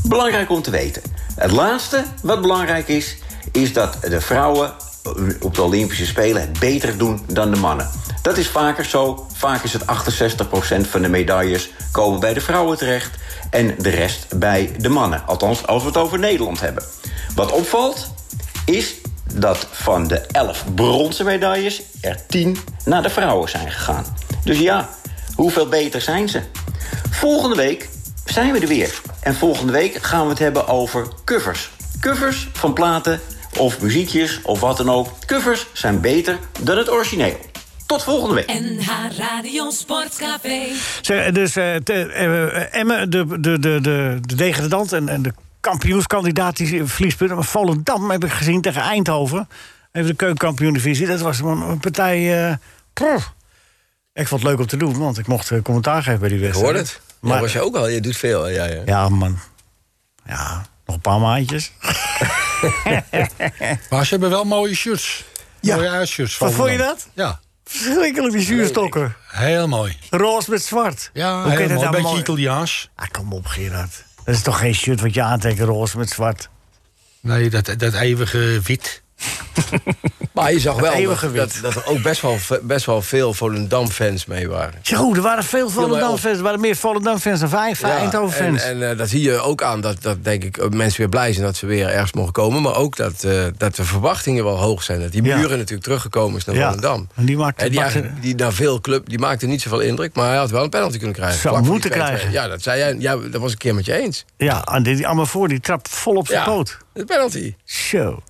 L: Belangrijk om te weten. Het laatste wat belangrijk is, is dat de vrouwen eh, op de Olympische Spelen het beter doen dan de mannen. Dat is vaker zo. Vaak is het 68% van de medailles komen bij de vrouwen terecht en de rest bij de mannen. Althans, als we het over Nederland hebben. Wat opvalt, is dat van de 11 bronzen medailles er 10 naar de vrouwen zijn gegaan. Dus ja, hoeveel beter zijn ze? Volgende week zijn we er weer. En volgende week gaan we het hebben over covers. Covers van platen of muziekjes of wat dan ook. Covers zijn beter dan het origineel. Tot volgende week.
J: NH Radio Sportcafé.
C: Zeg, dus eh te- eh, Emmen, de, de, de, de, de degradant en, en de kampioenskandidaat... die verliespunten, maar Volendam heb ik gezien tegen Eindhoven. Even de keukenkampioen-divisie. Dat was een, een partij... eh, prf. ik vond het leuk om te doen, want ik mocht eh, commentaar geven bij die
M: Ik
C: wedstrijd.
M: hoor het. Maar
C: Maar-
M: was je ook al. Je doet veel. Ja, ja.
C: Ja, man. Ja, nog een paar maandjes.
E: Maar ze hebben wel mooie shirts.
D: Ja.
E: Mooie uitshirts.
C: Wat vond je
E: Volendam.
C: dat?
E: Ja,
C: Verschrikkelijk, die zuurstokken.
E: heel mooi.
C: Roze met zwart.
E: Ja,
C: Hoe kun je dat
E: heel mooi.
C: nou
E: Een beetje
C: mooi-
E: Italiaans.
C: Ah, kom op, Gerard. Dat is toch geen shirt wat je aantrekt, roze met zwart?
E: Nee, dat, dat eeuwige wit.
M: Maar je zag wel eh,
C: eeuwige
M: dat,
C: wit.
M: dat, dat er ook best wel, ve- best wel veel Volendam-fans mee waren.
C: Jeroen, er waren veel
M: mij op.
C: Volendam-fans. Er waren meer Volendam-fans dan vijf
M: Ja, en
C: Eindhoven-fans.
M: en eh, dat zie je ook aan dat, dat denk ik, eh, mensen weer blij zijn dat ze weer ergens mogen komen. Maar ook dat, eh, dat de verwachtingen wel hoog zijn. Dat die
C: Ja.
M: muren natuurlijk teruggekomen is naar
C: Ja,
M: Volendam.
C: en die maakte-
M: en die,
C: maakte-
M: eigenlijk- die naar veel club, die maakte niet zoveel indruk. Maar hij had wel een penalty kunnen krijgen.
C: Zou
M: Vlak voor
C: moeten
M: die 2-2.
C: krijgen.
M: Ja, dat zei jij. Ja, dat was ik een keer met je eens.
C: Ja, en die, die Amafor die trapt vol op zijn
M: ja,
C: poot.
M: De penalty.
C: Zo.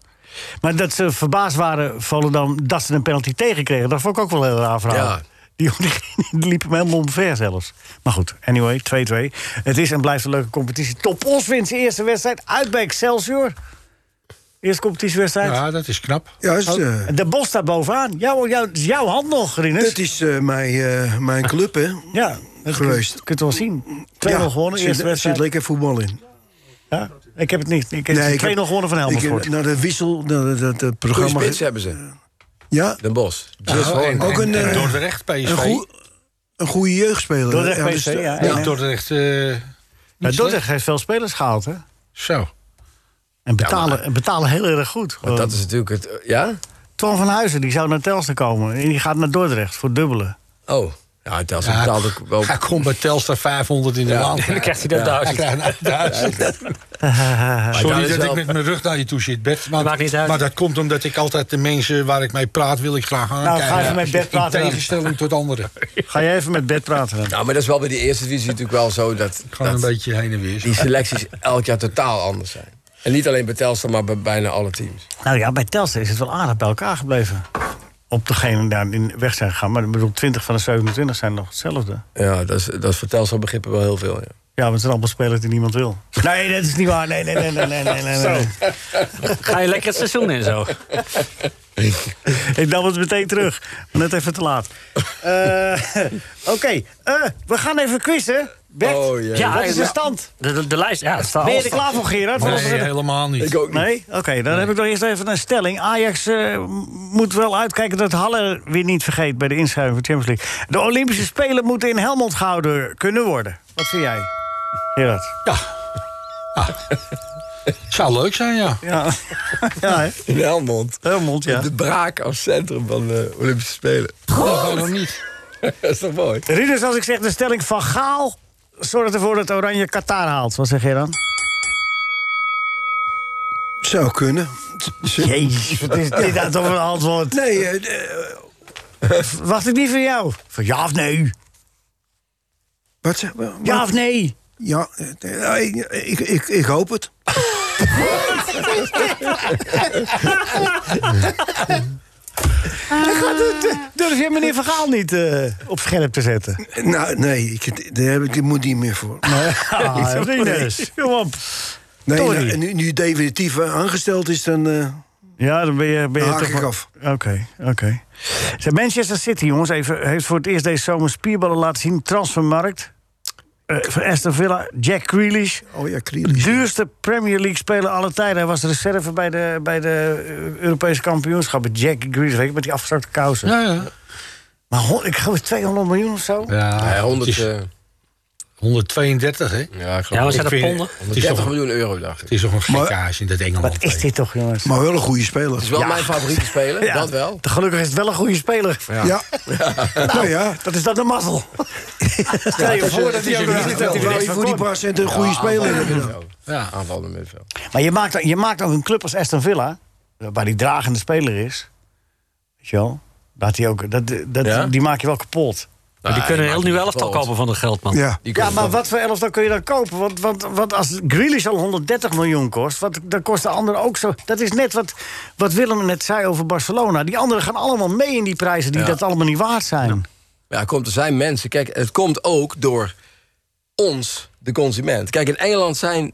C: Maar dat ze verbaasd waren, Volendam, dat ze een penalty tegenkregen... dat vond ik ook wel een heel raar verhaal.
M: Ja.
C: Die, die liep hem helemaal omver zelfs. Maar goed, anyway, 2-2. Het is en blijft een leuke competitie. Top Os wint zijn eerste wedstrijd uit bij Excelsior. Eerste competitiewedstrijd.
E: Ja, dat is knap.
D: Juist. eh,
C: Oh, De Bos staat bovenaan. Jouw, jouw, jouw hand nog, Rinus. Ah.
D: dat is eh, mijn, eh, mijn club, hè.
C: ja, dat
D: geweest.
C: Kun, kun je het wel zien. 2-0 gewonnen,
D: zit-
C: eerste wedstrijd.
D: zit lekker voetbal in.
C: Ja? Ik heb het niet. Ik heb
D: ik
C: 2-0
D: heb-
C: gewonnen van
D: ik heb
C: Helmond.
D: Naar de wissel, naar dat, dat, dat
M: Goeie
D: programma.
M: spits hebben ze.
D: Ja,
M: Den Bos.
E: Dus
D: ook een, eh,
E: Dordrecht PSV.
D: een, goe- een goede jeugdspeler.
C: Dordrecht
D: Ja, dus-
C: PSV, ja.
E: Ja, Dordrecht. eh, niet
C: Ja,
E: slecht.
C: Dordrecht heeft veel spelers gehaald, hè?
E: Zo.
C: En betalen, en betalen heel erg goed.
M: Want dat is natuurlijk het... Ja?
C: Twan van Huizen die zou naar Telstra komen. En die gaat naar Dordrecht voor dubbele.
M: Oh.
H: Ja, Telstra betaalt ook wel...
E: Hij komt bij Telstra 500 in de
H: Ja.
E: maand.
H: En dan krijgt hij er 1000.
E: hij krijgt er 1000.
H: ah, Maar
E: Sorry
H: dat is
E: dat
H: wel-
E: ik met mijn rug naar je toe zit, Bert. Maar,
F: Maakt niet uit.
E: maar dat komt omdat ik altijd de mensen waar ik mee praat... wil ik graag aankijken.
C: Nou, ga even met Bert praten
E: In
C: dan.
E: tegenstelling tot anderen.
C: Ga jij even met Bert praten dan?
H: Nou, maar dat is wel bij die eerste divisie natuurlijk wel zo dat...
E: Gewoon
H: dat
E: een beetje heen en weer.
H: Die selecties elk jaar totaal anders zijn. En niet alleen bij Telstra, maar bij bijna alle teams.
C: Nou ja, bij Telstra is het wel aardig bij elkaar gebleven. Op degene die daar in weg zijn gegaan. Maar ik bedoel, 20 van de 27 zijn nog hetzelfde.
H: Ja, dat is, dat is voor Telstra begrippen wel heel veel, ja.
C: Ja, want het zijn allemaal spelers die niemand wil. Nee, dat is niet waar. Nee, nee, nee, nee, nee, nee, nee. nee.
F: Ga je lekker het seizoen in zo?
C: Ik nam het meteen terug. Maar net even te laat. Eh, Oké, eh, we gaan even quizzen. Bert,
H: Oh, jee.
F: Ja,
C: wat is de
F: ja.
C: stand?
F: De, de, de lijst, ja, het staat
C: Ben je er
F: al-
C: klaar voor, Gerard? Want
E: Nee,
C: anders-
E: helemaal niet.
H: Ik ook niet.
C: Nee? Oké, dan heb ik nog eerst even een stelling. Ajax eh, m- moet wel uitkijken dat Halle weer niet vergeet bij de inschrijving van de Champions League. De Olympische Spelen moeten in Helmond gehouden kunnen worden. Wat vind jij? Gerard.
E: Ja. Ja. Zou leuk zijn, ja.
C: Ja, ja hè?
H: In Helmond.
C: Helmond, ja.
H: De braak als centrum van de Olympische Spelen.
E: Nou, Waarom niet?
H: dat is toch mooi?
C: Ridders, als ik zeg de stelling van Gaal... zorgt ervoor dat Oranje Qatar haalt. Wat zeg jij dan?
D: Zou kunnen.
C: Jezus, wat is dit nou toch een antwoord?
D: Nee, eh, eh,
C: Wacht ik niet van jou? Van ja of nee?
D: wat zeg wat-
C: Ja of nee?
D: Ja, eh, eh, ik, ik, ik hoop het.
C: Durf jij meneer Van Gaal niet eh, op scherp te zetten?
D: Nou, nee, ik, daar heb ik de moed niet meer voor.
C: Ah, Ridders, kom op.
D: Nee,
C: Sorry.
D: nou, nu, nu definitief eh, aangesteld is, dan... eh,
C: Ja, dan ben je, ben je
D: Dan haak
C: toch...
D: ik
C: wel-
D: af.
C: Oké, oké. Zeg, Manchester City, jongens, even, heeft voor het eerst deze zomer spierballen laten zien. Transfermarkt. Eh voor Aston Villa, Jack Grealish.
D: oh ja, Krilis.
C: Duurste Premier League speler alle tijden. Hij was reserve bij de, bij de eh, Europese kampioenschappen. Jack Grealish, weet je, met die afgestrakte kousen.
E: Ja, ja.
C: Maar hon- ik geloof 200 miljoen of zo.
E: ja,
H: Ja, 100,
E: het is
H: eh,
E: 132, hè?
H: ja, ik geloof
F: Ja, we
H: het.
F: zijn er
E: vind-
F: ponden.
E: Het is,
H: 30
E: toch,
H: miljoen euro, dacht ik.
E: het is toch een gekkage in dat Engeland.
C: Wat is dit toch, jongens?
D: Maar wel een goede speler.
H: Het is wel mijn favoriete speler,
C: Ja,
H: dat wel.
C: Gelukkig is het wel een goede speler.
D: Ja. Nou ja.
C: Dat is dan de mazzel. Stel je voor dat hij ook nog niet- dat hij
D: Terwijl
C: niks
D: je voor die
C: verkoopt.
D: paar cent een goede speler hebt.
H: Ja, aanvallende middenveld.
C: Maar je maakt, je maakt ook een club als Aston Villa, waar die dragende speler is. Weet je wel? Dat die, ook, dat, dat,
H: Ja?
C: Die maak je wel kapot.
F: Maar die
H: Ah,
F: kunnen
H: die
F: heel
H: maakt
F: nieuw
H: niet
F: elftal
H: kapot.
F: kopen van de geldman.
D: Ja.
C: Ja,
H: Die kunnen
C: maar
H: wel-
C: wat voor elftal kun je dan kopen? Want, want, want als Grealish al 130 miljoen kost, wat, dan kost de andere ook zo. Dat is net wat, wat Willem net zei over Barcelona. Die anderen gaan allemaal mee in die prijzen die
H: Ja.
C: dat allemaal niet waard zijn.
H: Ja, komt, er zijn mensen. Kijk, het komt ook door ons, de consument. Kijk, in Engeland zijn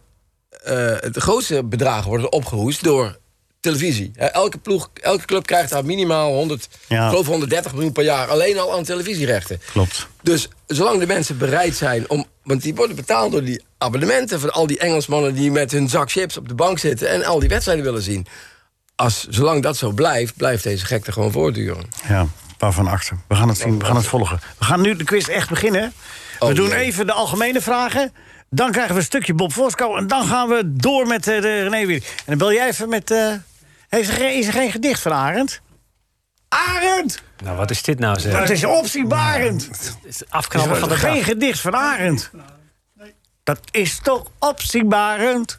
H: eh, de grootste bedragen worden opgehoest door televisie. Hè, Elke, ploeg, elke club krijgt daar minimaal 100,
C: Ja.
H: ik geloof 130 miljoen per jaar alleen al aan televisierechten.
C: Klopt.
H: Dus zolang de mensen bereid zijn om. Want die worden betaald door die abonnementen van al die Engelsmannen die met hun zak chips op de bank zitten en al die wedstrijden willen zien. Als, zolang dat zo blijft, blijft deze gekte gewoon voortduren.
C: Ja, waarvan achter. We gaan het zien, we gaan het volgen. We gaan nu de quiz echt beginnen. We
H: Oh,
C: doen
H: jee.
C: even de algemene vragen. Dan krijgen we een stukje Bob Fosco. En dan gaan we door met eh, de René weer. En dan bel jij even met... eh, heeft er geen, is er geen gedicht van Arend? Arend!
F: Nou, wat is dit nou zeg?
C: Dat is je optie, Barend.
F: Het is
C: Is
F: Afknappen
C: er
F: van de
C: geen
F: dag.
C: gedicht van Arend? Dat is toch optie, Barend?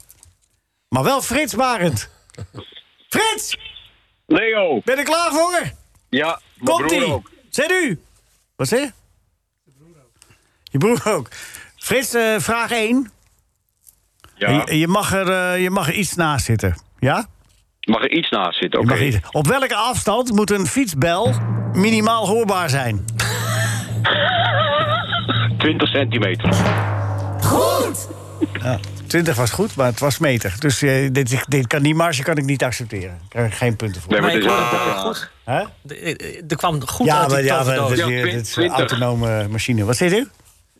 C: Maar wel Frits Barend. Frits,
N: Leo,
C: ben je er klaar voor?
N: ja, mijn broer
C: Komt-ie!
N: ook.
C: Zet u! Wat zeg je? Je broer ook. Frits, eh, vraag 1.
N: Ja,
C: Je, je mag er, eh, je mag er iets naast zitten. Ja?
N: mag er iets naast zitten?
C: Je
N: Oké.
C: mag iets. Op welke afstand moet een fietsbel minimaal hoorbaar zijn?
N: 20 centimeter.
C: 20 was goed, maar het was meter. Dus eh, dit, dit kan, die marge kan ik niet accepteren. Daar krijg ik geen punten voor.
N: Nee, maar het is wel
F: Nee,
N: een
F: goed. eh,
C: Hè?
F: Er- Er kwam goed
C: Ja,
F: uit die
C: maar, ja, maar
F: toverdoos.
C: dit,
N: Ja,
C: dit- dit is een
N: 20.
C: autonome eh, machine. Wat zit u?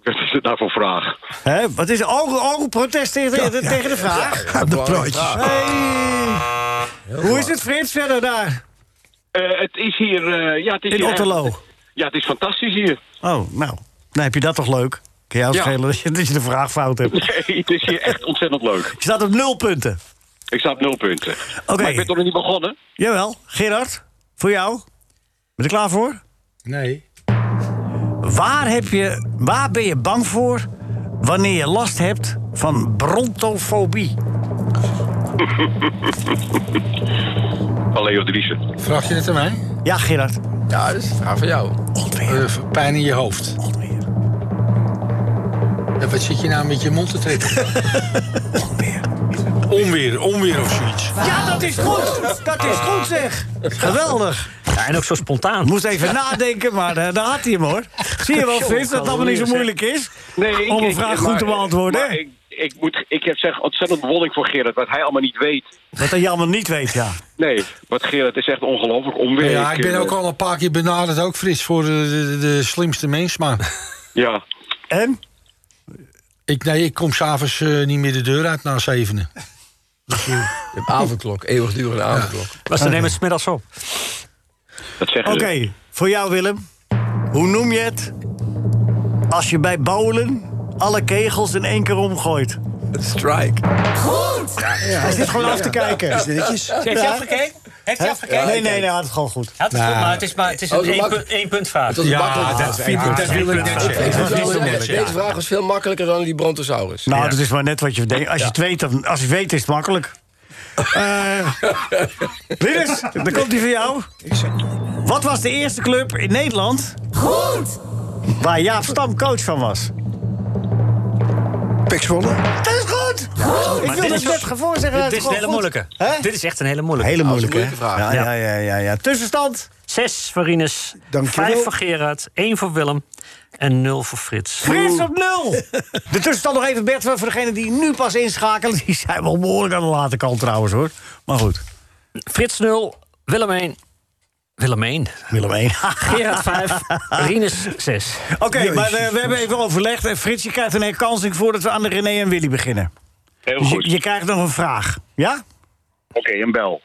N: Wat is het nou voor vraag?
C: Hè? Wat is Oh, oh protest tegen, tegen de vraag.
D: De praatjes.
C: Hey. Hoe is het, Frits, verder daar?
N: Eh, het is hier... eh, ja, het is
C: In
N: hier
C: Otterlo.
N: Ja, het is fantastisch hier.
C: Oh, nou, dan heb je dat toch leuk. Kun jou
N: Ja.
C: schelen dat je, dat je de vraag fout hebt. Je
N: Nee, het is hier echt ontzettend leuk.
C: staat op nul punten.
N: Ik sta op nul punten.
C: Oké.
N: Maar ik ben toch nog niet begonnen?
C: Jawel, Gerard, voor jou. Ben je er klaar voor?
E: Nee.
C: Waar, heb je, waar ben je bang voor wanneer je last hebt van brontofobie?
N: Van Leo Driessen.
E: Vraag je het aan mij?
C: Ja, Gerard.
E: Ja, dat is vraag van jou. Eh, pijn in je hoofd. Ja, wat zit je nou met je mond te trekken? onweer. Onweer, onweer of zoiets.
C: Ja, dat is goed! Dat is goed zeg! Geweldig!
F: Ja, en ook zo spontaan.
C: Moest even nadenken, maar eh, daar had hij hem hoor. Zie je wel,
N: Jongen,
C: Frits, dat het allemaal niet zo
N: kalorieën,
C: moeilijk is?
N: Nee,
C: om een
N: ik-
C: vraag goed
N: maar-
C: te beantwoorden.
N: maar
C: hè?
N: Ik, ik, moet, ik heb zeg ontzettend bewondering voor Gerard, wat hij allemaal niet weet.
C: Wat hij allemaal niet weet, ja.
N: Nee, wat Gerard is echt ongelooflijk onweer.
E: ja, ik ben
N: eh,
E: ook al een paar keer benaderd, ook Frits, voor de, de, de slimste mens, maar...
N: Ja.
C: En?
E: Ik, nee, ik kom s'avonds eh niet meer de deur uit na zevenen. Dus, eh,
M: Avondklok, eeuwigdurende avondklok.
F: Was ze nemen het smiddags op.
N: Dat zeggen
C: Oké, voor jou Willem. Hoe noem je het als je bij bowlen alle kegels in één keer omgooit?
M: Strike.
C: Goed! Hij zit gewoon af te kijken.
D: Is netjes.
C: Ja.
F: Heeft
C: Hè? Nee, nee, nee, hij had het gewoon goed.
F: Had het goed, maar het is, maar, het is
M: Oh,
F: een
M: zo
F: één
M: mak-
F: punt- één punt vaart.
M: Het was een makkelijke vraag.
E: vind ik- Nou, dat wil ik net zeggen.
M: Ik vond
E: Dat
M: het
E: is
M: wel
E: te
M: heel-
E: moeilijk,
M: Deze
E: ja.
M: vraag was veel makkelijker dan die brontosaurus.
C: Nou, dat is maar net wat je denkt. Als je het weet, dan- als je het weet is het makkelijk. Eh Rinus, dan komt die van jou. Wat was de eerste club in Nederland... Goed! Waar Jaap Stam coach van was?
D: Pek Zwolle.
C: Dat is goed! Ik wilde het net voor zeggen. dat
F: Dit
C: het
F: is een
C: gewoon
F: hele
C: goed-
F: moeilijke.
C: Hè?
F: Dit is echt een hele moeilijke.
C: Hele moeilijke,
M: moeilijke
C: hè?
M: vraag.
C: Ja, ja, ja, ja, ja. Tussenstand?
F: Zes voor Rinus,
D: Dankjewel.
F: vijf voor Gerard, één voor Willem en nul voor Frits.
C: Frits op nul! De tussenstand nog even, Bert, voor degene die nu pas inschakelen. Die zijn wel behoorlijk aan de late kant trouwens, hoor. Maar goed,
F: Frits nul, Willem één. Willem één.
C: Willem 1.
F: Gerard vijf, Rinus zes.
C: Oké, maar eh, we hebben even overlegd. En Frits, je krijgt een herkansing voordat we aan de René en Willy beginnen.
N: Heel
C: Dus
N: goed.
C: je, je krijgt nog een vraag. Ja?
N: Oké, een bel.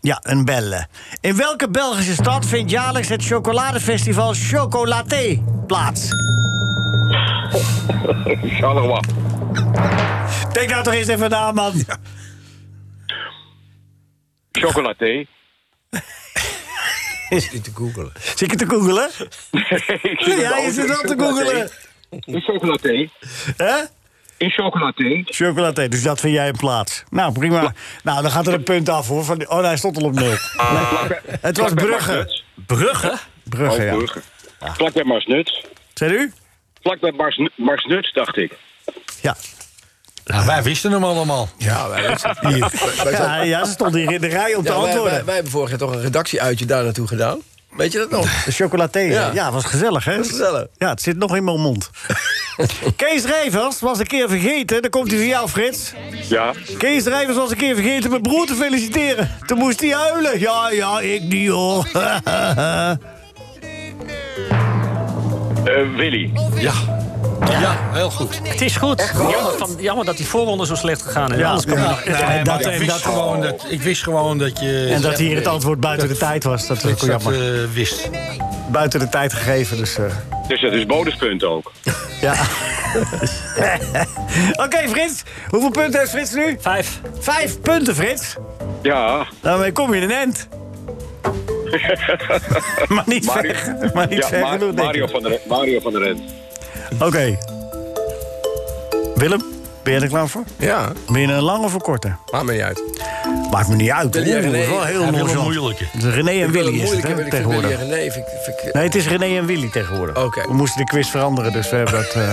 C: Ja, een bellen. In welke Belgische stad vindt jaarlijks het chocoladefestival Chocolaté plaats?
N: Charleroi.
C: Denk nou toch eens even na, man.
N: Chocolaté.
M: Is niet te googelen.
C: Zit je te googelen?
N: Ik zit
C: Ja, je
N: met de
C: zit wel te
N: auto in
C: googelen.
N: In chocolaté.
C: Hè?
N: In chocolaté.
C: Chocolaté, dus dat vind jij een plaats. Nou, prima. Nou, dan gaat er een punt af, hoor. Van die- oh, nee, hij stond al op nul.
N: Vlakbij-
C: Het was
N: vlakbij
C: Brugge.
N: Marsnuts.
F: Brugge?
C: Brugge,
N: Oh,
C: ja.
N: Brugge. Vlak bij Marsnuts.
C: Zijn u?
N: Vlak bij Mars, Marsnuts, dacht ik.
C: Ja.
E: nou, wij wisten hem allemaal.
M: Ja, wij, wij, wij-
C: Ja, ja, ze stond hier in de rij om te
M: ja, wij- wij,
C: antwoorden.
M: wij hebben vorig jaar toch een redactieuitje daar naartoe gedaan. Weet je dat nog?
C: De chocolaté, ja.
M: Ja.
C: ja, was gezellig, hè?
M: was gezellig.
C: Ja, het zit nog in mijn mond. Kees Rijvers was een keer vergeten, dan komt hij voor jou, Frits.
N: Ja.
C: Kees Rijvers was een keer vergeten mijn broer te feliciteren. Toen moest hij huilen. Ja, ja, ik niet, hoor.
N: Eh, Willy.
E: Ja. Ja, heel goed.
F: Het is goed. Jammer, van, jammer dat die voorronde zo slecht gegaan is.
C: Ja,
F: Anders kan
C: ja.
F: je nog-
E: Nee,
C: en
E: maar
C: dat-
E: ik,
C: en
E: wist
C: dat-
E: gewoon dat, ik wist gewoon dat je...
C: en dat hier het antwoord buiten de tijd was. Dat is ook
E: dat, dat,
C: jammer.
E: eh, wist.
C: Buiten de tijd gegeven, dus... eh,
N: Dus dat is bonuspunt ook.
C: Ja. Oké, Frits. Hoeveel punten heeft Frits nu?
F: Vijf.
C: Vijf punten, Frits.
N: Ja.
C: Daarmee kom je in een end. maar niet
N: Mario,
C: ver, maar niet
N: ja,
C: ver
N: Ma-
C: genoeg, denk
N: Mario,
C: ik.
N: van der, Mario van der Ren.
C: Oké. Willem, ben je er klaar voor?
M: Ja,
C: Ben je een lange of een korte?
M: maakt me niet uit.
C: Maakt me niet uit.
M: Willy en
C: Oeh, dat is
M: René.
C: wel heel
E: Hij wil een
C: nonchalant.
E: moeilijke.
C: De René en
M: Ik wil het
C: Willy is het,
M: moeilijk hebben.
C: hè,
M: Ik vind Willy
C: tegenwoordig.
M: en René, vind ik- vind ik-
C: Nee, het is René en Willy tegenwoordig.
M: Oké.
C: We moesten de quiz veranderen, dus we hebben dat eh,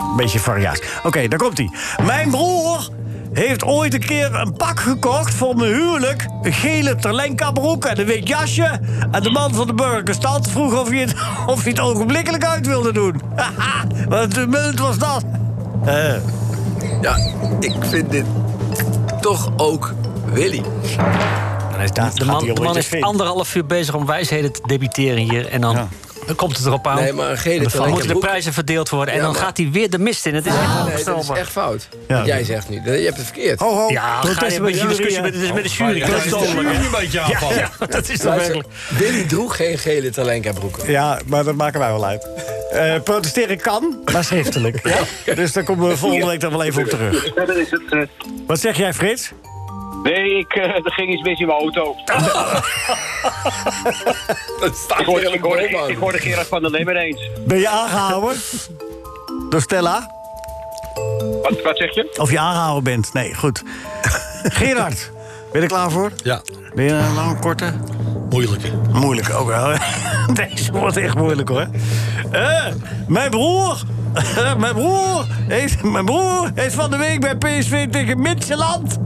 C: een beetje variatie. Oké, daar komt hij. Mijn broer heeft ooit een keer een pak gekocht voor mijn huwelijk. Een gele terlenka broek en een wit jasje. En de man van de burgerstand vroeg of hij het, of hij het ogenblikkelijk uit wilde doen. Haha, wat een munt was dat. Eh,
M: Ja, ik vind dit toch ook Willy.
C: dan is dat,
F: De man, de man is anderhalf uur bezig om wijsheden te debiteren hier. En dan komt het erop aan.
M: Nee, maar een gele
F: dan
M: talent-
F: moeten de prijzen verdeeld worden. En
M: Ja,
F: dan
M: maar-
F: gaat hij weer de mist in. Het is echt
M: Nee, dat is
F: onvoorstelbaar.
M: echt fout.
C: Ja.
M: Wat Jij zegt nu, je hebt het verkeerd.
C: Ho, ho.
F: Ja, dan ga je
C: protesten
F: met
C: bij
F: je
C: jury.
F: discussie met,
C: hè?
F: de- met de jury.
E: Ja, dat is de jury een beetje aanvallen.
F: Ja, dat is toch
M: Luister,
F: werkelijk.
M: Willy droeg geen gele Talenka broeken.
C: Ja, maar dat maken wij wel uit. Eh, protesteren kan, maar schriftelijk. Dus daar komen we volgende week dan wel even op terug.
N: Verder is het...
C: Wat zeg jij, Frits?
N: Nee, ik, eh, er ging iets mis in mijn auto.
M: Dat
N: ik, hoorde, ik, hoorde, ik hoorde Gerard van der Lemmer eens.
C: Ben je aangehouden? Door Stella?
N: Wat, wat zeg je?
C: Of je aangehouden bent? Nee, goed. Gerard, ben je er klaar voor?
E: Ja.
C: Ben je een lange, korte?
E: Moeilijke.
C: Moeilijk ook wel. Deze wordt echt moeilijk hoor. Eh, mijn broer. mijn broer. Heeft, mijn broer heeft van de week bij PSV tegen Midtjylland.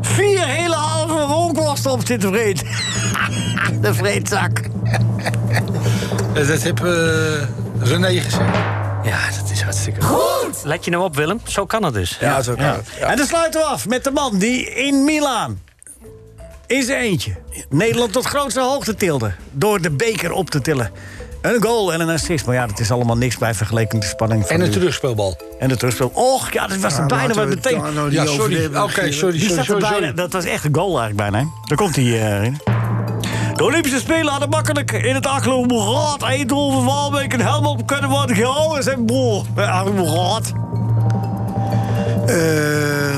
C: vier hele halve rookworsten op zitten vreten. de vreedzak.
E: Eh, Dat heb eh, René gezegd.
F: Ja, dat is hartstikke goed. Let je nou op, Willem? Zo kan het dus.
C: Ja, zo kan
F: Ja.
C: het. En dan sluiten we af met de man die in Milaan. in zijn eentje. Nederland tot grootste hoogte tilde. Door de beker op te tillen. Een goal en een assist. Maar ja, dat is allemaal niks bij vergeleken met de spanning van
E: En een
C: nu.
E: terugspeelbal.
C: En de terugspel. Och, ja, dat was er
E: Ja,
C: bijna
E: laten
C: wat
E: we
C: meteen.
E: het daar nou niet Ja, sorry. over hebben, Oké, Gerard. sorry,
C: Die zat er
E: sorry, sorry,
C: bijna.
E: sorry.
C: Dat was echt een goal eigenlijk bijna. hè. Daar komt hij eh, in. De Olympische Spelen hadden makkelijk in het Aklo Moerad Eindhoven Waalwijk een helm op kunnen worden gehouden. Zijn broer, bij Arno Moerad.
D: Eh,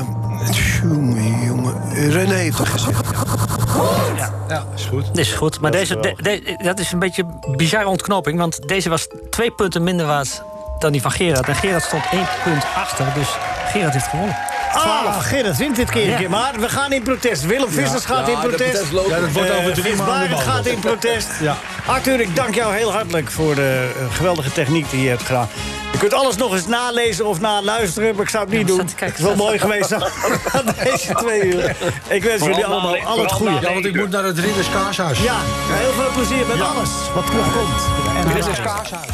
D: jongen, jongen. René heeft het gezegd.
E: Ja, is goed.
F: Dit is goed, maar
E: Dat is
F: deze, de- de- dat is een beetje een bizarre ontknoping. Want deze was twee punten minder waard dan die van Gerard. En Gerard stond één punt achter, dus Gerard heeft gewonnen.
C: Ah, Gerrit wint dit keertje.
F: Ja.
C: Maar we gaan in protest. Willem
F: Ja.
C: Vissers gaat
F: Ja,
C: in
F: de
C: protest.
F: protest loopt. Ja, dat wordt
C: Eh,
F: over drie
C: Frits
F: maanden
C: Barend
F: behandeld.
C: gaat in protest. Arthur, ik dank jou heel hartelijk voor de eh, geweldige techniek die je hebt gedaan. Je kunt alles nog eens nalezen of naluisteren, maar ik zou het niet doen. het is wel mooi geweest aan deze twee uur. Ik wens
E: Vooral
C: jullie allemaal
E: nale-
C: al het
E: vooral
C: goede.
E: nale- Ja, want ik moet naar het Ridders Kaashuis.
C: Ja, heel veel plezier met
E: Ja.
C: alles wat nog komt. En
E: Ridders
C: daarna.
E: Kaashuis.